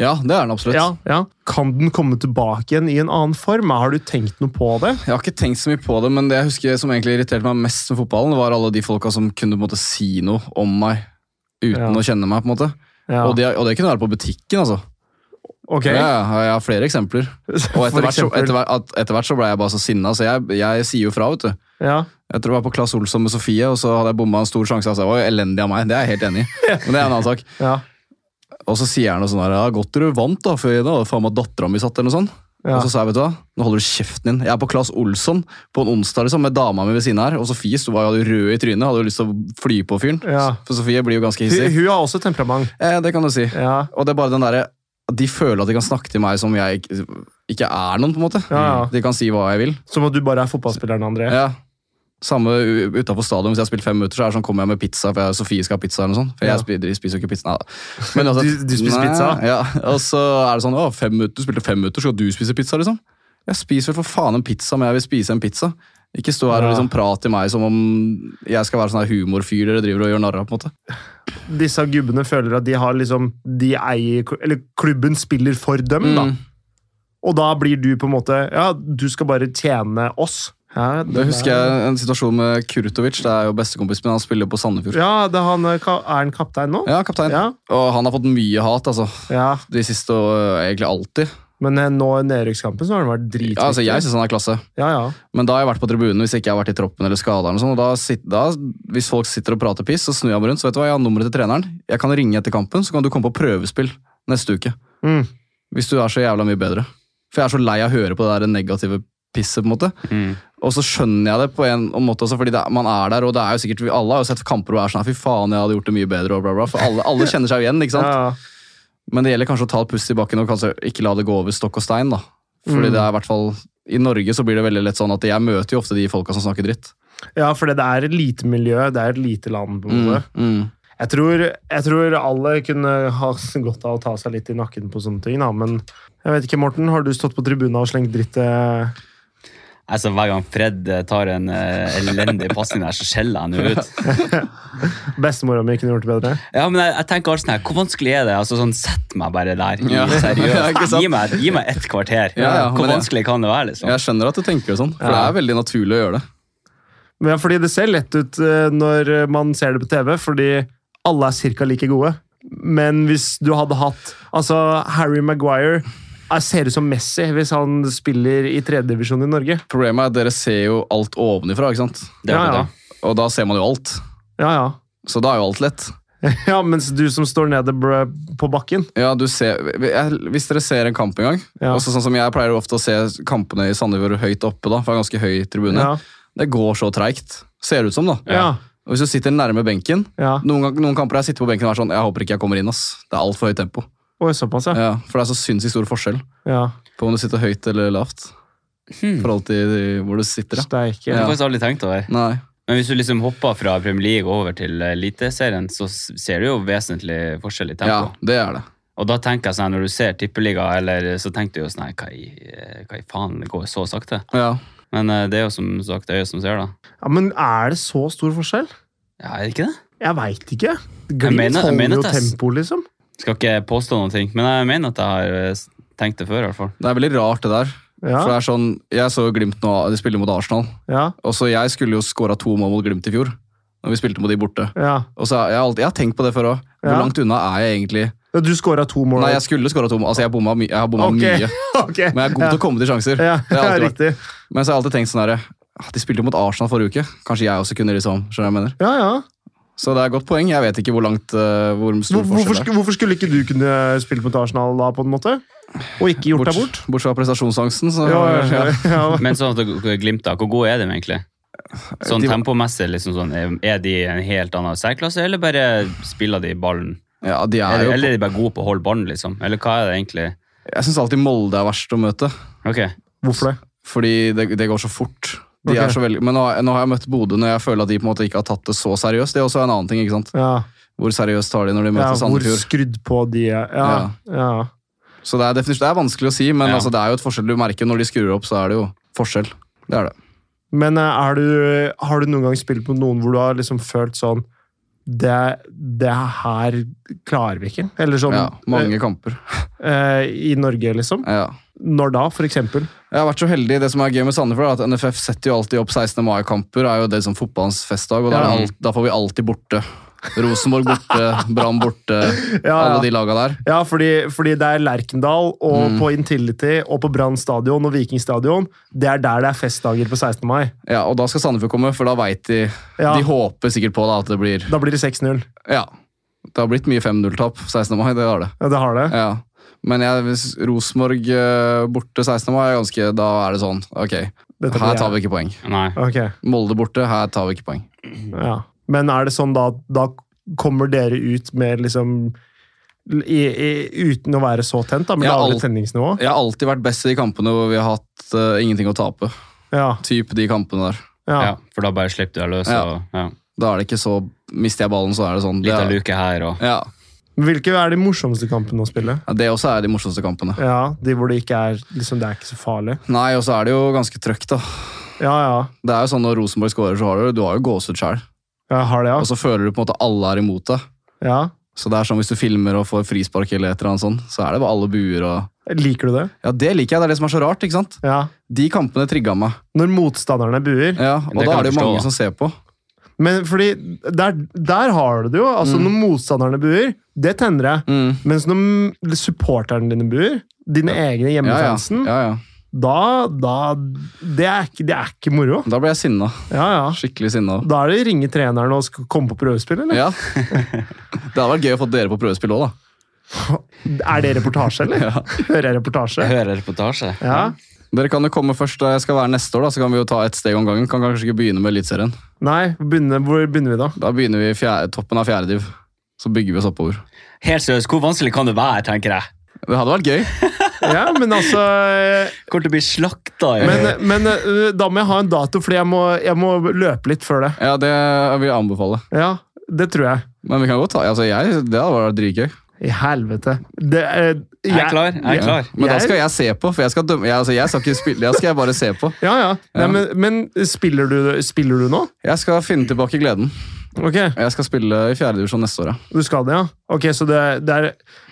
Speaker 3: Ja, det er den absolutt.
Speaker 1: ja, ja. Kan den komme tilbake igjen i en annen form? Har du tenkt noe på det?
Speaker 3: Jeg har ikke tenkt så mye på det, men det jeg husker som egentlig irriterte meg mest med fotballen, var alle de folka som kunne på en måte si noe om meg uten
Speaker 1: Ja.
Speaker 3: å kjenne meg. på en måte.
Speaker 1: Ja.
Speaker 3: Og, det, og det kunne være på butikken, altså.
Speaker 1: Ok.
Speaker 3: Ja, ja, jeg har flere eksempler. Og
Speaker 1: For
Speaker 3: etter hvert, så,
Speaker 1: eksempel.
Speaker 3: etter, hvert, at- etter hvert så ble jeg bare så sinna, så jeg, jeg sier jo fra, vet du.
Speaker 1: Ja.
Speaker 3: Jeg tror jeg var på Claes Olsson med Sofie, og så hadde jeg bomma en stor sjanse. Altså, det var jo elendig av meg, det er jeg helt enig i. Men det er en annen sak.
Speaker 1: Ja.
Speaker 3: Og så sier han noe sånn her, ja, godt dere vant da, for da hadde faen meg dattera mi satt eller noe sånt.
Speaker 1: Ja.
Speaker 3: Og så sa jeg, vet du hva, nå holder du kjeften din. Jeg er på Claes Olsson på en onsdag liksom, med dama mi ved siden her, og Sofie sto var jo rød i trynet, hadde jo lyst til å fly på fyren.
Speaker 1: Ja.
Speaker 3: For Sofie blir jo ganske
Speaker 1: Hun,
Speaker 3: hissig.
Speaker 1: hun har også temperament.
Speaker 3: Eh, det kan du si.
Speaker 1: Ja.
Speaker 3: Og det er bare den derre at De føler at de kan snakke til meg som jeg ikke- ikke er noen, på en måte. Mm.
Speaker 1: Ja, ja.
Speaker 3: De kan si hva jeg vil.
Speaker 1: Som at du bare er fotballspilleren, André.
Speaker 3: Ja. Samme u- utenfor stadion, hvis jeg har spilt fem minutter, så er det sånn, kommer jeg med pizza, for jeg, Sofie skal ha pizza eller noe sånt. For jeg
Speaker 1: Ja.
Speaker 3: spi- de spiser jo ikke pizza. Nei, da. Men altså-
Speaker 1: Du- du spiser pizza?
Speaker 3: Ja, og så er det sånn, å, fem minutter, du spilte fem minutter, skal du spise pizza, liksom? Jeg spiser vel for faen en pizza, men jeg vil spise en pizza. Ikke stå her og
Speaker 1: Ja.
Speaker 3: liksom prate til meg som om jeg skal være sånn her humorfyr dere driver og gjør narr av, på en måte.
Speaker 1: Disse gubbene føler at de har liksom De eier Eller klubben spiller for dem, da.
Speaker 3: Mm.
Speaker 1: Og da blir du på en måte Ja, du skal bare tjene oss. Ja,
Speaker 3: Det husker jeg en situasjonen med Kurtovic, det er jo bestekompisen min, han spiller jo på Sandefjord.
Speaker 1: Ja, det er, han, er ka- er han kaptein nå?
Speaker 3: Ja, kaptein.
Speaker 1: Ja.
Speaker 3: Og han har fått mye hat, altså.
Speaker 1: Ja,
Speaker 3: De siste, og egentlig alltid.
Speaker 1: Men eh, nå i nedrykkskampen så har han vært dritviktig.
Speaker 3: Ja, altså, jeg synes han er klasse.
Speaker 1: ja, ja.
Speaker 3: Men da har jeg vært på tribunen hvis ikke jeg har vært i troppen eller skada. eller noe sånt, Og da, sit- da, hvis folk sitter og prater piss, så snur jeg meg rundt. Så vet du hva, jeg har nummeret til treneren. Jeg kan ringe etter kampen, så kan du komme på prøvespill neste uke.
Speaker 1: Mm.
Speaker 3: Hvis du er så jævla mye bedre. For jeg er så lei av å høre på det der negative pisset, på en måte.
Speaker 2: Mm.
Speaker 3: Og så skjønner jeg det på en måte også, fordi det, er- man er der, og det er jo sikkert Alle har jo sett kamper og er sånn her, fy faen, jeg hadde gjort det mye bedre, og bla, bla. For alle, alle kjenner seg jo igjen, ikke sant?
Speaker 1: Ja, ja.
Speaker 3: Men det gjelder kanskje å ta et pust i bakken og kanskje ikke la det gå over stokk og stein. da. Fordi
Speaker 1: Mm.
Speaker 3: det er i hvert fall, I Norge så blir det veldig lett sånn at jeg møter jo ofte de folka som snakker dritt.
Speaker 1: Ja, for det er et lite miljø, det er et lite land. på en
Speaker 3: Mm.
Speaker 1: måte.
Speaker 3: Mm.
Speaker 1: Jeg, tror, jeg tror alle kunne ha godt av å ta seg litt i nakken på sånne ting, da. men jeg vet ikke, Morten, har du stått på tribunen og slengt dritt eh, til
Speaker 2: Altså, hver gang Fred eh, tar en eh, elendig pasning der, så skjeller han jo ut.
Speaker 1: bestemora mi? Kunne gjort det bedre?
Speaker 2: Ja, men jeg, jeg tenker alltid sånn her, Hvor vanskelig er det? Altså, sånn, Sett meg bare der.
Speaker 3: Ja. Ja, ikke
Speaker 2: Seriøst.
Speaker 3: sant?
Speaker 2: Gi meg, gi meg et kvarter.
Speaker 3: Ja, ja,
Speaker 2: Hvor
Speaker 3: men det-
Speaker 2: vanskelig kan det være? liksom?
Speaker 3: Jeg skjønner at du tenker det sånn, for det
Speaker 1: Ja.
Speaker 3: er veldig naturlig å gjøre det.
Speaker 1: Men ja, fordi Det ser lett ut eh, når man ser det på TV, fordi alle er ca. like gode. Men hvis du hadde hatt Altså, Harry Maguire jeg ser ut som Messi hvis han spiller i tredjedivisjon i Norge.
Speaker 3: Problemet er at dere ser jo alt ovenifra, ikke sant?
Speaker 2: Det er
Speaker 1: Ja,
Speaker 2: akkurat
Speaker 1: ja.
Speaker 2: det.
Speaker 3: og da ser man jo alt.
Speaker 1: Ja, ja.
Speaker 3: Så da er jo alt lett.
Speaker 1: Ja, Mens du som står nede br- på bakken
Speaker 3: Ja, du ser, jeg- Hvis dere ser en kamp en gang,
Speaker 1: Ja.
Speaker 3: også sånn som jeg pleier jo ofte å se kampene i Sandefjord høyt oppe, da, for det er ganske høy tribune,
Speaker 1: Ja,
Speaker 3: det går så treigt. Ser det ut som, da.
Speaker 1: ja,
Speaker 3: Og hvis du sitter nærme benken,
Speaker 1: ja.
Speaker 3: Noen, gang- noen kamper har jeg sittet på benken og vært sånn Jeg håper ikke jeg kommer inn, ass. Det er altfor høyt tempo.
Speaker 1: Oi, såpass, ja.
Speaker 3: Ja, for det er så sinnssykt stor forskjell
Speaker 1: ja.
Speaker 3: på om du sitter høyt eller lavt.
Speaker 1: Hmm.
Speaker 3: I forhold til hvor du sitter, ja.
Speaker 1: Steike.
Speaker 2: Det
Speaker 1: Ja.
Speaker 2: har jeg faktisk aldri tenkt over.
Speaker 3: Nei.
Speaker 2: Men hvis du liksom hopper fra Premier League over til Eliteserien, så s- ser du jo vesentlig forskjell i tempo.
Speaker 3: Ja, det er det.
Speaker 2: Og da tenker jeg sånn, når du ser Tippeliga, eller så tenker du jo sånn her, hva, i- hva i faen, det går så sakte.
Speaker 3: Ja.
Speaker 2: Men eh, det er jo som sagt øyet som ser, da.
Speaker 1: Men er det så stor forskjell?
Speaker 2: Ja, er det ikke det?
Speaker 1: Jeg veit ikke.
Speaker 2: Jeg mener-
Speaker 1: Glimt
Speaker 2: jeg
Speaker 1: holder
Speaker 2: mener
Speaker 1: jo
Speaker 2: at jeg s-
Speaker 1: tempo, liksom.
Speaker 2: Skal ikke påstå noen ting, men jeg mener at jeg har eh, s- tenkt det før, i hvert fall.
Speaker 3: Det er veldig rart, det der.
Speaker 1: Ja,
Speaker 3: For det er sånn, Jeg så Glimt nå, de spiller mot Arsenal.
Speaker 1: ja,
Speaker 3: Og så Jeg skulle jo skåra to mål mot Glimt i fjor, når vi spilte mot de borte.
Speaker 1: ja.
Speaker 3: Og så har jeg, alltid, jeg har tenkt på det før òg. Hvor
Speaker 1: Ja.
Speaker 3: langt unna er jeg egentlig?
Speaker 1: ja du scora to mål.
Speaker 3: Nei, jeg skulle skåra to mål. Altså, jeg, bomma my- jeg har bomma
Speaker 1: Ok.
Speaker 3: mye.
Speaker 1: Ok.
Speaker 3: Men jeg er god til å komme til sjanser.
Speaker 1: ja,
Speaker 3: Det har
Speaker 1: ja,
Speaker 3: alltid vært.
Speaker 1: riktig.
Speaker 3: Men så har jeg alltid tenkt sånn her «Ah, De spilte jo mot Arsenal forrige uke. Kanskje jeg også kunne liksom, skjønner du hva jeg mener?
Speaker 1: Ja, ja.
Speaker 3: Så det er et godt poeng. Jeg vet ikke hvor langt eh, hvor
Speaker 1: Hvor,
Speaker 3: stor
Speaker 1: hvorfor,
Speaker 3: forskjell det er.
Speaker 1: sku- hvorfor skulle ikke du kunne spille mot Arsenal da, på en måte? Og ikke gjort deg bort?
Speaker 3: Bortsett fra prestasjonsangsten. Så,
Speaker 1: Ja, ja,
Speaker 3: ja.
Speaker 1: ja.
Speaker 2: Men sånn at dere glimter, hvor gode er de egentlig? Sånn
Speaker 3: De-
Speaker 2: tempomessig, liksom sånn, er- er de en helt annen særklasse, eller bare spiller de ballen?
Speaker 3: Ja, de er
Speaker 2: Eller,
Speaker 3: jo,
Speaker 2: eller er de bare gode på å holde ballen, liksom? Eller hva er det egentlig?
Speaker 3: jeg syns alltid Molde er verst å møte,
Speaker 2: Ok,
Speaker 1: Hvorfor det?
Speaker 3: fordi det, det går så fort. De
Speaker 1: Ok.
Speaker 3: er så veldig, men nå, har- nå har jeg møtt Bodø når jeg føler at de på en måte ikke har tatt det så seriøst. Det er også en annen ting, ikke sant?
Speaker 1: Ja,
Speaker 3: Hvor seriøst tar de når de
Speaker 1: ja
Speaker 3: møter
Speaker 1: Hvor
Speaker 3: Sandefjord?
Speaker 1: skrudd på de er. Ja, ja.
Speaker 3: Så det er, definitivt, det er vanskelig å si, men
Speaker 2: Ja.
Speaker 3: altså, det er jo et forskjell du merker når de skrur opp, så er det jo forskjell. Det er det.
Speaker 1: Men eh, er du, har du noen gang spilt på noen hvor du har liksom følt sånn det, det her klarer vi ikke. Eller sånn
Speaker 3: Ja, mange kamper.
Speaker 1: eh, i Norge, liksom.
Speaker 3: Ja.
Speaker 1: Når da, for eksempel?
Speaker 3: Jeg har vært så heldig. Det som er gøy med Sandefjord, er at NFF setter jo alltid opp 16. mai-kamper. er jo det som fotballens festdag, og da, er det
Speaker 2: Ja.
Speaker 3: alt, da får vi alltid borte. Rosenborg borte, Brann borte,
Speaker 1: Ja,
Speaker 3: alle
Speaker 1: ja.
Speaker 3: de laga der.
Speaker 1: ja fordi, fordi det er Lerkendal og
Speaker 3: Mm.
Speaker 1: på Intility og på Brann stadion og Viking stadion. Det er der det er festdager på 16. mai.
Speaker 3: Ja, Og da skal Sandefjord komme, for da veit de
Speaker 1: Ja.
Speaker 3: De håper sikkert på da, at det blir
Speaker 1: Da blir det 6-0.
Speaker 3: Ja. Det har blitt mye 5-0-tap 16. mai, det har det.
Speaker 1: Ja, det har det.
Speaker 3: Ja. Men jeg, hvis Rosenborg eh, borte 16. mai, er ganske, da er det sånn Ok,
Speaker 1: Dette blir
Speaker 3: her
Speaker 1: jeg.
Speaker 3: tar vi ikke poeng.
Speaker 2: Nei.
Speaker 1: Ok,
Speaker 3: Molde borte, her tar vi ikke poeng.
Speaker 1: ja. Men er det sånn da at da kommer dere ut med liksom i, i, Uten å være så tent, da, med
Speaker 3: Ja,
Speaker 1: lavere
Speaker 3: alt-
Speaker 1: tenningsnivå?
Speaker 3: Jeg har alltid vært best i de kampene hvor vi har hatt eh, ingenting å tape.
Speaker 1: Ja,
Speaker 3: Typ de kampene der.
Speaker 1: ja.
Speaker 2: Ja. for da bare slipper du deg løs.
Speaker 3: Ja.
Speaker 2: Og, ja.
Speaker 3: Da er det ikke så Mister jeg ballen, så er det sånn.
Speaker 2: Litt av
Speaker 3: det,
Speaker 2: luke her og
Speaker 3: er, ja.
Speaker 1: Men Hvilke er de morsomste kampene å spille?
Speaker 3: Ja, det også er de morsomste kampene.
Speaker 1: Ja, De hvor det ikke er liksom, det er ikke så farlig.
Speaker 3: Nei, og så er det jo ganske trøkt, da.
Speaker 1: Ja, ja.
Speaker 3: Det er jo sånn Når Rosenborg scorer, så har du, du har jo gåsehud sjøl.
Speaker 1: Jeg har det,
Speaker 3: Og
Speaker 1: ja.
Speaker 3: så føler du på en måte alle er imot deg.
Speaker 1: ja.
Speaker 3: Så det er sånn hvis du filmer og får frispark, eller et eller annet sånn, så er det bare alle buer og
Speaker 1: Liker du det?
Speaker 3: Ja, det liker jeg. Det er det som er så rart. ikke sant?
Speaker 1: Ja.
Speaker 3: De kampene trigga meg.
Speaker 1: Når motstanderne buer.
Speaker 3: Ja, Og
Speaker 2: Det
Speaker 3: da
Speaker 2: kan
Speaker 3: er
Speaker 2: jeg
Speaker 3: det jo
Speaker 2: forstå,
Speaker 3: mange
Speaker 2: da.
Speaker 3: som ser på.
Speaker 1: Men fordi der, der har du det jo. Altså, Når motstanderne buer, det tenner jeg.
Speaker 3: Mm.
Speaker 1: Mens når m- supporterne dine buer, dine egne
Speaker 3: Ja, ja.
Speaker 1: hjemmefansen,
Speaker 3: ja, ja.
Speaker 1: da, da det, er ikke, det er ikke moro.
Speaker 3: Da ble jeg sinna.
Speaker 1: Ja, ja.
Speaker 3: Skikkelig sinna.
Speaker 1: Da er det ringe treneren og skal komme på prøvespill, eller?
Speaker 3: Ja. Det hadde vært gøy å få dere på prøvespill òg, da.
Speaker 1: Er det reportasje, eller?
Speaker 3: Ja.
Speaker 1: Hører jeg reportasje?
Speaker 2: Jeg hører reportasje.
Speaker 1: Ja.
Speaker 3: Dere kan jo komme først da jeg skal være neste år, da, så kan vi jo ta ett steg om gangen. Kan kanskje ikke begynne med Eliteserien.
Speaker 1: Nei, begynner, hvor begynner vi da?
Speaker 3: Da begynner vi i fjerde, toppen av fjerde div. Så bygger vi oss oppover.
Speaker 2: Helt seriøst, hvor vanskelig kan det være, tenker jeg?
Speaker 3: Det hadde vært gøy.
Speaker 1: Ja, men altså eh,
Speaker 2: Kommer til å bli slakta. i-
Speaker 1: Men, men eh, da må jeg ha en dato, fordi jeg må, jeg må løpe litt før det.
Speaker 3: Ja, det vil jeg anbefale.
Speaker 1: Ja, det tror jeg.
Speaker 3: Men vi kan godt ta altså jeg, Det hadde vært dritgøy.
Speaker 1: I helvete. Det, eh,
Speaker 2: jeg er klar. Jeg er klar.
Speaker 3: Men da
Speaker 1: Jeg-
Speaker 3: skal jeg se på, for jeg skal dømme. Jeg, altså, jeg skal ikke spille, jeg skal bare se på.
Speaker 1: Ja, ja. Nei,
Speaker 3: Ja.
Speaker 1: men, men spiller, du, spiller du nå?
Speaker 3: Jeg skal finne tilbake gleden.
Speaker 1: Ok,
Speaker 3: Jeg skal spille i fjerde divisjon neste år, ja.
Speaker 1: du skal det, ja. Ok, så det, det er,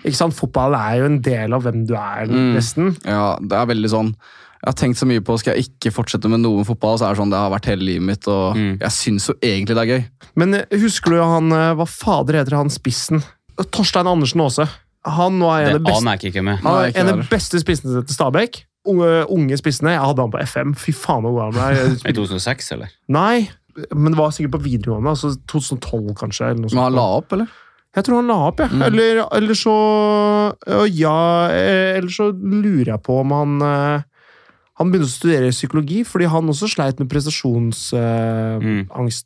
Speaker 1: ikke sant, Fotball er jo en del av hvem du er,
Speaker 3: Mm.
Speaker 1: nesten.
Speaker 3: ja. Det er veldig sånn Jeg har tenkt så mye på skal jeg ikke fortsette med noe fotball. så er Det sånn, det har vært hele livet mitt, og
Speaker 2: Mm.
Speaker 3: jeg syns jo egentlig det er gøy.
Speaker 1: Men eh, husker du han eh, Hva fader heter han spissen? Torstein Andersen Aase. Han var en
Speaker 2: Det
Speaker 1: av de beste,
Speaker 2: aner jeg ikke med.
Speaker 1: han
Speaker 3: Nei,
Speaker 1: var
Speaker 3: ikke
Speaker 1: en av de
Speaker 3: heller.
Speaker 1: beste spissene til Stabæk. Unge, unge spissene. Jeg hadde han på FM. Fy faen, hvor god han ble.
Speaker 2: I 2006, eller?
Speaker 1: Nei, men det var sikkert på videregående. Altså 2012, kanskje. Eller noe
Speaker 3: Men
Speaker 1: sånt.
Speaker 3: han la Mm. opp, eller?
Speaker 1: Jeg tror han la opp, jeg. Eller, eller så øh, Ja, eh, eller så lurer jeg på om han eh, Han begynte å studere psykologi, fordi han også sleit med prestasjonsangsten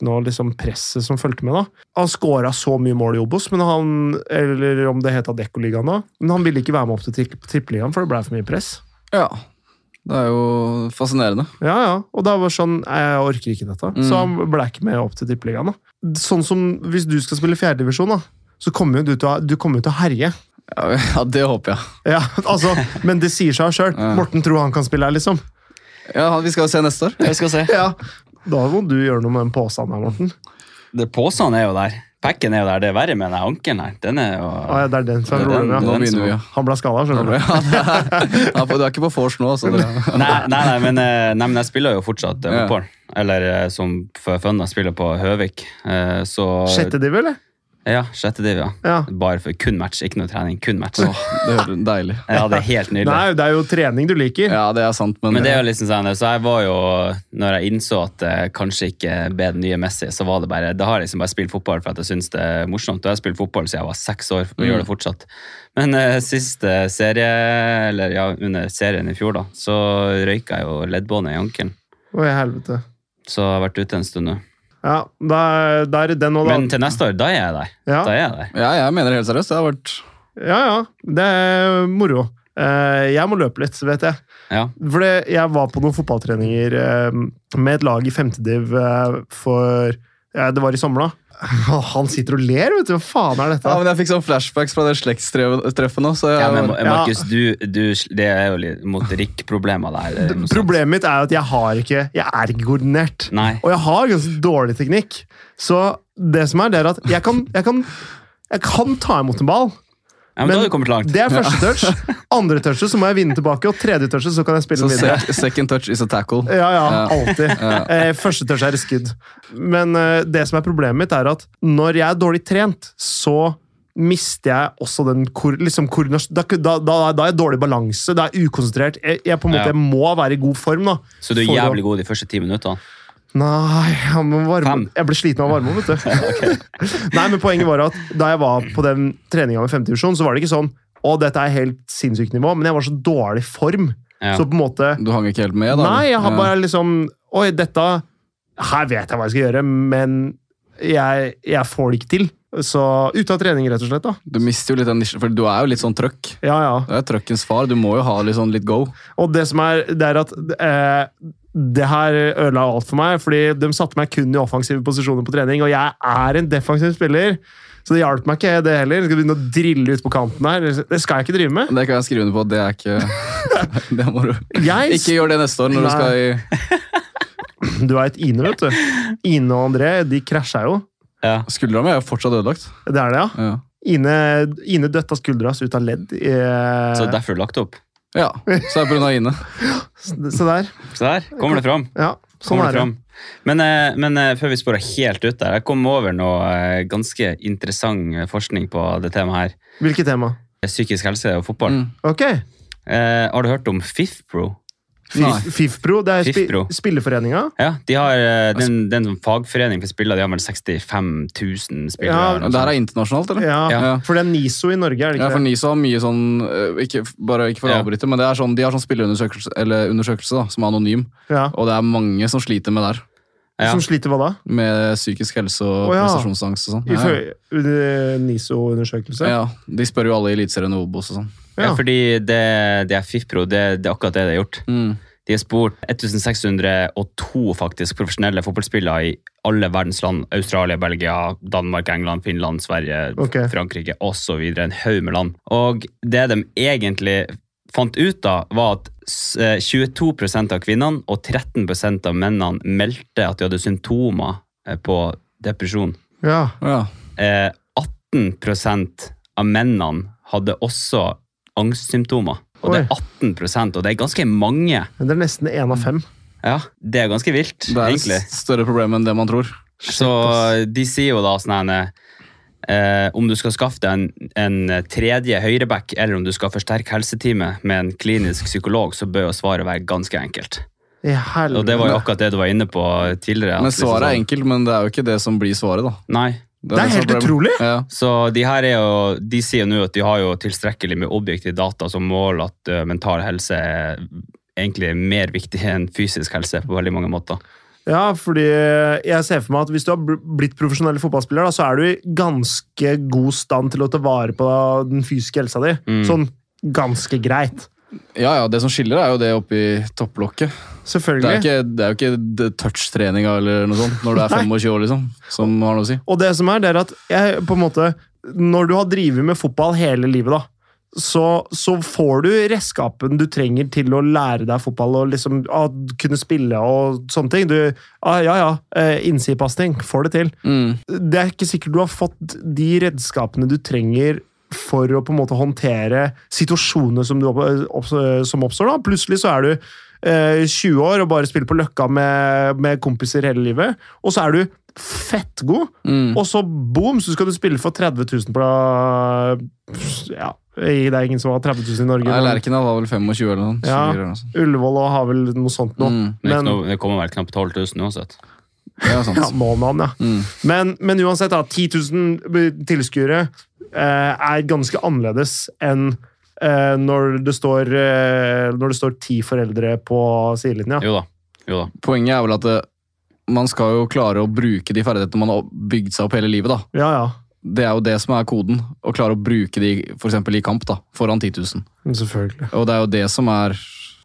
Speaker 1: eh,
Speaker 2: Mm.
Speaker 1: og liksom presset som fulgte med. da. Han scora så mye mål i Obos, men han, eller om det het Adeccoligaen da, men han ville ikke være med opp til tri- Tippeligaen, for det blei for mye press.
Speaker 3: Ja. Det er jo fascinerende.
Speaker 1: Ja, ja. Og da var det sånn «Nei, Jeg orker ikke dette. Så
Speaker 3: Mm.
Speaker 1: han ble ikke med opp til Tippeligaen. da. Sånn som hvis du skal spille fjerdedivisjon, så kommer jo du til å, du kommer jo til å herje.
Speaker 3: Ja, ja, det håper jeg.
Speaker 1: Ja, altså, Men det sier seg sjøl.
Speaker 3: Ja.
Speaker 1: Morten tror han kan spille her, liksom.
Speaker 3: Ja, han- Vi skal jo se neste år.
Speaker 2: Jeg skal se.
Speaker 1: Ja. Da må du gjøre noe med den påstanden her, Morten.
Speaker 2: Det, Påsene er jo der. Pekken er jo der. Det er verre med den ankelen her. Den er jo
Speaker 1: Ah, ja, det er den som er
Speaker 2: Det er den-
Speaker 1: problemet.
Speaker 3: Nå
Speaker 1: ja.
Speaker 2: den som-
Speaker 3: begynner vi, ja.
Speaker 1: Han ble skada,
Speaker 3: Ja,
Speaker 1: skjønner du.
Speaker 3: det er- ja, for Du er ikke på vors nå, altså. Det,
Speaker 2: nei, nei, nei, men, eh, nei, men jeg spiller jo fortsatt eh,
Speaker 3: Ja.
Speaker 2: fotball. Eller eh, som for fun, jeg spiller på Høvik. Eh, Så
Speaker 1: Sjette div, eller?
Speaker 2: Ja, sjette div, ja.
Speaker 1: Ja.
Speaker 2: Bare for kun match, ikke noe trening. Kun match.
Speaker 3: Åh, det høres deilig
Speaker 2: Ja, det er helt nydelig.
Speaker 1: Nei, det er jo trening du liker.
Speaker 3: Ja, det er sant, men,
Speaker 2: Men det er jo liksom sånn, så jeg var jo, når jeg innså at jeg kanskje ikke ble den nye Messi, så var det bare, da har jeg liksom bare spilt fotball for at jeg synes det er morsomt. Og jeg har spilt fotball siden jeg var seks år, og gjør det fortsatt. Men eh, siste serie, eller ja, under serien i fjor da, så røyka jeg jo leddbåndet i ankelen.
Speaker 1: Å, i helvete.
Speaker 2: Så jeg har vært ute en stund nå.
Speaker 1: Ja, da er- da er det den og
Speaker 2: Men
Speaker 1: den.
Speaker 2: til neste år, da er jeg der.
Speaker 1: Ja.
Speaker 2: Da er jeg der.
Speaker 3: ja, jeg mener det helt seriøst. Det har vært
Speaker 1: Ja, ja. Det er moro. Eh, Jeg må løpe litt, vet jeg.
Speaker 2: Ja.
Speaker 1: For det, jeg var på noen fotballtreninger eh, med et lag i femtediv eh, for Eh, Det var i sommer, da. Han sitter og ler, vet du. Hva faen er
Speaker 3: Ja,
Speaker 1: dette?
Speaker 3: men Jeg fikk sånn flashbacks fra det slektstreffet nå. så jeg...
Speaker 2: Ja, men Mar-
Speaker 1: Eh, Ja.
Speaker 2: Markus, du, du, det er jo litt motorikkproblemer der. eller noe sånt.
Speaker 1: Problemet mitt er jo at jeg har ikke Jeg er ikke koordinert.
Speaker 2: Nei.
Speaker 1: Og jeg har ganske dårlig teknikk. Så det som er, det er at jeg kan, jeg kan, jeg kan ta imot en ball.
Speaker 2: Ja, men, da har du kommet langt.
Speaker 1: Det er første touch. Andre touchet så må jeg vinne tilbake, og tredje touchet så kan jeg spille
Speaker 3: Så
Speaker 1: videre.
Speaker 3: sec- second touch is a tackle.
Speaker 1: Ja, ja,
Speaker 3: Ja.
Speaker 1: alltid. Eh, første touch er skudd. Men eh, det som er problemet mitt, er at når jeg er dårlig trent, så mister jeg også den kor, liksom koordinas- da, da, da, da er jeg dårlig balanse, da er jeg ukonsentrert. Jeg, jeg på en måte
Speaker 2: Ja.
Speaker 1: jeg må være i god form, da.
Speaker 2: Så du er
Speaker 1: For å-
Speaker 2: jævlig god de første ti minuttene.
Speaker 1: Nei, jeg, må varme.
Speaker 2: Fem.
Speaker 1: jeg ble sliten av varme, vet du. Nei, men poenget var at da jeg var på den treninga med femtedivisjon, så var det ikke sånn å, dette er helt sinnssykt nivå, men jeg var så dårlig form.
Speaker 2: Ja.
Speaker 1: Så på en måte
Speaker 3: Du hang ikke helt med? da?
Speaker 1: Nei, jeg har
Speaker 3: Ja.
Speaker 1: bare liksom Oi, dette Her vet jeg hva jeg skal gjøre, men jeg, jeg får det ikke til. Så ute av trening, rett og slett. da.
Speaker 3: Du mister jo litt den nisjen, for du er jo litt sånn trøkk.
Speaker 1: Ja, ja.
Speaker 3: Du er trøkkens far. Du må jo ha litt sånn litt go.
Speaker 1: Og det som er, det er at eh, det her ødela alt for meg, fordi de satte meg kun i offensive posisjoner på trening, og jeg er en defensiv spiller. Så det hjalp meg ikke, det heller. Skal begynne å drille ut på kanten her. Det skal jeg ikke drive med.
Speaker 3: Det kan jeg skrive under på. Det er ikke Det må du
Speaker 1: Jeg,
Speaker 3: Ikke gjør det neste år når du
Speaker 1: Nei.
Speaker 3: skal i
Speaker 1: Du veit Ine, vet du. Ine og André de krasja jo.
Speaker 2: Ja.
Speaker 3: Skuldra mi er jo fortsatt ødelagt.
Speaker 1: Det er det, ja.
Speaker 3: Ja.
Speaker 1: Ine, Ine døtta skuldra så ut av ledd. eh,
Speaker 2: Så derfor har du lagt opp.
Speaker 3: ja. Så er pga. Ine.
Speaker 1: Se der.
Speaker 2: Så der kommer det fram.
Speaker 1: Ja, sånn
Speaker 2: Kommer det
Speaker 1: er det.
Speaker 2: fram. Men, eh, men eh, før vi sporer helt ut der, jeg kom over noe eh, ganske interessant eh, forskning på det temaet her. Eh,
Speaker 1: Hvilket tema?
Speaker 2: Psykisk helse og fotball.
Speaker 3: Mm.
Speaker 1: Ok.
Speaker 2: Eh, har du hørt om FIFPro?
Speaker 3: Nei.
Speaker 1: Fif- FIFPro, det er spi
Speaker 2: Fifpro.
Speaker 1: spilleforeninga.
Speaker 2: Ja, de har, eh,
Speaker 1: Altså-
Speaker 2: den, den som fagforening for spillere, de har vel 65 000 spillere.
Speaker 1: Ja,
Speaker 2: eller noe
Speaker 3: Det her er internasjonalt, eller?
Speaker 1: Ja,
Speaker 2: Ja.
Speaker 1: For det er NISO i Norge, er det
Speaker 3: Ja,
Speaker 1: ikke
Speaker 3: for
Speaker 1: det?
Speaker 3: NISO har mye sånn eh, ikke, Bare ikke for å
Speaker 2: Ja.
Speaker 3: avbryte, men det er sånn, de har sånn spilleundersøkelse eller undersøkelse da, som er anonym.
Speaker 1: Ja.
Speaker 3: Og det er mange som sliter med det her.
Speaker 2: Ja.
Speaker 1: Som sliter hva da?
Speaker 3: Med psykisk helse og
Speaker 1: Å, ja.
Speaker 3: prestasjonsangst og sånn. Ja, ja.
Speaker 1: Ifølge eh, NISO-undersøkelse?
Speaker 3: Ja, de spør jo alle i Eliteserien og Obos og sånn.
Speaker 2: Ja, Eh, fordi det, det er FIFPro, det, det er akkurat det det er gjort.
Speaker 3: Mm.
Speaker 2: De har spurt 1602 faktisk profesjonelle fotballspillere i alle verdens land. Australia, Belgia, Danmark, England, Finland, Sverige,
Speaker 1: Ok.
Speaker 2: Frankrike osv. En haug med land. Og det de egentlig fant ut av, var at s- eh, 22 av kvinnene og 13 av mennene meldte at de hadde symptomer eh, på depresjon.
Speaker 1: Ja.
Speaker 3: Mm. Ja.
Speaker 2: Eh, 18 av mennene hadde også angstsymptomer. Og det er 18 og det er ganske mange.
Speaker 1: Men Det er nesten én av fem.
Speaker 2: Ja, det er ganske vilt,
Speaker 3: Det er
Speaker 2: egentlig.
Speaker 3: et større problem enn det man tror.
Speaker 2: Så de sier jo da sånn her eh, Om du skal skaffe deg en, en tredje høyreback, eller om du skal forsterke helseteamet med en klinisk psykolog, så bør jo svaret være ganske enkelt.
Speaker 1: I
Speaker 2: Og det var jo
Speaker 1: helvete.
Speaker 2: akkurat det du var inne på tidligere. at
Speaker 3: Men svaret er
Speaker 2: liksom sånn-
Speaker 3: enkelt, men det er jo ikke det som blir svaret, da.
Speaker 2: Nei.
Speaker 1: Det er
Speaker 3: som
Speaker 1: helt
Speaker 3: problemet.
Speaker 1: utrolig!
Speaker 3: Ja.
Speaker 2: Så de her er jo, de sier nå at de har jo tilstrekkelig med objektive data som måler at eh, mental helse er egentlig mer viktig enn fysisk helse på veldig mange måter.
Speaker 1: Ja, fordi jeg ser for meg at Hvis du har bl- blitt profesjonell fotballspiller, da, så er du i ganske god stand til å ta vare på den fysiske helsa di.
Speaker 2: Mm.
Speaker 1: Sånn ganske greit.
Speaker 3: ja, ja, det som skiller er jo det oppi topplokket. Det er,
Speaker 1: Selvfølgelig.
Speaker 3: ikke, det er jo ikke det touch-treninga eller noe sånt når du er 25 år, liksom, som har noe å si.
Speaker 1: Og det som er, det er at jeg på en måte Når du har drevet med fotball hele livet, da, så, så får du redskapen du trenger til å lære deg fotball og liksom ah, kunne spille og sånne ting. Du, ah, ja, ja, eh, innsidepasning. Får det til.
Speaker 3: Mm.
Speaker 1: Det er ikke sikkert du har fått de redskapene du trenger for å på en måte håndtere situasjoner som, du opp, opp, som oppstår. da. Plutselig så er du eh, 20 år og bare spiller på Løkka med, med kompiser hele livet, og så er du fettgod.
Speaker 3: Mm.
Speaker 1: Og så boom, så skal du spille for 30 000 på Ja, det er ingen som har 30 000 i Norge.
Speaker 3: Nei,
Speaker 1: men
Speaker 3: Lerkendal var vel 25 eller noe sånt.
Speaker 1: Ja.
Speaker 3: 24 eller noe sånt.
Speaker 1: Ullevål og har vel noe sånt nå.
Speaker 3: Mm.
Speaker 2: Men, det er ikke
Speaker 1: Men-
Speaker 2: noe- det kommer vel knapt 12 000 uansett.
Speaker 3: Det er sant.
Speaker 1: Ja, måneden, ja.
Speaker 3: Mm.
Speaker 1: Men, men uansett, da, 10 000 tilskuere eh, er ganske annerledes enn eh, når, det står, eh, når det står ti foreldre på sidelinja.
Speaker 2: Jo da. Jo da.
Speaker 3: Poenget er vel at eh, man skal jo klare å bruke de ferdighetene man har bygd seg opp hele livet. da.
Speaker 1: Ja, ja.
Speaker 3: Det er jo det som er koden. Å klare å bruke de for eksempel i kamp da, foran 10 000.
Speaker 1: Selvfølgelig.
Speaker 3: Og det er jo det som er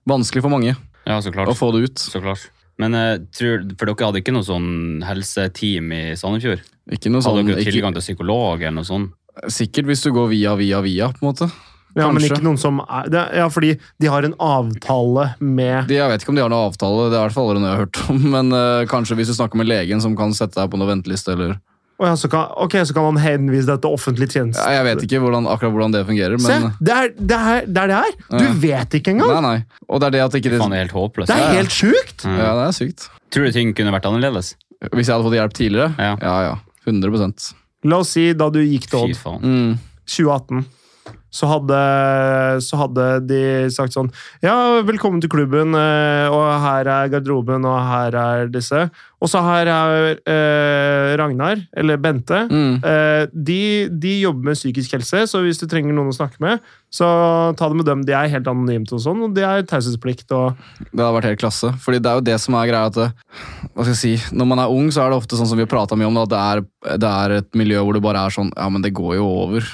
Speaker 3: vanskelig for mange.
Speaker 2: Ja, så klart.
Speaker 3: Å få det ut.
Speaker 2: Så klart. Men eh, tror, for dere hadde ikke noe sånn helseteam i Sandefjord?
Speaker 3: Ikke noe
Speaker 2: Hadde
Speaker 3: sånn,
Speaker 2: dere
Speaker 3: ikke,
Speaker 2: tilgang til psykolog eller noe sånt?
Speaker 3: sikkert hvis du går via, via, via, på en måte.
Speaker 1: Ja, men
Speaker 3: Kanskje.
Speaker 1: ikke noen som er det, er- Ja, fordi de har en avtale med
Speaker 3: De, jeg vet ikke om de har noen avtale, det er i hvert fall aldri noe jeg har hørt om, men eh, kanskje hvis du snakker med legen som kan sette deg på noen venteliste, eller
Speaker 1: Å ja, så kan, Ok, så kan man henvise deg til offentlig tjeneste.
Speaker 3: ja, Jeg vet ikke hvordan, akkurat hvordan det fungerer,
Speaker 1: Se!
Speaker 3: men
Speaker 1: Det er det er, det er det her! Du
Speaker 3: Ja.
Speaker 1: vet ikke engang!
Speaker 3: Nei, nei. Og det er det at ikke det,
Speaker 2: Faen, det er helt håpløst.
Speaker 1: Det
Speaker 2: Ja,
Speaker 1: er
Speaker 2: ja.
Speaker 1: helt sjukt!
Speaker 2: Mm.
Speaker 3: Ja, det er sykt.
Speaker 2: Tror du ting kunne vært annerledes?
Speaker 3: Hvis jeg hadde fått hjelp tidligere?
Speaker 2: Ja.
Speaker 3: ja. ja. 100
Speaker 1: La oss si da du gikk til
Speaker 2: Fy
Speaker 1: Odd
Speaker 2: faen.
Speaker 3: mm.
Speaker 1: 2018, så hadde, så hadde de sagt sånn Ja, velkommen til klubben, eh, og her er garderoben, og her er disse. Og så her er eh, Ragnar, eller Bente.
Speaker 3: Mm.
Speaker 1: Eh, de, de jobber med psykisk helse, så hvis du trenger noen å snakke med, så ta det med dem. De er helt anonymt og sånn, og de er taushetsplikt og
Speaker 3: Det hadde vært helt klasse. Fordi det er jo det som er greia at det, hva skal jeg si, Når man er ung, så er det ofte sånn som vi har prata mye om, da, at det er, det er et miljø hvor du bare er sånn Ja, men det går jo over.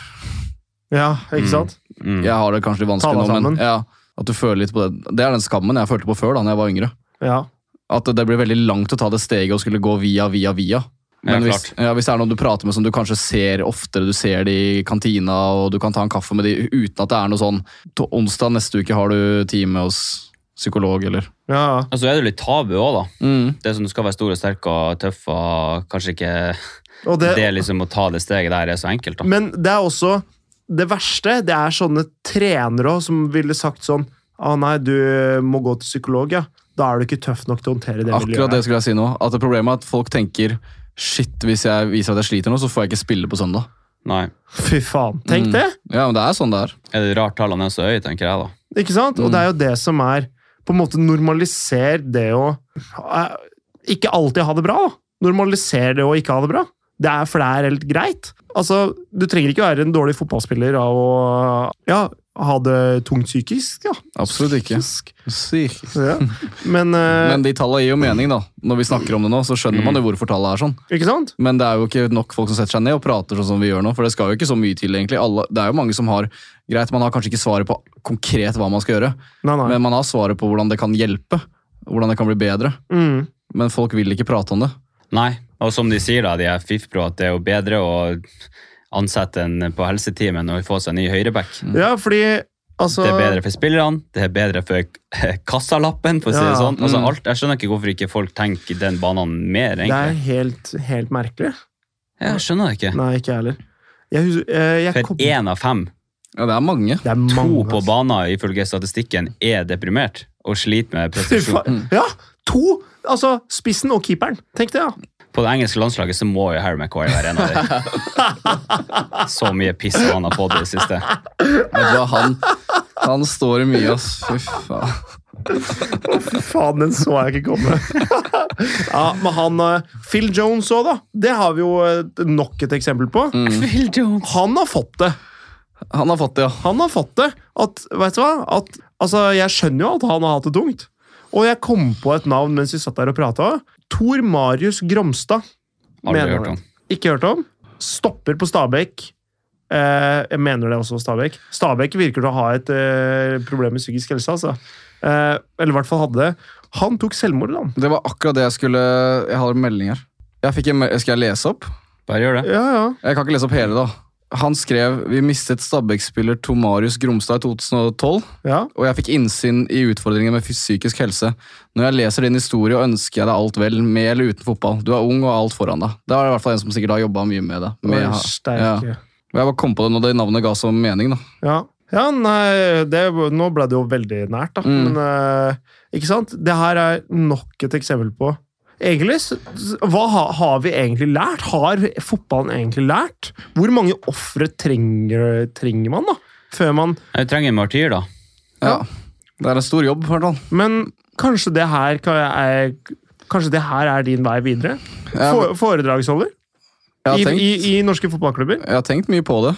Speaker 1: Ja, ikke
Speaker 2: Mm.
Speaker 1: sant?
Speaker 2: Mm.
Speaker 3: Jeg har det kanskje litt
Speaker 1: Ta
Speaker 3: vanskelig
Speaker 1: deg
Speaker 3: nå,
Speaker 1: sammen.
Speaker 3: men ja, at du føler litt på det. Det er den skammen jeg følte på før, da når jeg var yngre.
Speaker 1: Ja.
Speaker 3: At det blir veldig langt å ta det steget og skulle gå via, via, via.
Speaker 2: Ja,
Speaker 3: Men hvis,
Speaker 2: klart.
Speaker 3: ja, hvis det er noen du prater med som du kanskje ser oftere, du ser de i kantina, og du kan ta en kaffe med de uten at det er noe sånn «På Onsdag neste uke har du time hos psykolog, eller
Speaker 1: Ja, ja.
Speaker 2: Og så er det jo litt tabu òg, da.
Speaker 3: mm.
Speaker 2: Det som du skal være stor og sterk og tøff og kanskje ikke
Speaker 1: Og
Speaker 2: det,
Speaker 1: det,
Speaker 2: liksom å ta det steget der er så enkelt, da.
Speaker 1: men det er også det verste. Det er sånne trenere også som ville sagt sånn Å nei, du må gå til psykolog, ja. Da er du ikke tøff nok til å håndtere det
Speaker 3: Akkurat det
Speaker 1: miljøet.
Speaker 3: skulle jeg si nå. At det Problemet er at folk tenker Shit, hvis jeg viser at jeg sliter nå, så får jeg ikke spille på søndag.
Speaker 2: Nei.
Speaker 1: Fy faen. Tenk
Speaker 3: Mm.
Speaker 1: det!
Speaker 3: Ja, men det er sånn det er.
Speaker 2: Er det rart tallene er så høye, tenker jeg, da.
Speaker 1: Ikke sant? Og
Speaker 3: Mm.
Speaker 1: det er jo det som er På en måte normaliser det å eh, ikke alltid ha det bra. da. Normaliser det å ikke ha det bra. Det er, for det er helt greit. Altså, Du trenger ikke være en dårlig fotballspiller av å ja, ha det tungt psykisk. ja.
Speaker 3: Absolutt ikke.
Speaker 1: Psykisk. Ja. Men, eh,
Speaker 3: Men de tallene gir jo mening, da. Når vi snakker om det nå, så
Speaker 2: Mm.
Speaker 3: skjønner man jo hvorfor tallene er sånn.
Speaker 1: ikke sant?
Speaker 3: Men det er jo ikke nok folk som setter seg ned og prater sånn som vi gjør nå. For det skal jo ikke så mye til, egentlig. Alle, det er jo mange som har Greit, man har kanskje ikke svaret på konkret hva man skal gjøre,
Speaker 1: Nei, nei.
Speaker 3: men man har svaret på hvordan det kan hjelpe. Hvordan det kan bli bedre.
Speaker 1: Mm.
Speaker 3: Men folk vil ikke prate om det.
Speaker 2: Nei. Og som de sier, da, de er fiffpro, at det er jo bedre å ansette en på helseteamet og få seg en ny høyreback.
Speaker 1: Ja, fordi altså
Speaker 2: Mm. Det er bedre for spillerne, det er bedre for k- kassalappen, for å si
Speaker 1: Ja,
Speaker 2: det sånn. Altså,
Speaker 3: mm.
Speaker 2: alt, jeg skjønner ikke hvorfor ikke folk tenker den banen mer,
Speaker 1: Det er
Speaker 2: egentlig.
Speaker 1: helt, helt merkelig.
Speaker 2: Jeg skjønner det ikke.
Speaker 1: Nei, ikke jeg heller. Jeg, hus- eh, jeg kom-
Speaker 2: For én av fem,
Speaker 3: Ja, det er mange.
Speaker 1: Det er mange,
Speaker 2: to på
Speaker 1: altså.
Speaker 2: banen ifølge statistikken, er deprimert og sliter med
Speaker 1: Fy
Speaker 2: prestasjon.
Speaker 1: faen. Ja! To! Altså, spissen og keeperen. Tenk det, ja.
Speaker 2: På det engelske landslaget så må jo Harry McCoy være en av dem. Så mye piss han har fått i det siste.
Speaker 3: Vet du hva, han, han står i mye, ass. Fy faen.
Speaker 1: Faen, den så jeg ikke komme. ja, men han eh, Phil Jones òg, da. Det har vi jo eh, nok et eksempel på.
Speaker 2: Mm.
Speaker 1: Han har fått det.
Speaker 3: Han har fått det, ja.
Speaker 1: Han har fått det. At, vet du hva? At, altså, jeg skjønner jo at han har hatt det tungt. Og jeg kom på et navn mens vi satt der og prata. Tor Marius Gromstad.
Speaker 2: Aldri
Speaker 1: Mener
Speaker 2: hørt om.
Speaker 1: Ikke hørt om. Stopper på Stabæk. Eh, jeg mener det også Stabæk. Stabæk virker til å ha et eh, problem med psykisk helse, altså. Eh, eller i hvert fall hadde det. Han tok selvmord, da.
Speaker 3: Det var akkurat det jeg skulle Jeg har en melding her. Jeg fikk en, mel- skal jeg lese opp?
Speaker 2: Bare gjør det.
Speaker 1: Ja, ja.
Speaker 3: Jeg kan ikke lese opp hele, da. Han skrev vi mistet Stabæk-spiller Tomarius Gromstad i 2012,
Speaker 1: ja.
Speaker 3: og jeg fikk innsyn i utfordringer med fys- psykisk helse. Når jeg leser din historie, ønsker jeg deg alt vel, med eller uten fotball. Du er ung og har alt foran deg. Det er i hvert fall en som sikkert har jobba mye med det. Med,
Speaker 1: Oi,
Speaker 3: ja.
Speaker 1: Sterke.
Speaker 3: Og Jeg bare kom på det når det navnet ga så mening, da.
Speaker 1: Ja. Ja, nei, det, nå ble det jo veldig nært, da.
Speaker 3: Mm.
Speaker 1: Men, eh, ikke sant? Det her er nok et eksempel på Egentlig, s- s- Hva ha- har vi egentlig lært? Har fotballen egentlig lært? Hvor mange ofre trenger, trenger man, da? Før man
Speaker 2: Jeg trenger en martyr, da.
Speaker 3: Ja. Det er en stor jobb, i hvert fall.
Speaker 1: Men kanskje det her kan- er Kanskje det her er din vei videre?
Speaker 3: Ja,
Speaker 1: For, foredragsholder
Speaker 3: Jeg
Speaker 1: i,
Speaker 3: har tenkt,
Speaker 1: i, i norske fotballklubber?
Speaker 3: jeg har tenkt mye på det.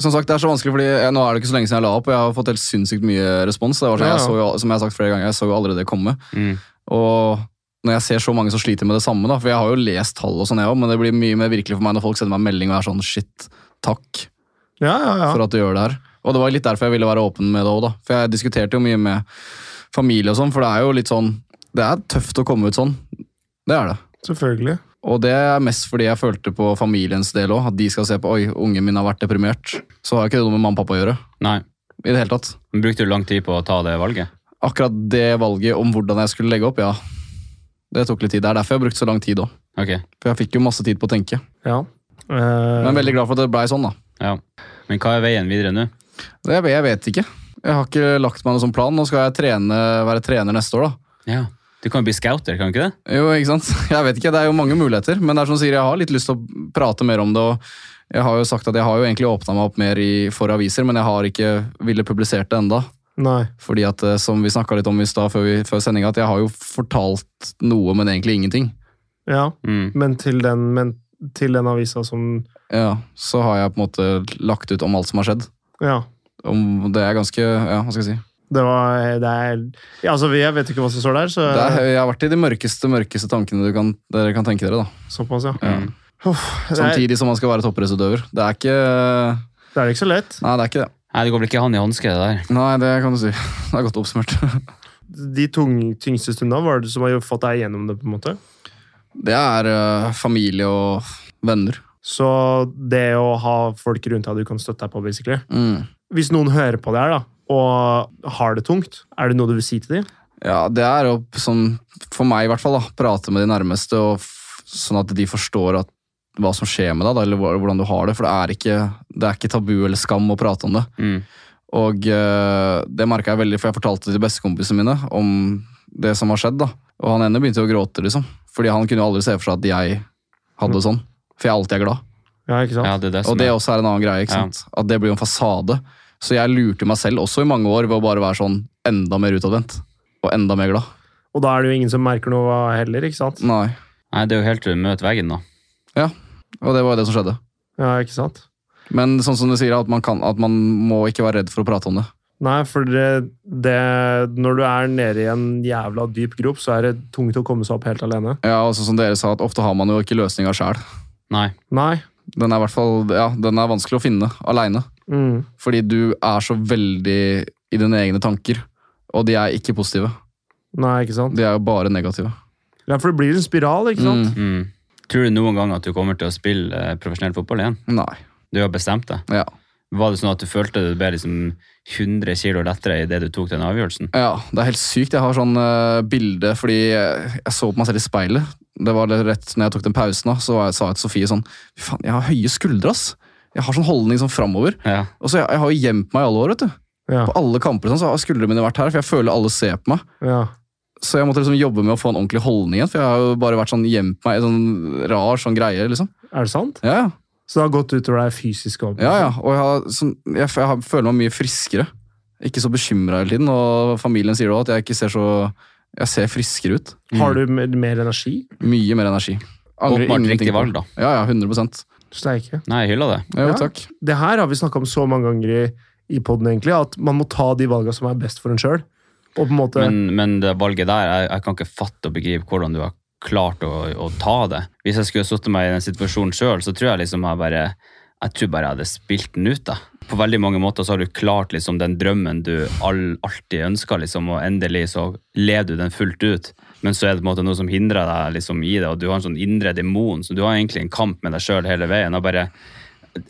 Speaker 3: Som sagt, det er så vanskelig, fordi jeg, Nå er det ikke så lenge siden jeg la opp, og jeg har fått helt sinnssykt mye respons. Det var sånn,
Speaker 1: Ja,
Speaker 3: jeg
Speaker 1: ja.
Speaker 3: så jo, som jeg har sagt flere ganger, jeg så jo aldri det komme.
Speaker 2: Mm.
Speaker 3: Og når jeg ser så mange som sliter med det samme, da, for jeg har jo lest tall og sånn, jeg òg, men det blir mye mer virkelig for meg når folk sender meg en melding og er sånn shit, takk
Speaker 1: Ja, ja, ja.
Speaker 3: for at du gjør det her. Og det var litt derfor jeg ville være åpen med det òg, da. For jeg diskuterte jo mye med familie og sånn, for det er jo litt sånn det er tøft å komme ut sånn. Det er det.
Speaker 1: Selvfølgelig.
Speaker 3: Og det er mest fordi jeg følte på familiens del òg. At de skal se på oi, ungen min har vært deprimert. Så har ikke det noe med mamma og pappa å gjøre.
Speaker 2: Nei.
Speaker 3: I det hele tatt.
Speaker 2: Men brukte du lang tid på å ta det valget?
Speaker 3: Akkurat det valget om hvordan jeg skulle legge opp, ja. Det tok litt tid. Det er derfor jeg har brukt så lang tid òg.
Speaker 2: Ok,
Speaker 3: For jeg fikk jo masse tid på å tenke.
Speaker 1: Ja. Eh,
Speaker 3: Men veldig glad for at det blei sånn, da.
Speaker 2: ja. Men hva er veien videre nå?
Speaker 3: Det, jeg vet ikke. Jeg har ikke lagt meg noen sånn plan. Nå skal jeg trene, være trener neste år, da.
Speaker 2: Ja. Du kan jo bli scouter, kan du ikke det?
Speaker 3: Jo, ikke sant? Jeg vet ikke, Det er jo mange muligheter, men det er som du sier, jeg har litt lyst til å prate mer om det. og Jeg har jo sagt at jeg har jo egentlig åpna meg opp mer i, for aviser, men jeg har ikke ville publisert det enda.
Speaker 1: Nei.
Speaker 3: Fordi at, eh, som vi snakka litt om i stad før, vi- før sendinga, at jeg har jo fortalt noe, men egentlig ingenting.
Speaker 1: Ja.
Speaker 2: Mm.
Speaker 1: Men til den, men til den avisa som
Speaker 3: Ja, Så har jeg på en måte lagt ut om alt som har skjedd.
Speaker 1: Ja.
Speaker 3: Om det er ganske Ja, hva skal jeg si.
Speaker 1: Det var Det er ja, Altså, jeg vet ikke hva som står der, så
Speaker 3: Det er, jeg har vært i de mørkeste, mørkeste tankene du kan, dere kan tenke dere, da.
Speaker 1: såpass, ja.
Speaker 3: Ja.
Speaker 1: Uff, det, er,
Speaker 3: Samtidig som man skal være toppidrettsutøver. Det er ikke
Speaker 1: det er ikke så lett.
Speaker 3: Nei, det er ikke det.
Speaker 2: Nei, det går vel ikke han i hanske, det der.
Speaker 3: Nei, det kan du si. Det er godt oppsummert.
Speaker 1: De tung, tyngste stundene var det du som har fått deg gjennom det, på en måte.
Speaker 3: Det er øh, familie og venner.
Speaker 1: Så det å ha folk rundt deg du kan støtte deg på, basically.
Speaker 3: Mm.
Speaker 1: Hvis noen hører på det her, da, og har det tungt, er det noe du vil si til dem?
Speaker 3: Ja, det er å, sånn, for meg i hvert fall, da, prate med de nærmeste, og f sånn at de forstår at, hva som skjer med deg, da, eller hva- hvordan du har det. For det er, ikke, det er ikke tabu eller skam å prate om det.
Speaker 2: Mm.
Speaker 3: Og øh, det merka jeg veldig, for jeg fortalte til bestekompisene mine om det som har skjedd. da. Og han ene begynte jo å gråte, liksom. Fordi han kunne jo aldri se for seg at jeg hadde det sånn. For jeg alltid er glad.
Speaker 1: Ja, ikke sant?
Speaker 2: Ja, det er det som
Speaker 3: Og det
Speaker 2: er.
Speaker 3: også er en annen greie, ikke
Speaker 2: Ja.
Speaker 3: sant? At det blir jo en fasade. Så jeg lurte meg selv også i mange år ved å bare være sånn enda mer utadvendt. Og enda mer glad.
Speaker 1: Og da er det jo ingen som merker noe heller, ikke sant?
Speaker 3: Nei.
Speaker 2: Nei, det er jo helt til du møter veggen, da.
Speaker 3: Ja. Og det var jo det som skjedde.
Speaker 1: Ja, ikke sant?
Speaker 3: Men sånn som du sier, at man, kan, at man må ikke være redd for å prate om det.
Speaker 1: Nei, for det, det Når du er nede i en jævla dyp grop, så er det tungt å komme seg opp helt alene.
Speaker 3: Ja, og sånn som dere sa, at ofte har man jo ikke løsninga sjæl.
Speaker 2: Nei.
Speaker 1: Nei.
Speaker 3: Den er i hvert fall, ja, den er vanskelig å finne aleine.
Speaker 1: Mm.
Speaker 3: Fordi du er så veldig i dine egne tanker. Og de er ikke positive.
Speaker 1: Nei, ikke sant?
Speaker 3: De er jo bare negative.
Speaker 1: Ja, for det blir en spiral, ikke sant?
Speaker 3: Mm.
Speaker 2: Mm. Tror du noen gang at du kommer til å spille eh, profesjonell fotball igjen?
Speaker 3: Nei.
Speaker 2: Du har bestemt deg.
Speaker 3: Ja.
Speaker 2: Var det sånn at du følte du ble liksom 100 kilo lettere idet du tok den avgjørelsen?
Speaker 3: Ja, det er helt sykt. Jeg har sånn eh, bilde fordi eh, jeg så på meg selv i speilet. Det var det rett når jeg tok den pausen, da, så var jeg, sa jeg til Sofie sånn Fy faen, jeg har høye skuldre, ass! Jeg har sånn holdning sånn framover.
Speaker 2: Ja.
Speaker 3: Og så jeg, jeg har jo gjemt meg i alle år, vet du.
Speaker 1: Ja.
Speaker 3: På alle kamper og sånn, så har skuldrene mine vært her, for jeg føler alle ser på meg.
Speaker 1: ja.
Speaker 3: Så jeg måtte liksom jobbe med å få en ordentlig holdning igjen, for jeg har jo bare vært sånn gjemt meg i sånn rar sånn greie, liksom.
Speaker 1: Er det sant?
Speaker 3: Ja, ja.
Speaker 1: Så det har gått utover deg fysisk òg?
Speaker 3: Ja, ja. Og jeg, har, sånn, jeg, f- jeg har, føler meg mye friskere. Ikke så bekymra hele tiden. Og familien sier også at jeg ikke ser så Jeg ser friskere ut.
Speaker 1: Har du mer, mer energi?
Speaker 3: Mye mer energi.
Speaker 2: Mm.
Speaker 3: Angrer
Speaker 2: Åpenbart
Speaker 3: ingenting
Speaker 2: riktig
Speaker 3: på.
Speaker 2: valg, da.
Speaker 3: Ja, ja, 100
Speaker 1: Steike.
Speaker 2: Nei, jeg hyller det.
Speaker 3: Jo,
Speaker 1: Ja.
Speaker 3: takk.
Speaker 1: Det her har vi snakka om så mange ganger i, i poden, egentlig, at man må ta de valga som er best for en sjøl. Og på en måte
Speaker 2: Men, men det valget der, jeg, jeg kan ikke fatte og begrive hvordan du har klart å, å ta det. Hvis jeg skulle satt meg i den situasjonen sjøl, så tror jeg liksom jeg bare jeg tror bare jeg hadde spilt den ut. da. På veldig mange måter så har du klart liksom den drømmen du all, alltid ønska, liksom, og endelig så lever du den fullt ut. Men så er det på en måte noe som hindrer deg liksom i det, og du har en sånn indre demon, så du har egentlig en kamp med deg sjøl hele veien. og bare,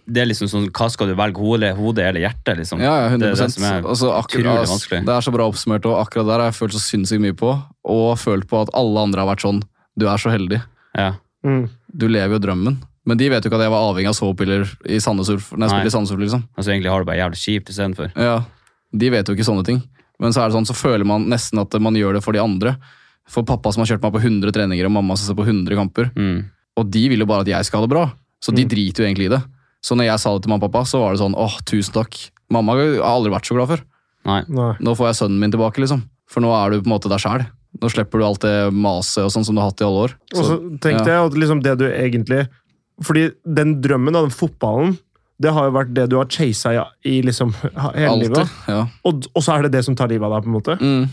Speaker 2: det er liksom sånn, Hva skal du velge, hodet, hodet eller hjertet? liksom?
Speaker 3: Ja, Altså- ja, 100
Speaker 2: Det er det som er
Speaker 3: Og så akkurat,
Speaker 2: utrolig vanskelig.
Speaker 3: Det er så bra oppsummert, og akkurat der har jeg følt så sinnssykt mye på. Og følt på at alle andre har vært sånn Du er så heldig.
Speaker 2: Ja.
Speaker 1: mm,
Speaker 3: Du lever jo drømmen. Men de vet jo ikke at jeg var avhengig av sovepiller i Sandnes Ulf. Når jeg
Speaker 2: Nei.
Speaker 3: spilte i Sandnes Ulf, liksom.
Speaker 2: Altså Egentlig har du bare jævlig kjipt istedenfor.
Speaker 3: Ja, De vet jo ikke sånne ting. Men så er det sånn, så føler man nesten at man gjør det for de andre. For pappa som har kjørt meg på 100 treninger, og mamma som ser på 100 kamper.
Speaker 2: Mm.
Speaker 3: Og de vil jo bare at jeg skal ha det bra. Så
Speaker 1: Mm.
Speaker 3: de driter jo egentlig i det. Så når jeg sa det til mamma og pappa, så var det sånn åh, tusen takk. Mamma har aldri vært så glad for.
Speaker 2: Nei.
Speaker 1: nei.
Speaker 3: Nå får jeg sønnen min tilbake, liksom. For nå er du på en måte deg sjæl. Nå slipper du alt det maset og sånn som du har hatt i alle år.
Speaker 1: Og så
Speaker 3: Så,
Speaker 1: tenk
Speaker 3: ja.
Speaker 1: deg at liksom det du egentlig Fordi den drømmen av den fotballen, det har jo vært det du har chasa i, i liksom hele
Speaker 3: alltid.
Speaker 1: livet.
Speaker 3: Ja.
Speaker 1: Og, og så er det det som tar livet av deg, på en måte.
Speaker 3: Mm.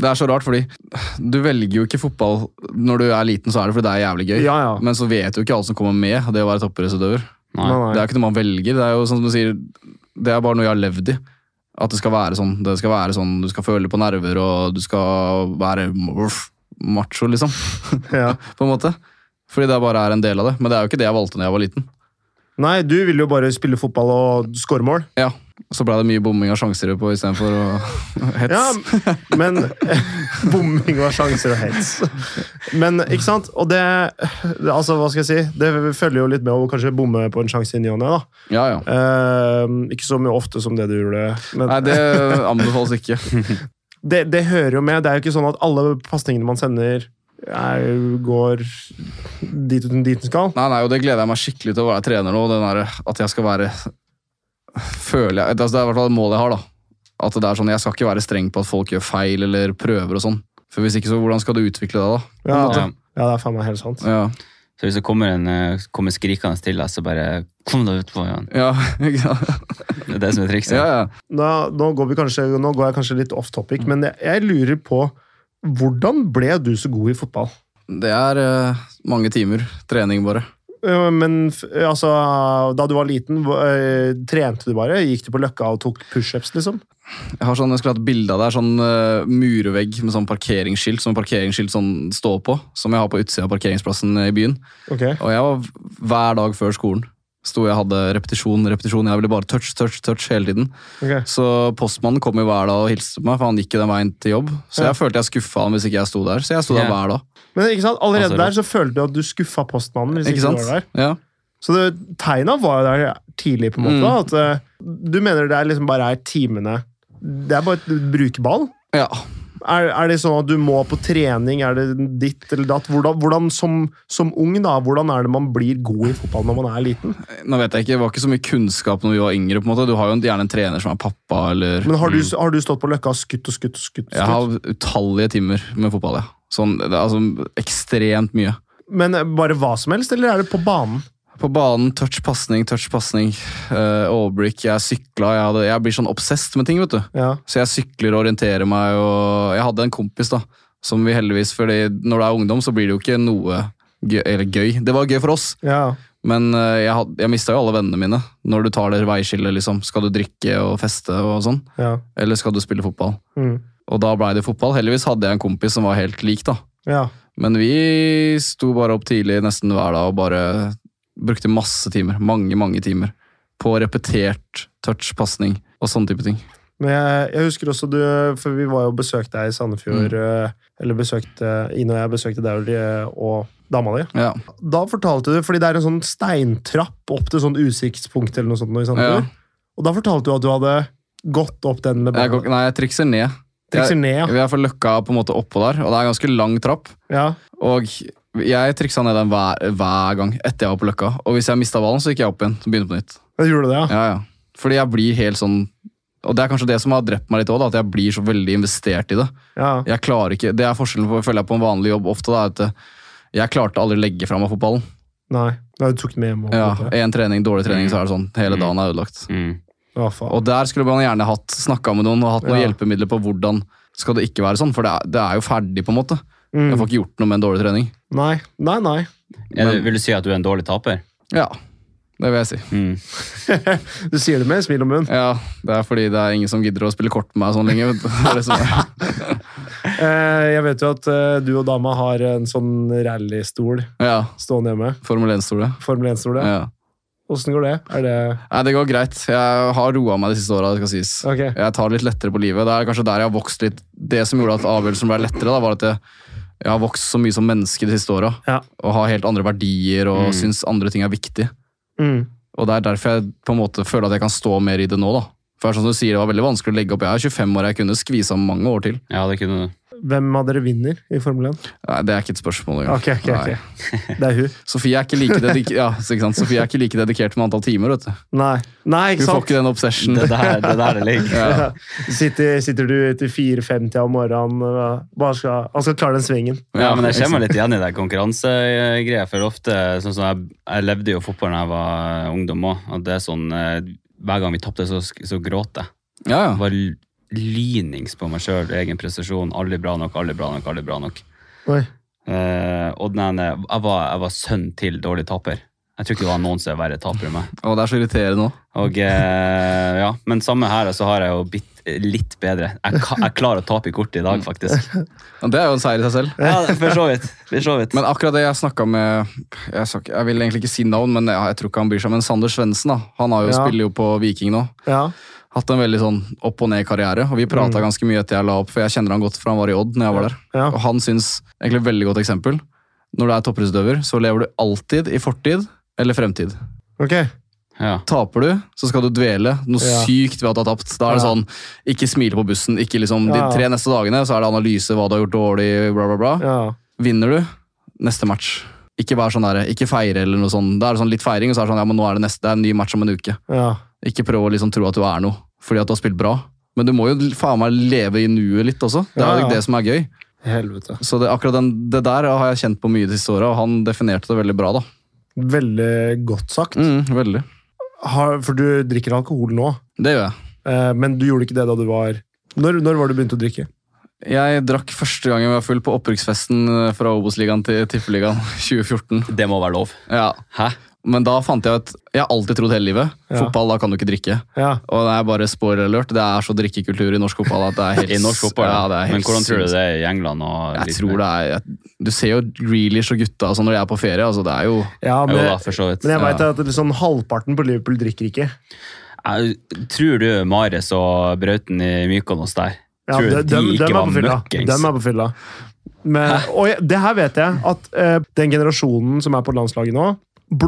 Speaker 3: Det er så rart, fordi du velger jo ikke fotball når du er liten, så er det fordi det er jævlig gøy.
Speaker 1: Ja, ja.
Speaker 3: Men så vet du ikke alt som kommer med det å være toppidrettsutøver.
Speaker 2: Nei.
Speaker 1: Nei, nei.
Speaker 3: Det er ikke noe man velger. Det er jo sånn som du sier, det er bare noe jeg har levd i. At det skal være sånn. Det skal være sånn, Du skal føle på nerver, og du skal være uff, macho, liksom.
Speaker 1: Ja.
Speaker 3: på en måte. Fordi det bare er en del av det. Men det er jo ikke det jeg valgte da jeg var liten.
Speaker 1: Nei, du ville jo bare spille fotball og score mål.
Speaker 3: Ja, Så ble det mye bomming og sjanser på istedenfor å hets.
Speaker 1: Ja, men bomming var sjanser og hets. Men, ikke sant? Og det, det Altså, hva skal jeg si? Det følger jo litt med å kanskje bomme på en sjanse i ny og ne, da.
Speaker 3: ja, ja.
Speaker 1: Eh, ikke så mye ofte som det du gjorde. Men
Speaker 3: Nei, det anbefales ikke.
Speaker 1: det, det hører jo med. Det er jo ikke sånn at alle pasningene man sender, er, går dit uten dit den skal.
Speaker 3: Nei, nei, og Det gleder jeg meg skikkelig til å være trener nå. Den der, at jeg skal være føler jeg, altså Det er i hvert fall et mål jeg har. da. At det er sånn, Jeg skal ikke være streng på at folk gjør feil eller prøver og sånn. For Hvis ikke, så hvordan skal du utvikle deg da?
Speaker 1: Ja,
Speaker 2: Ja.
Speaker 1: ja det er faen meg helt sant.
Speaker 3: Ja,
Speaker 2: Så hvis det kommer en eh, kommer skrikende til deg, så bare Kom deg utpå, Jan.
Speaker 3: ja, ikke sant?
Speaker 2: Det er det som er trikset.
Speaker 3: ja, ja.
Speaker 1: Da, nå, går vi kanskje, nå går jeg kanskje litt off topic, men jeg, jeg lurer på hvordan ble du så god i fotball?
Speaker 3: Det er eh, mange timer trening, bare.
Speaker 1: Eh, Men f- altså, da du var liten, hva- eh, trente du bare? Gikk du på Løkka og tok pushups, liksom?
Speaker 3: Jeg har sånn, jeg skulle hatt bilde av det. er Sånn eh, murvegg med sånn parkeringsskilt som parkeringsskilt sånn står på. Som jeg har på utsida av parkeringsplassen eh, i byen.
Speaker 1: Ok.
Speaker 3: Og jeg var hver dag før skolen. Sto jeg hadde repetisjon, repetisjon. Jeg ville bare touch, touch, touch hele tiden.
Speaker 1: ok.
Speaker 3: Så postmannen kom jo hver dag og hilste på meg, for han gikk jo den veien til jobb. Så
Speaker 1: Ja.
Speaker 3: jeg følte jeg skuffa han hvis ikke jeg sto der. Så jeg sto der
Speaker 2: Ja.
Speaker 3: hver dag.
Speaker 1: Men ikke sant? allerede
Speaker 2: Altså,
Speaker 1: der så følte du at du skuffa postmannen. hvis
Speaker 3: Ikke
Speaker 1: ikke, du
Speaker 3: sant?
Speaker 1: var der.
Speaker 3: Ja.
Speaker 1: Så det, tegna var jo der tidlig, på en måte.
Speaker 3: Mm.
Speaker 1: da, At eh, du mener det er liksom bare er timene Det er bare et brukeball?
Speaker 3: ja.
Speaker 1: Er, er det sånn at du må på trening? Er det ditt eller datt? Hvordan, hvordan som, som ung, da, hvordan er det man blir god i fotball når man er liten?
Speaker 3: Nå vet jeg ikke, Det var ikke så mye kunnskap når vi var yngre. på en måte. Du har jo en- gjerne en trener som er pappa, eller
Speaker 1: Men har du, har du stått på løkka og skutt og skutt og skutt? og
Speaker 3: Mm.
Speaker 1: skutt?
Speaker 3: Jeg har utallige timer med fotball, ja. Sånn, det er altså ekstremt mye.
Speaker 1: Men eh, bare hva som helst, eller er det på banen?
Speaker 3: På banen, touch, pasning, touch, pasning. eh, overblikk. Jeg sykla. Jeg, hadde, jeg blir sånn obsesst med ting, vet du.
Speaker 1: Ja.
Speaker 3: Så jeg sykler og orienterer meg, og jeg hadde en kompis, da. Som vi heldigvis fordi når det er ungdom, så blir det jo ikke noe gøy. Eller gøy. Det var gøy for oss,
Speaker 1: ja.
Speaker 3: men eh, jeg, had- jeg mista jo alle vennene mine. Når du tar det veiskillet, liksom. Skal du drikke og feste og sånn?
Speaker 1: Ja.
Speaker 3: Eller skal du spille fotball?
Speaker 1: Mm.
Speaker 3: Og da blei det fotball. Heldigvis hadde jeg en kompis som var helt lik, da.
Speaker 1: ja.
Speaker 3: Men vi sto bare opp tidlig nesten hver dag og bare brukte masse timer, mange, mange timer, på repetert touch, pasning og sånne type ting.
Speaker 1: Men jeg, jeg husker også du For vi var jo og besøkte deg i Sandefjord. eh, Eller besøkte Ine og jeg besøkte deg og de, og dama di.
Speaker 3: Ja.
Speaker 1: Da fortalte du, fordi det er en sånn steintrapp opp til sånn usiktspunkt eller noe sånt nå i Sandefjord. Og da fortalte du at du hadde gått opp den med
Speaker 3: Jeg,
Speaker 1: beina.
Speaker 3: går ikke- nei, jeg trikser ned.
Speaker 1: Trikser ned, ja.
Speaker 3: Vi er for løkka på en måte oppå der, og det er en ganske lang trapp.
Speaker 1: ja.
Speaker 3: Og jeg triksa ned den hver, hver gang etter jeg var på løkka. Og hvis jeg mista ballen, så gikk jeg opp igjen. og Begynte på nytt.
Speaker 1: Da gjorde du det, ja.
Speaker 3: Ja, ja. Fordi jeg blir helt sånn Og det er kanskje det som har drept meg litt òg, at jeg blir så veldig investert i det.
Speaker 1: ja.
Speaker 3: Jeg klarer ikke, Det er forskjellen på, føler jeg på en vanlig jobb ofte, da, at eh, jeg klarte aldri å legge fra meg fotballen.
Speaker 1: Nei. Nei, du tok den med hjem. og-
Speaker 3: Ja, Én trening, dårlig trening, så er det sånn. Hele
Speaker 2: Mm.
Speaker 3: dagen er ødelagt.
Speaker 2: Mm.
Speaker 1: Å, faen.
Speaker 3: Og der skulle man gjerne hatt snakka med noen og hatt noen
Speaker 1: Ja.
Speaker 3: hjelpemidler på hvordan skal det ikke være sånn, for det er, det er jo ferdig, på en måte. Jeg
Speaker 1: Mm.
Speaker 3: får ikke gjort noe med en dårlig trening.
Speaker 1: Nei, nei. nei.
Speaker 2: Er det, vil du si at du er en dårlig taper?
Speaker 3: Ja, det vil jeg si.
Speaker 2: Mm.
Speaker 1: Du sier det med et smil om munnen.
Speaker 3: Ja, Det er fordi det er ingen som gidder å spille kort med meg sånn lenge. vet du. Det er det som er.
Speaker 1: Eh, jeg vet jo at eh, du og dama har en sånn rallystol
Speaker 3: Ja,
Speaker 1: stående hjemme.
Speaker 3: Formel 1-stol, ja.
Speaker 1: Formel 1-stol. ja.
Speaker 3: ja.
Speaker 1: Åssen går det? Er det
Speaker 3: Nei, det går greit. Jeg har roa meg de siste åra, det skal sies.
Speaker 1: Ok.
Speaker 3: Jeg tar det litt lettere på livet. Det er kanskje der jeg har vokst litt. Det som gjorde at avgjørelsen ble lettere, da, var at jeg, jeg har vokst så mye som menneske de siste åra.
Speaker 1: Ja.
Speaker 3: Og har helt andre verdier og
Speaker 2: Mm.
Speaker 3: syns andre ting er viktig.
Speaker 1: Mm.
Speaker 3: Og det er derfor jeg på en måte føler at jeg kan stå mer i det nå. da. For det er sånn som du sier, det var veldig vanskelig å legge opp. Jeg er 25 år, jeg kunne skvisa mange år til.
Speaker 2: Ja, det kunne du.
Speaker 1: Hvem av dere vinner i Formel 1?
Speaker 3: Nei, Det er ikke et spørsmål engang.
Speaker 1: Ok, ok,
Speaker 3: Nei.
Speaker 1: ok. Det er hun.
Speaker 3: Sofie er ikke like dedikert, ja, så ikke sant? Sofie er ikke like dedikert med antall timer. vet du.
Speaker 1: Nei, nei
Speaker 3: Hun
Speaker 1: ikke
Speaker 3: får
Speaker 1: sant?
Speaker 3: ikke den obsession.
Speaker 2: Det er der det, er der det ligger.
Speaker 3: Ja,
Speaker 1: Sitter, sitter du til 4.50 om morgenen og bare skal, han skal klare den svingen.
Speaker 2: Ja, men jeg
Speaker 3: ikke sant?
Speaker 2: kommer litt igjen i det konkurransegreia. For ofte, sånn som jeg, jeg levde jo fotball da jeg var ungdom òg. Og det er sånn eh, Hver gang vi tapte, så, sk- så gråt jeg.
Speaker 3: ja, ja.
Speaker 2: Jeg var l- lynings på meg sjøl, egen prestasjon. Aldri bra nok, aldri bra nok, aldri bra nok.
Speaker 1: Oi.
Speaker 2: Eh, og den ene, jeg var, jeg var sønn til dårlig taper. Jeg tror ikke det var noen som er verre taper enn meg.
Speaker 3: Å, det er så irriterende òg.
Speaker 2: Og eh, ja, Men samme her, så har jeg jo blitt litt bedre. Jeg, ka- jeg klarer å tape i kortet i dag, faktisk.
Speaker 3: Det er jo en seier i seg selv.
Speaker 2: Ja, For så vidt. For så vidt.
Speaker 3: Men akkurat det jeg snakka med jeg, sa ikke- jeg vil egentlig ikke si navn, men jeg, jeg tror ikke han bryr seg. Men Sander Svendsen, da. Han har jo,
Speaker 1: Ja.
Speaker 3: spiller jo på Viking nå.
Speaker 1: Ja.
Speaker 3: Hatt en veldig sånn opp og ned-karriere. Og vi prata ganske mye etter jeg la opp, for jeg kjenner han godt fra han var i Odd. når jeg var der.
Speaker 1: Mm. Ja.
Speaker 3: Og han syns egentlig et veldig godt eksempel. Når du er toppidrettsutøver, så lever du alltid i fortid eller fremtid.
Speaker 1: Ok.
Speaker 2: Ja.
Speaker 3: Taper du, så skal du dvele noe
Speaker 1: Ja.
Speaker 3: sykt ved at du har tapt. Da er det
Speaker 1: Ja.
Speaker 3: sånn, ikke smile på bussen, ikke liksom de
Speaker 1: Ja.
Speaker 3: tre neste dagene, så er det analyse, hva du har gjort dårlig, bla, bla, bla.
Speaker 1: Ja.
Speaker 3: Vinner du, neste match. Ikke bare sånn der, ikke feire eller noe sånt. Da er det sånn litt feiring, og så er det sånn, ja, men nå er det neste, det er en ny match om en uke.
Speaker 1: Ja.
Speaker 3: Ikke prøv å liksom tro at du er noe, fordi at du har spilt bra. Men du må jo faen meg leve i nuet litt også. Det
Speaker 1: Ja,
Speaker 3: er jo
Speaker 1: ja.
Speaker 3: det som er gøy.
Speaker 1: Helvete.
Speaker 3: Så det, akkurat den, det der har jeg kjent på mye de siste åra, og han definerte det veldig bra, da.
Speaker 1: Veldig godt sagt.
Speaker 3: Mm, veldig.
Speaker 1: Har, for du drikker alkohol nå,
Speaker 3: Det gjør jeg.
Speaker 1: eh, men du gjorde ikke det da du var Når, når var det du begynte å drikke?
Speaker 3: Jeg drakk første gangen jeg var full på opprykksfesten eh, fra Obos-ligaen til Tippeligaen 2014.
Speaker 2: Det må være lov.
Speaker 3: Ja.
Speaker 2: Hæ?
Speaker 3: Men da fant jeg ut Jeg har alltid trodd hele livet.
Speaker 1: Ja.
Speaker 3: Fotball, da kan du ikke drikke.
Speaker 1: Ja.
Speaker 3: Og det er bare spoiler alert, det er så drikkekultur i norsk fotball at det er helt
Speaker 2: I norsk fotball.
Speaker 3: Ja, det er helt
Speaker 2: men hvordan tror du
Speaker 3: sinnssykt.
Speaker 2: det er i England? Og
Speaker 3: Jeg tror det er jeg, Du ser jo Grealish og gutta altså når de er på ferie. altså det er jo...
Speaker 1: ja
Speaker 2: Jo
Speaker 1: men,
Speaker 2: da, for så vidt.
Speaker 1: men jeg
Speaker 3: ja.
Speaker 1: veit at det er sånn halvparten på Liverpool drikker ikke.
Speaker 2: Jeg, tror du Mares og Brauten i Mykonos der
Speaker 1: Ja,
Speaker 2: Tror du
Speaker 1: de, de, de,
Speaker 2: ikke
Speaker 1: er
Speaker 2: var
Speaker 1: på fylla.
Speaker 2: møkkings?
Speaker 1: de er på fylla. Men, og jeg, det her vet jeg, at eh, den generasjonen som er på landslaget nå,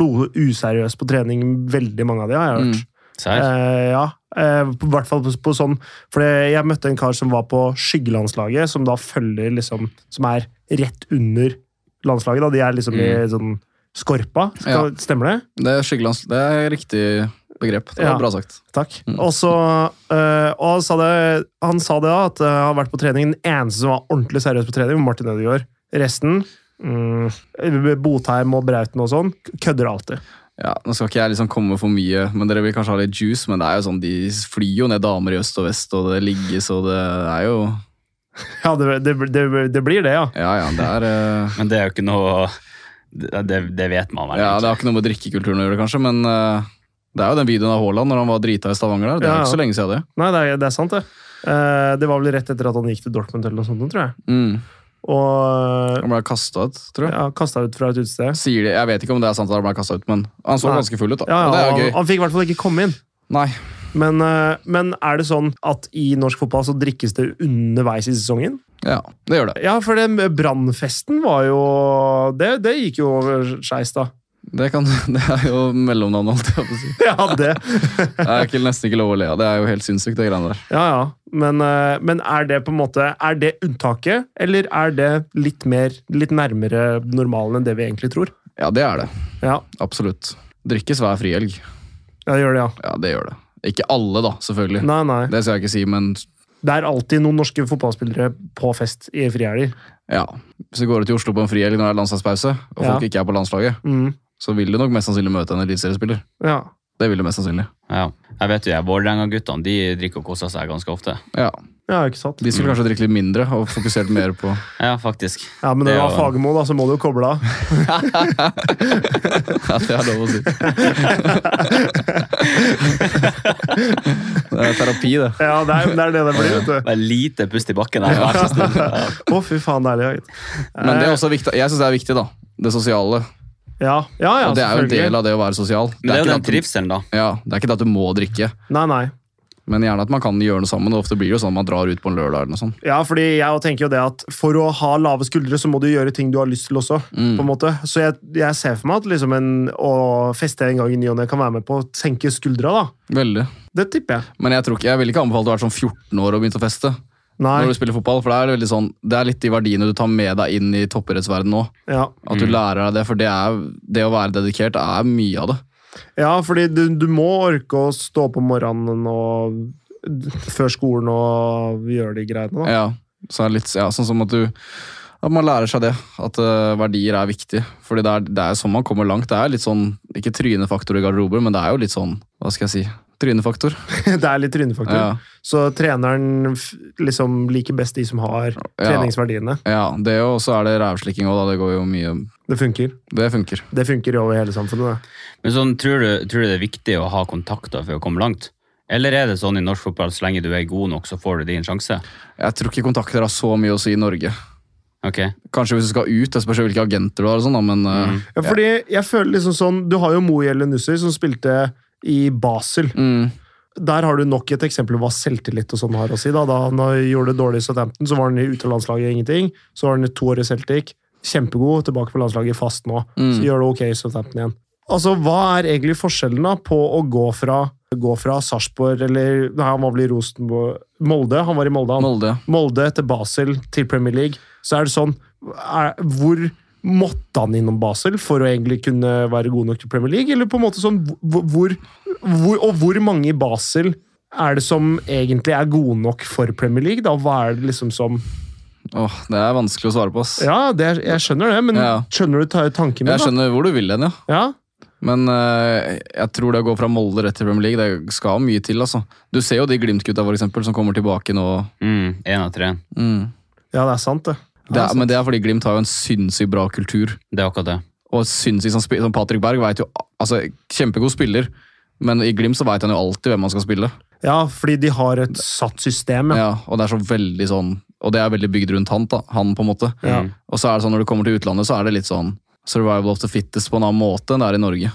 Speaker 1: bloduseriøs på trening, veldig mange av de har jeg hørt.
Speaker 2: Serr?
Speaker 1: Eh, ja, eh, på hvert fall på, på sånn For det- jeg møtte en kar som var på skyggelandslaget, som da følger liksom Som er rett under landslaget, da. De er liksom
Speaker 2: Mm.
Speaker 1: i sånn skorpa. Skal, Stemmer det?
Speaker 3: Det er, skyggelands- det er riktig begrep. Det var
Speaker 1: Ja.
Speaker 3: bra sagt.
Speaker 1: Takk. Og så eh, og han sa det, han sa det da, at eh, han har vært på trening. Den eneste som var ordentlig seriøs på trening, var Martin Ødegaard. Resten mm, Botheim og Brauten og sånn kødder alltid.
Speaker 3: Ja, Nå skal ikke jeg liksom komme for mye, men dere vil kanskje ha litt juice. Men det er jo sånn, de flyr jo ned damer i øst og vest, og det ligges, og det er jo
Speaker 1: Ja, det, det, det, det blir det, ja.
Speaker 3: Ja, ja, det er eh,
Speaker 2: Men det er jo ikke noe Det, det, det vet man vel.
Speaker 3: Ja, Det
Speaker 2: egentlig.
Speaker 3: har ikke noe med drikkekulturen å gjøre, kanskje, men eh, det er jo den videoen av Haaland når han var drita i Stavanger der. Det er
Speaker 1: Ja,
Speaker 3: jo ikke
Speaker 1: ja.
Speaker 3: så lenge siden, det.
Speaker 1: Nei, det er, det er sant, det. Eh, det var vel rett etter at han gikk til Dortmund, eller noe sånt, tror jeg.
Speaker 3: Mm.
Speaker 1: Og eh,
Speaker 3: Han ble kasta ut, tror jeg.
Speaker 1: ja, kasta ut fra et utested.
Speaker 3: Sier de, Jeg vet ikke om det er sant at han ble kasta ut, men han så
Speaker 1: Nei.
Speaker 3: ganske full ut, da.
Speaker 1: Ja,
Speaker 3: og
Speaker 1: ja,
Speaker 3: det er
Speaker 1: han,
Speaker 3: jo gøy.
Speaker 1: han fikk i hvert fall ikke komme inn.
Speaker 3: Nei.
Speaker 1: Men, eh, men er det sånn at i norsk fotball så drikkes det underveis i sesongen?
Speaker 3: Ja, det gjør det.
Speaker 1: Ja, for den brannfesten var jo Det, det gikk jo over skeis, da.
Speaker 3: Det, kan, det er jo mellomnavnet, holdt jeg på å si.
Speaker 1: Ja, det.
Speaker 3: Det er ikke, nesten ikke lov å le av. Det er jo helt sinnssykt, det greiene der.
Speaker 1: Ja, ja. Men, eh, men er det på en måte Er det unntaket, eller er det litt mer Litt nærmere normalen enn det vi egentlig tror?
Speaker 3: Ja, det er det.
Speaker 1: Ja,
Speaker 3: Absolutt. Drikkes hver frihelg.
Speaker 1: ja det gjør det, ja.
Speaker 3: Ja, det gjør det. Ikke alle, da, selvfølgelig.
Speaker 1: Nei, nei.
Speaker 3: Det skal jeg ikke si, men
Speaker 1: Det er alltid noen norske fotballspillere på fest i frihelger.
Speaker 3: ja. Hvis du går ut til Oslo på en frihelg når det er landslagspause, og folk
Speaker 1: Ja.
Speaker 3: ikke er på landslaget,
Speaker 1: Mm.
Speaker 3: så vil du nok mest sannsynlig møte en eliteseriespiller.
Speaker 1: Ja.
Speaker 3: Det vil du mest sannsynlig.
Speaker 2: Ja. Jeg vet jo, jeg, Vålerenga-guttene de drikker og koser seg ganske ofte.
Speaker 3: Ja.
Speaker 1: ja, ikke sant?
Speaker 3: De skulle kanskje drikke litt mindre og fokusert mer på
Speaker 2: Ja, faktisk.
Speaker 1: Ja, Men når
Speaker 2: Det
Speaker 1: det
Speaker 2: er
Speaker 1: var
Speaker 2: jo-
Speaker 1: Fagermo, da, så må du jo koble av.
Speaker 3: Ja, det er lov å si. Det er terapi, det.
Speaker 1: Ja, det er det er det, det blir, vet du.
Speaker 2: Det er lite pust i bakken her. vær så snill. Ja.
Speaker 1: Å, fy faen, deilig. Eh,
Speaker 3: Men det er også viktig, jeg syns det er viktig, da. Det sosiale.
Speaker 1: Ja, ja, ja
Speaker 3: Og det er jo en
Speaker 1: selvfølgelig.
Speaker 3: del av det å være sosial.
Speaker 2: Men det er jo
Speaker 3: ikke
Speaker 2: den
Speaker 3: det at
Speaker 2: trivselen, da.
Speaker 3: du- ja, det er ikke det at du må drikke,
Speaker 1: Nei, nei.
Speaker 3: men gjerne at man kan gjøre noe sammen. og Ofte blir det jo sånn at man drar ut på en lørdag eller noe sånt.
Speaker 1: Ja, fordi jeg jo tenker jo det at for å ha lave skuldre, så må du gjøre ting du har lyst til også.
Speaker 3: Mm.
Speaker 1: på en måte. Så jeg, jeg ser for meg at liksom en, å feste en gang i ny og ne kan være med på å senke skuldra, da.
Speaker 3: Veldig.
Speaker 1: Det tipper jeg.
Speaker 3: Men jeg, tror ikke, jeg vil ikke anbefale deg å være sånn 14 år og begynne å feste. Når
Speaker 1: Nei.
Speaker 3: du spiller fotball, for det er, veldig sånn, det er litt de verdiene du tar med deg inn i toppidrettsverdenen nå.
Speaker 1: Ja,
Speaker 3: At du lærer deg det, for det, er, det å være dedikert er mye av det.
Speaker 1: ja fordi du, du må orke å stå opp om morgenen og før skolen og gjøre de greiene, da.
Speaker 3: Ja, så er det litt, ja, sånn som at du at man lærer seg det, at eh, verdier er viktig. Fordi det er, det er sånn man kommer langt. Det er litt sånn, ikke trynefaktor i garderoben, men det er jo litt sånn, hva skal jeg si, trynefaktor.
Speaker 1: Det er litt trynefaktor.
Speaker 3: Ja.
Speaker 1: Så treneren f- liksom liker best de som har
Speaker 3: Ja.
Speaker 1: treningsverdiene.
Speaker 3: Ja, det er jo, og så er det rævslikking òg, da. Det går jo mye
Speaker 1: Det funker.
Speaker 3: Det funker.
Speaker 1: Det funker over hele samfunnet. Det.
Speaker 2: Men sånn, tror, du, tror du det er viktig å ha kontakter for å komme langt? Eller er det sånn i norsk fotball så lenge du er god nok, så får du din sjanse?
Speaker 3: Jeg tror ikke kontakter har så mye å si i Norge.
Speaker 2: Ok,
Speaker 3: Kanskje hvis du skal ut, jeg spørs jo hvilke agenter du har, og sånn, da, men eh,
Speaker 1: Ja, fordi jeg føler liksom sånn, Du har jo Moel Nusser, som spilte i Basel.
Speaker 3: mm,
Speaker 1: Der har du nok et eksempel på hva selvtillit og sånn har å si. Da, da han gjorde det dårlig i Southampton, så var han i utenlandslaget ingenting. Så var han i to år i Celtic. Kjempegod, tilbake på landslaget fast nå. Så gjør det ok i Southampton igjen. Altså, Hva er egentlig forskjellen da på å gå fra, gå fra Sarpsborg eller nei, Han var vel i Rosenborg Molde? Han var i Molde, han.
Speaker 3: Molde.
Speaker 1: Molde til Basel til Premier League, så er det sånn er, Hvor måtte han innom Basel for å egentlig kunne være god nok til Premier League? Eller på en måte sånn hvor, hvor, hvor Og hvor mange i Basel er det som egentlig er gode nok for Premier League? da? Hva er det liksom som
Speaker 3: Åh, det er vanskelig å svare på, ass.
Speaker 1: Ja, det er, jeg skjønner det, men
Speaker 3: Ja.
Speaker 1: skjønner du ta- tanken min?
Speaker 3: Jeg
Speaker 1: da?
Speaker 3: skjønner hvor du vil hen, ja.
Speaker 1: Ja?
Speaker 3: Men eh, jeg tror det å gå fra Molde rett til Premier League, det skal mye til, altså. Du ser jo de Glimt-gutta, for eksempel, som kommer tilbake nå.
Speaker 2: mm, en av tre.
Speaker 3: Mm.
Speaker 1: ja, det er sant, det.
Speaker 3: Det er, men det er fordi Glimt har jo en sinnssykt bra kultur.
Speaker 2: Det er akkurat det.
Speaker 3: Og sinnssykt som, spi- som Patrick Berg vet jo Altså, kjempegod spiller, men i Glimt så veit han jo alltid hvem han skal spille.
Speaker 1: Ja, fordi de har et satt system. Ja.
Speaker 3: Ja, og det er så veldig sånn Og det er veldig bygd rundt han, da, han på en måte.
Speaker 1: Ja.
Speaker 3: Og så er det sånn når du kommer til utlandet, så er det litt sånn survival of the fittest på en annen måte enn det er i Norge.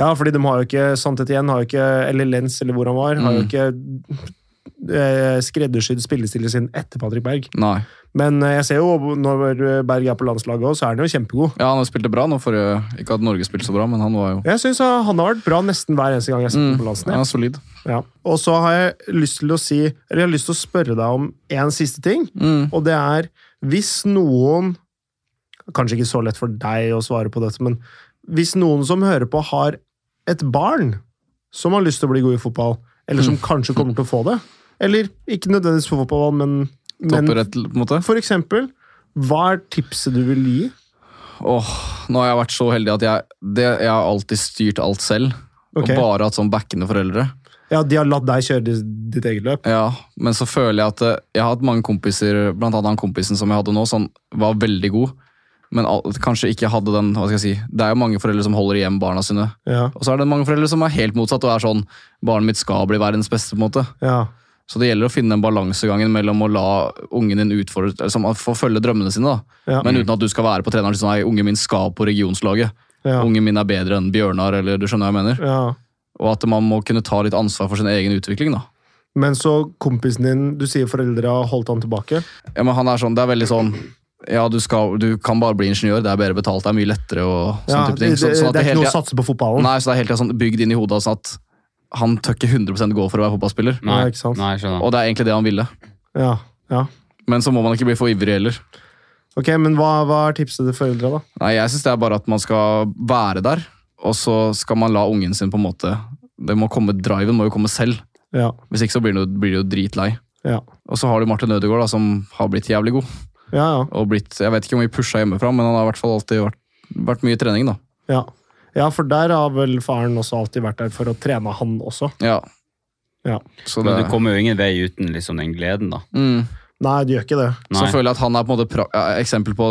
Speaker 1: Ja, fordi de har jo ikke Santet igjen, har jo ikke, eller Lens, eller hvor han var, har jo ikke eh, skreddersydd spillestilen sin etter Patrick Berg.
Speaker 3: Nei.
Speaker 1: Men eh, jeg ser jo når eh, Berg er på landslaget også, så er han jo kjempegod.
Speaker 3: Ja, han spilte bra nå forrige Ikke at Norge spilte så bra, men han var jo
Speaker 1: Jeg syns han har vært bra nesten hver eneste gang jeg har sett ham på
Speaker 3: ja,
Speaker 1: landslaget.
Speaker 3: solid.
Speaker 1: Ja. Og så har jeg lyst til å si, eller jeg har lyst til å spørre deg om en siste ting,
Speaker 3: Mm.
Speaker 1: og det er hvis noen Kanskje ikke så lett for deg å svare på dette, men hvis noen som hører på, har et barn som har lyst til å bli god i fotball, eller
Speaker 3: Mm.
Speaker 1: som kanskje kommer til å få det, eller ikke nødvendigvis for fotball, men, men
Speaker 3: Topper rett, på en måte.
Speaker 1: for eksempel, hva er tipset du vil gi?
Speaker 3: Åh, nå har jeg vært så heldig at jeg, det, jeg har alltid styrt alt selv.
Speaker 1: Ok.
Speaker 3: Og bare hatt sånn backende foreldre.
Speaker 1: Ja, de har latt deg kjøre ditt, ditt eget løp.
Speaker 3: Ja, Men så føler jeg at eh, jeg har hatt mange kompiser, blant annet han kompisen som jeg hadde nå, som var veldig god, men al- kanskje ikke hadde den hva skal jeg si, Det er jo mange foreldre som holder igjen barna sine.
Speaker 1: Ja,
Speaker 3: Og så er det mange foreldre som er helt motsatt og er sånn Barnet mitt skal bli verdens beste. på en måte.
Speaker 1: ja,
Speaker 3: Så det gjelder å finne den balansegangen mellom å la ungen din utfordre, eller som- få følge drømmene sine, da.
Speaker 1: ja,
Speaker 3: men uten at du skal være på treneren sånn, nei, ungen min skal på regionslaget.
Speaker 1: ja,
Speaker 3: Ungen min er bedre enn Bjørnar, eller du skjønner hva jeg mener.
Speaker 1: ja.
Speaker 3: Og at man må kunne ta litt ansvar for sin egen utvikling, da.
Speaker 1: Men så kompisen din, du sier foreldre har holdt han tilbake.
Speaker 3: Ja, men han er sånn, det er veldig sånn ja, du, skal, du kan bare bli ingeniør, det er bedre betalt, det er mye lettere og sånn
Speaker 1: Ja,
Speaker 3: type ting.
Speaker 1: det,
Speaker 3: Så,
Speaker 1: det,
Speaker 3: sånn at
Speaker 1: det er ikke
Speaker 3: hele
Speaker 1: noe å
Speaker 3: tida-
Speaker 1: satse på fotballen.
Speaker 3: Nei, så det er hele tiden sånn bygd inn i hodet sånn at han tør ikke 100 gå for å være fotballspiller.
Speaker 2: Nei,
Speaker 1: Ja, ikke sant?
Speaker 2: nei jeg skjønner.
Speaker 3: Og det er egentlig det han ville.
Speaker 1: Ja, ja.
Speaker 3: Men så må man ikke bli for ivrig heller.
Speaker 1: Ok, men hva, hva er tipset til foreldre, da?
Speaker 3: Nei, jeg synes det er bare at man skal være der, og så skal man la ungen sin på en måte det må komme, Driven må jo komme selv,
Speaker 1: Ja,
Speaker 3: hvis ikke så blir du, blir du dritlei.
Speaker 1: ja,
Speaker 3: Og så har du Martin Ødegaard, da, som har blitt jævlig god.
Speaker 1: ja. ja.
Speaker 3: Og blitt, Jeg vet ikke om vi pusha hjemmefra, men han har i hvert fall alltid vært, vært mye i trening. da.
Speaker 1: Ja. ja, for der har vel faren også alltid vært der for å trene han også.
Speaker 3: Ja.
Speaker 1: Ja.
Speaker 3: Så, det,
Speaker 2: Men du kommer jo ingen vei uten liksom den gleden, da.
Speaker 3: mm,
Speaker 1: Nei, det gjør ikke det.
Speaker 3: så
Speaker 2: Nei.
Speaker 3: føler jeg at han er på en måte pra ja, eksempel på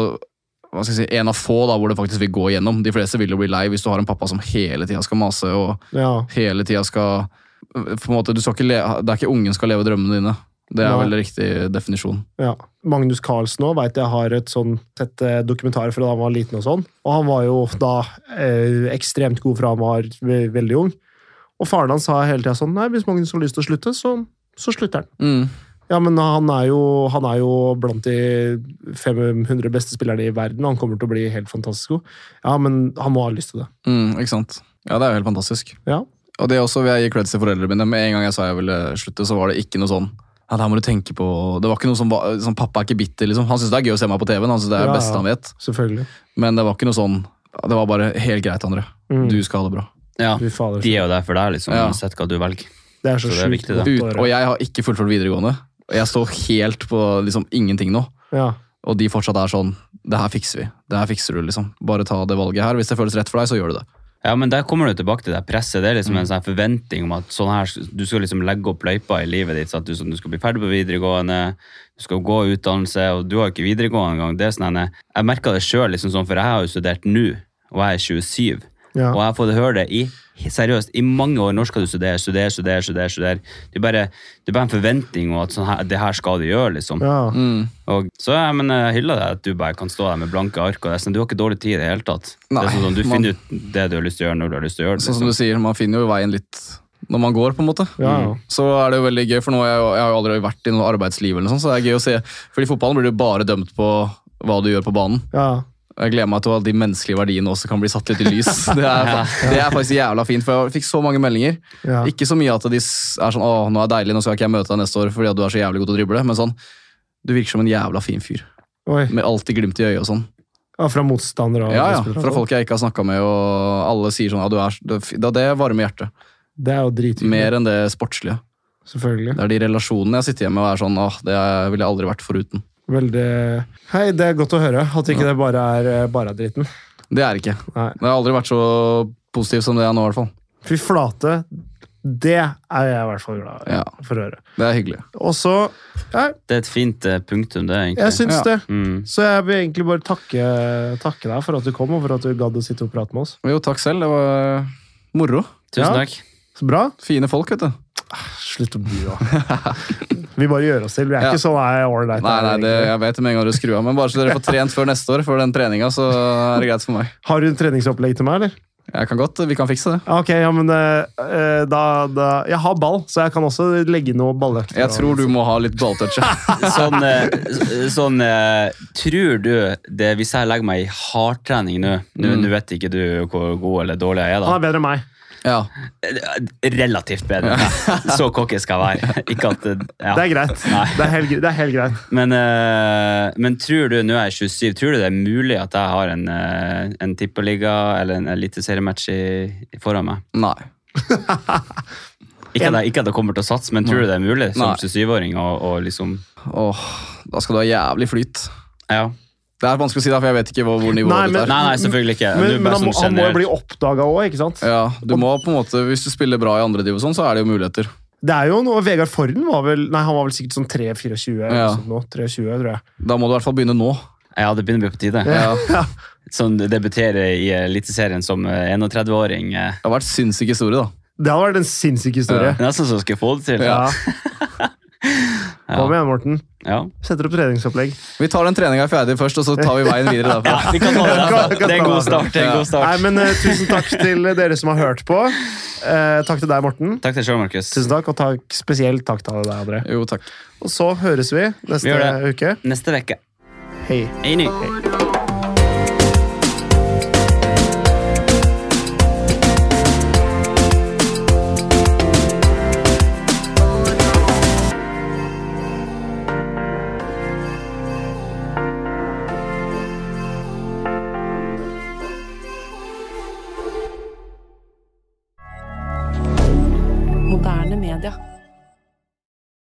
Speaker 3: hva skal jeg si, en av få da, hvor det faktisk vil gå igjennom. De fleste vil jo bli lei hvis du har en pappa som hele tida skal mase. og
Speaker 1: Ja,
Speaker 3: hele tida skal på en måte, du skal ikke le, Det er ikke ungen skal leve drømmene dine. Det er
Speaker 1: Nei.
Speaker 3: veldig riktig definisjon.
Speaker 1: ja. Magnus Carlsen òg veit jeg har et sånn tett eh, dokumentar fra da han var liten og sånn. Og han var jo da eh, ekstremt god fra han var ve veldig ung. Og faren hans sa hele tida sånn Nei, hvis Magnus har lyst til å slutte, så, så slutter han.
Speaker 3: Mm,
Speaker 1: Ja, men han er, jo, han er jo blant de 500 beste spillerne i verden. Han kommer til å bli helt fantastisk god. Ja, men han må ha lyst til det.
Speaker 3: Mm, ikke sant? Ja, det er jo helt fantastisk.
Speaker 1: Ja.
Speaker 3: Og det er også vil jeg gi creds til foreldrene mine. Med en gang jeg sa jeg ville slutte, så var det ikke noe sånn ja, det her må du tenke på. Det var ikke noe som var, sånn, Pappa er ikke bitter, liksom. Han syns det er gøy å se meg på TV-en. Han synes det er
Speaker 1: Ja,
Speaker 3: det beste
Speaker 1: ja.
Speaker 3: han vet.
Speaker 1: Selvfølgelig.
Speaker 3: Men det var ikke noe sånn ja, Det var bare helt greit, André.
Speaker 1: Mm.
Speaker 3: Du skal ha det bra.
Speaker 2: Ja,
Speaker 1: Fy fader.
Speaker 2: De er jo der for deg, liksom,
Speaker 3: Ja.
Speaker 2: uansett hva du velger.
Speaker 1: Det er så,
Speaker 2: Så det er
Speaker 1: sjukt
Speaker 2: viktig, det.
Speaker 1: godt å
Speaker 3: Ut,
Speaker 1: høre.
Speaker 3: og jeg har ikke fullført videregående. Og Jeg står helt på liksom ingenting nå.
Speaker 1: Ja.
Speaker 3: og de fortsatt er sånn Det her fikser vi. Det her fikser du, liksom. Bare ta det valget her. Hvis det føles rett for deg, så gjør du det.
Speaker 2: Ja, men der kommer du tilbake til det presset. Det er liksom en sånn her forventning om at sånn her, du skal liksom legge opp løypa i livet ditt. sånn at du, sånn, du skal bli ferdig på videregående, du skal gå utdannelse, og du har ikke videregående engang. Det er sånn, her- jeg merker det sjøl, liksom sånn, for jeg har jo studert nå, og jeg er 27.
Speaker 1: Ja.
Speaker 2: Og jeg har fått høre det i seriøst, i mange år. Når skal du studere, studere, studere? studere, studere. Det, er bare, det er bare en forventning om at sånn her, det her skal du gjøre. liksom.
Speaker 1: Ja.
Speaker 2: Og, så ja, men jeg hyller deg at du bare kan stå der med blanke ark. og det er sånn, Du har ikke dårlig tid i det hele tatt. det
Speaker 3: Nei,
Speaker 2: er sånn, sånn, Du
Speaker 3: man-
Speaker 2: finner ut det du har lyst til å gjøre, når du har lyst til å gjøre det. liksom.
Speaker 3: Sånn som du sier, man finner jo veien litt når man går, på en måte. Mm.
Speaker 1: Ja, ja.
Speaker 3: Så er det jo veldig gøy, for nå har jeg, jo- jeg har jo aldri vært i noe arbeidsliv, eller noe sånt, så det er gøy å se. For i fotballen blir du bare dømt på hva du gjør på banen.
Speaker 1: ja.
Speaker 3: Jeg gleder meg til at de menneskelige verdiene også kan bli satt litt i lys. Det er, fa- det er faktisk jævla fint, for jeg fikk så mange meldinger.
Speaker 1: Ja.
Speaker 3: Ikke så mye at de s- er sånn 'Å, nå er det deilig, nå skal ikke jeg møte deg neste år fordi at du er så jævlig god til å drible', men sånn Du virker som en jævla fin fyr.
Speaker 1: Oi.
Speaker 3: Med alltid glimt i øyet og sånn.
Speaker 1: Ja, fra motstandere og
Speaker 3: Ja, ja.
Speaker 1: spillere.
Speaker 3: Fra folk jeg ikke har snakka med, og alle sier sånn 'Ja, du er så- du er fi- Da det varmer hjertet.
Speaker 1: Det er jo drithyggelig.
Speaker 3: Mer enn det sportslige.
Speaker 1: Selvfølgelig.
Speaker 3: Det er de relasjonene jeg sitter hjemme og er sånn åh, det er- ville jeg aldri vært foruten.
Speaker 1: Veldig Hei, det er godt å høre at ikke det bare er, eh, bare er dritten.
Speaker 3: Det er ikke.
Speaker 1: Nei.
Speaker 3: Det har aldri vært så positiv som det er nå, i hvert fall.
Speaker 1: Fy flate. Det er jeg i hvert fall glad
Speaker 3: Ja.
Speaker 1: for å høre.
Speaker 3: Det er hyggelig.
Speaker 1: Og så ja,
Speaker 2: Det er et fint eh, punktum, det, egentlig.
Speaker 1: Jeg syns
Speaker 3: Ja.
Speaker 1: det.
Speaker 2: Mm.
Speaker 1: Så jeg vil egentlig bare takke, takke deg for at du kom, og for at du gadd å sitte og prate med oss.
Speaker 3: Jo, takk selv. Det var eh, moro.
Speaker 2: Tusen
Speaker 1: Ja.
Speaker 2: takk.
Speaker 1: Så bra.
Speaker 3: Fine folk, vet du.
Speaker 1: Slutt å bu, da. Vi bare gjør oss til. Vi er
Speaker 3: Ja.
Speaker 1: ikke sånn nei, all right.
Speaker 3: Nei, nei, det,
Speaker 1: egentlig.
Speaker 3: jeg vet det med en gang du skrur av, men bare så dere får trent før neste år, før den treninga, så er det greit for meg.
Speaker 1: Har du en treningsopplegg til meg, eller?
Speaker 3: Jeg kan godt, vi kan fikse det.
Speaker 1: Ja, Ok, ja, men eh, eh, da, da Jeg har ball, så jeg kan også legge noe balløkter.
Speaker 3: Jeg tror du må ha litt balltouch. ja.
Speaker 2: Sånn, eh, s- sånn eh, Tror du det Hvis jeg legger meg i hardtrening nå Nå
Speaker 1: Mm.
Speaker 2: nå vet ikke du hvor god eller dårlig jeg er,
Speaker 1: Han er bedre enn meg.
Speaker 3: Ja.
Speaker 2: da. Relativt bedre. Så cocky skal jeg være. Ikke at eh, ja.
Speaker 1: Det er greit. Det er helt, gre- det er helt greit.
Speaker 2: Men, eh, men tror du, nå er jeg 27, tror du det er mulig at jeg har en, eh, en tippeliga eller en eliteseriematch i, i foran meg?
Speaker 3: Nei.
Speaker 2: Ikke at, jeg, ikke at jeg kommer til å satse, men tror du det er mulig som
Speaker 3: Nei.
Speaker 2: 27-åring å å liksom
Speaker 3: Åh, da skal du ha jævlig flyt.
Speaker 2: Ja.
Speaker 3: Det er vanskelig å si, da, for jeg vet ikke hvor, hvor
Speaker 1: Nei,
Speaker 3: nivået ditt
Speaker 1: men-
Speaker 3: er.
Speaker 2: Nei, nei, selvfølgelig ikke.
Speaker 1: Men,
Speaker 2: Nå
Speaker 1: men
Speaker 2: bare
Speaker 1: han, må,
Speaker 2: sånn
Speaker 1: han må jo
Speaker 2: generelt.
Speaker 1: bli oppdaga òg, ikke sant?
Speaker 3: Ja, du må på en måte, Hvis du spiller bra i andre div, og sånn, så er det jo muligheter.
Speaker 1: Det er jo noe, Vegard Forhen var vel Nei, han var vel sikkert sånn 3-24 eller
Speaker 3: Ja.
Speaker 1: noe sånt nå. 23, tror jeg.
Speaker 3: Da må du i hvert fall begynne nå.
Speaker 2: Ja, det begynner å bli på tide.
Speaker 3: Ja.
Speaker 2: Sånn debutere i Eliteserien som eh, 31-åring. eh.
Speaker 3: Det har vært sinnssyk historie, da.
Speaker 1: Det hadde vært en sinnssyk historie.
Speaker 2: Det er Nesten så jeg skulle få det til.
Speaker 1: Ja. Hva
Speaker 2: Ja.
Speaker 1: med Morten?
Speaker 2: Ja.
Speaker 1: Setter opp treningsopplegg.
Speaker 3: Vi tar den treninga i fjerde div først, og så tar vi veien videre
Speaker 2: ja,
Speaker 3: derfra.
Speaker 2: vi kan ta det derfra. Det er en god start. Det er en god
Speaker 1: Nei,
Speaker 2: start.
Speaker 1: men eh, Tusen takk til dere som har hørt på. Eh, takk til deg, Morten.
Speaker 2: Takk til sjøl, Markus.
Speaker 1: Tusen takk, Og takk, spesielt takk til deg, André.
Speaker 3: Jo, takk.
Speaker 1: Og så høres vi
Speaker 2: Vi
Speaker 1: neste
Speaker 2: gjør det.
Speaker 1: uke.
Speaker 2: Neste uke.
Speaker 1: Hei.
Speaker 2: Hei nå.
Speaker 4: Moderne media.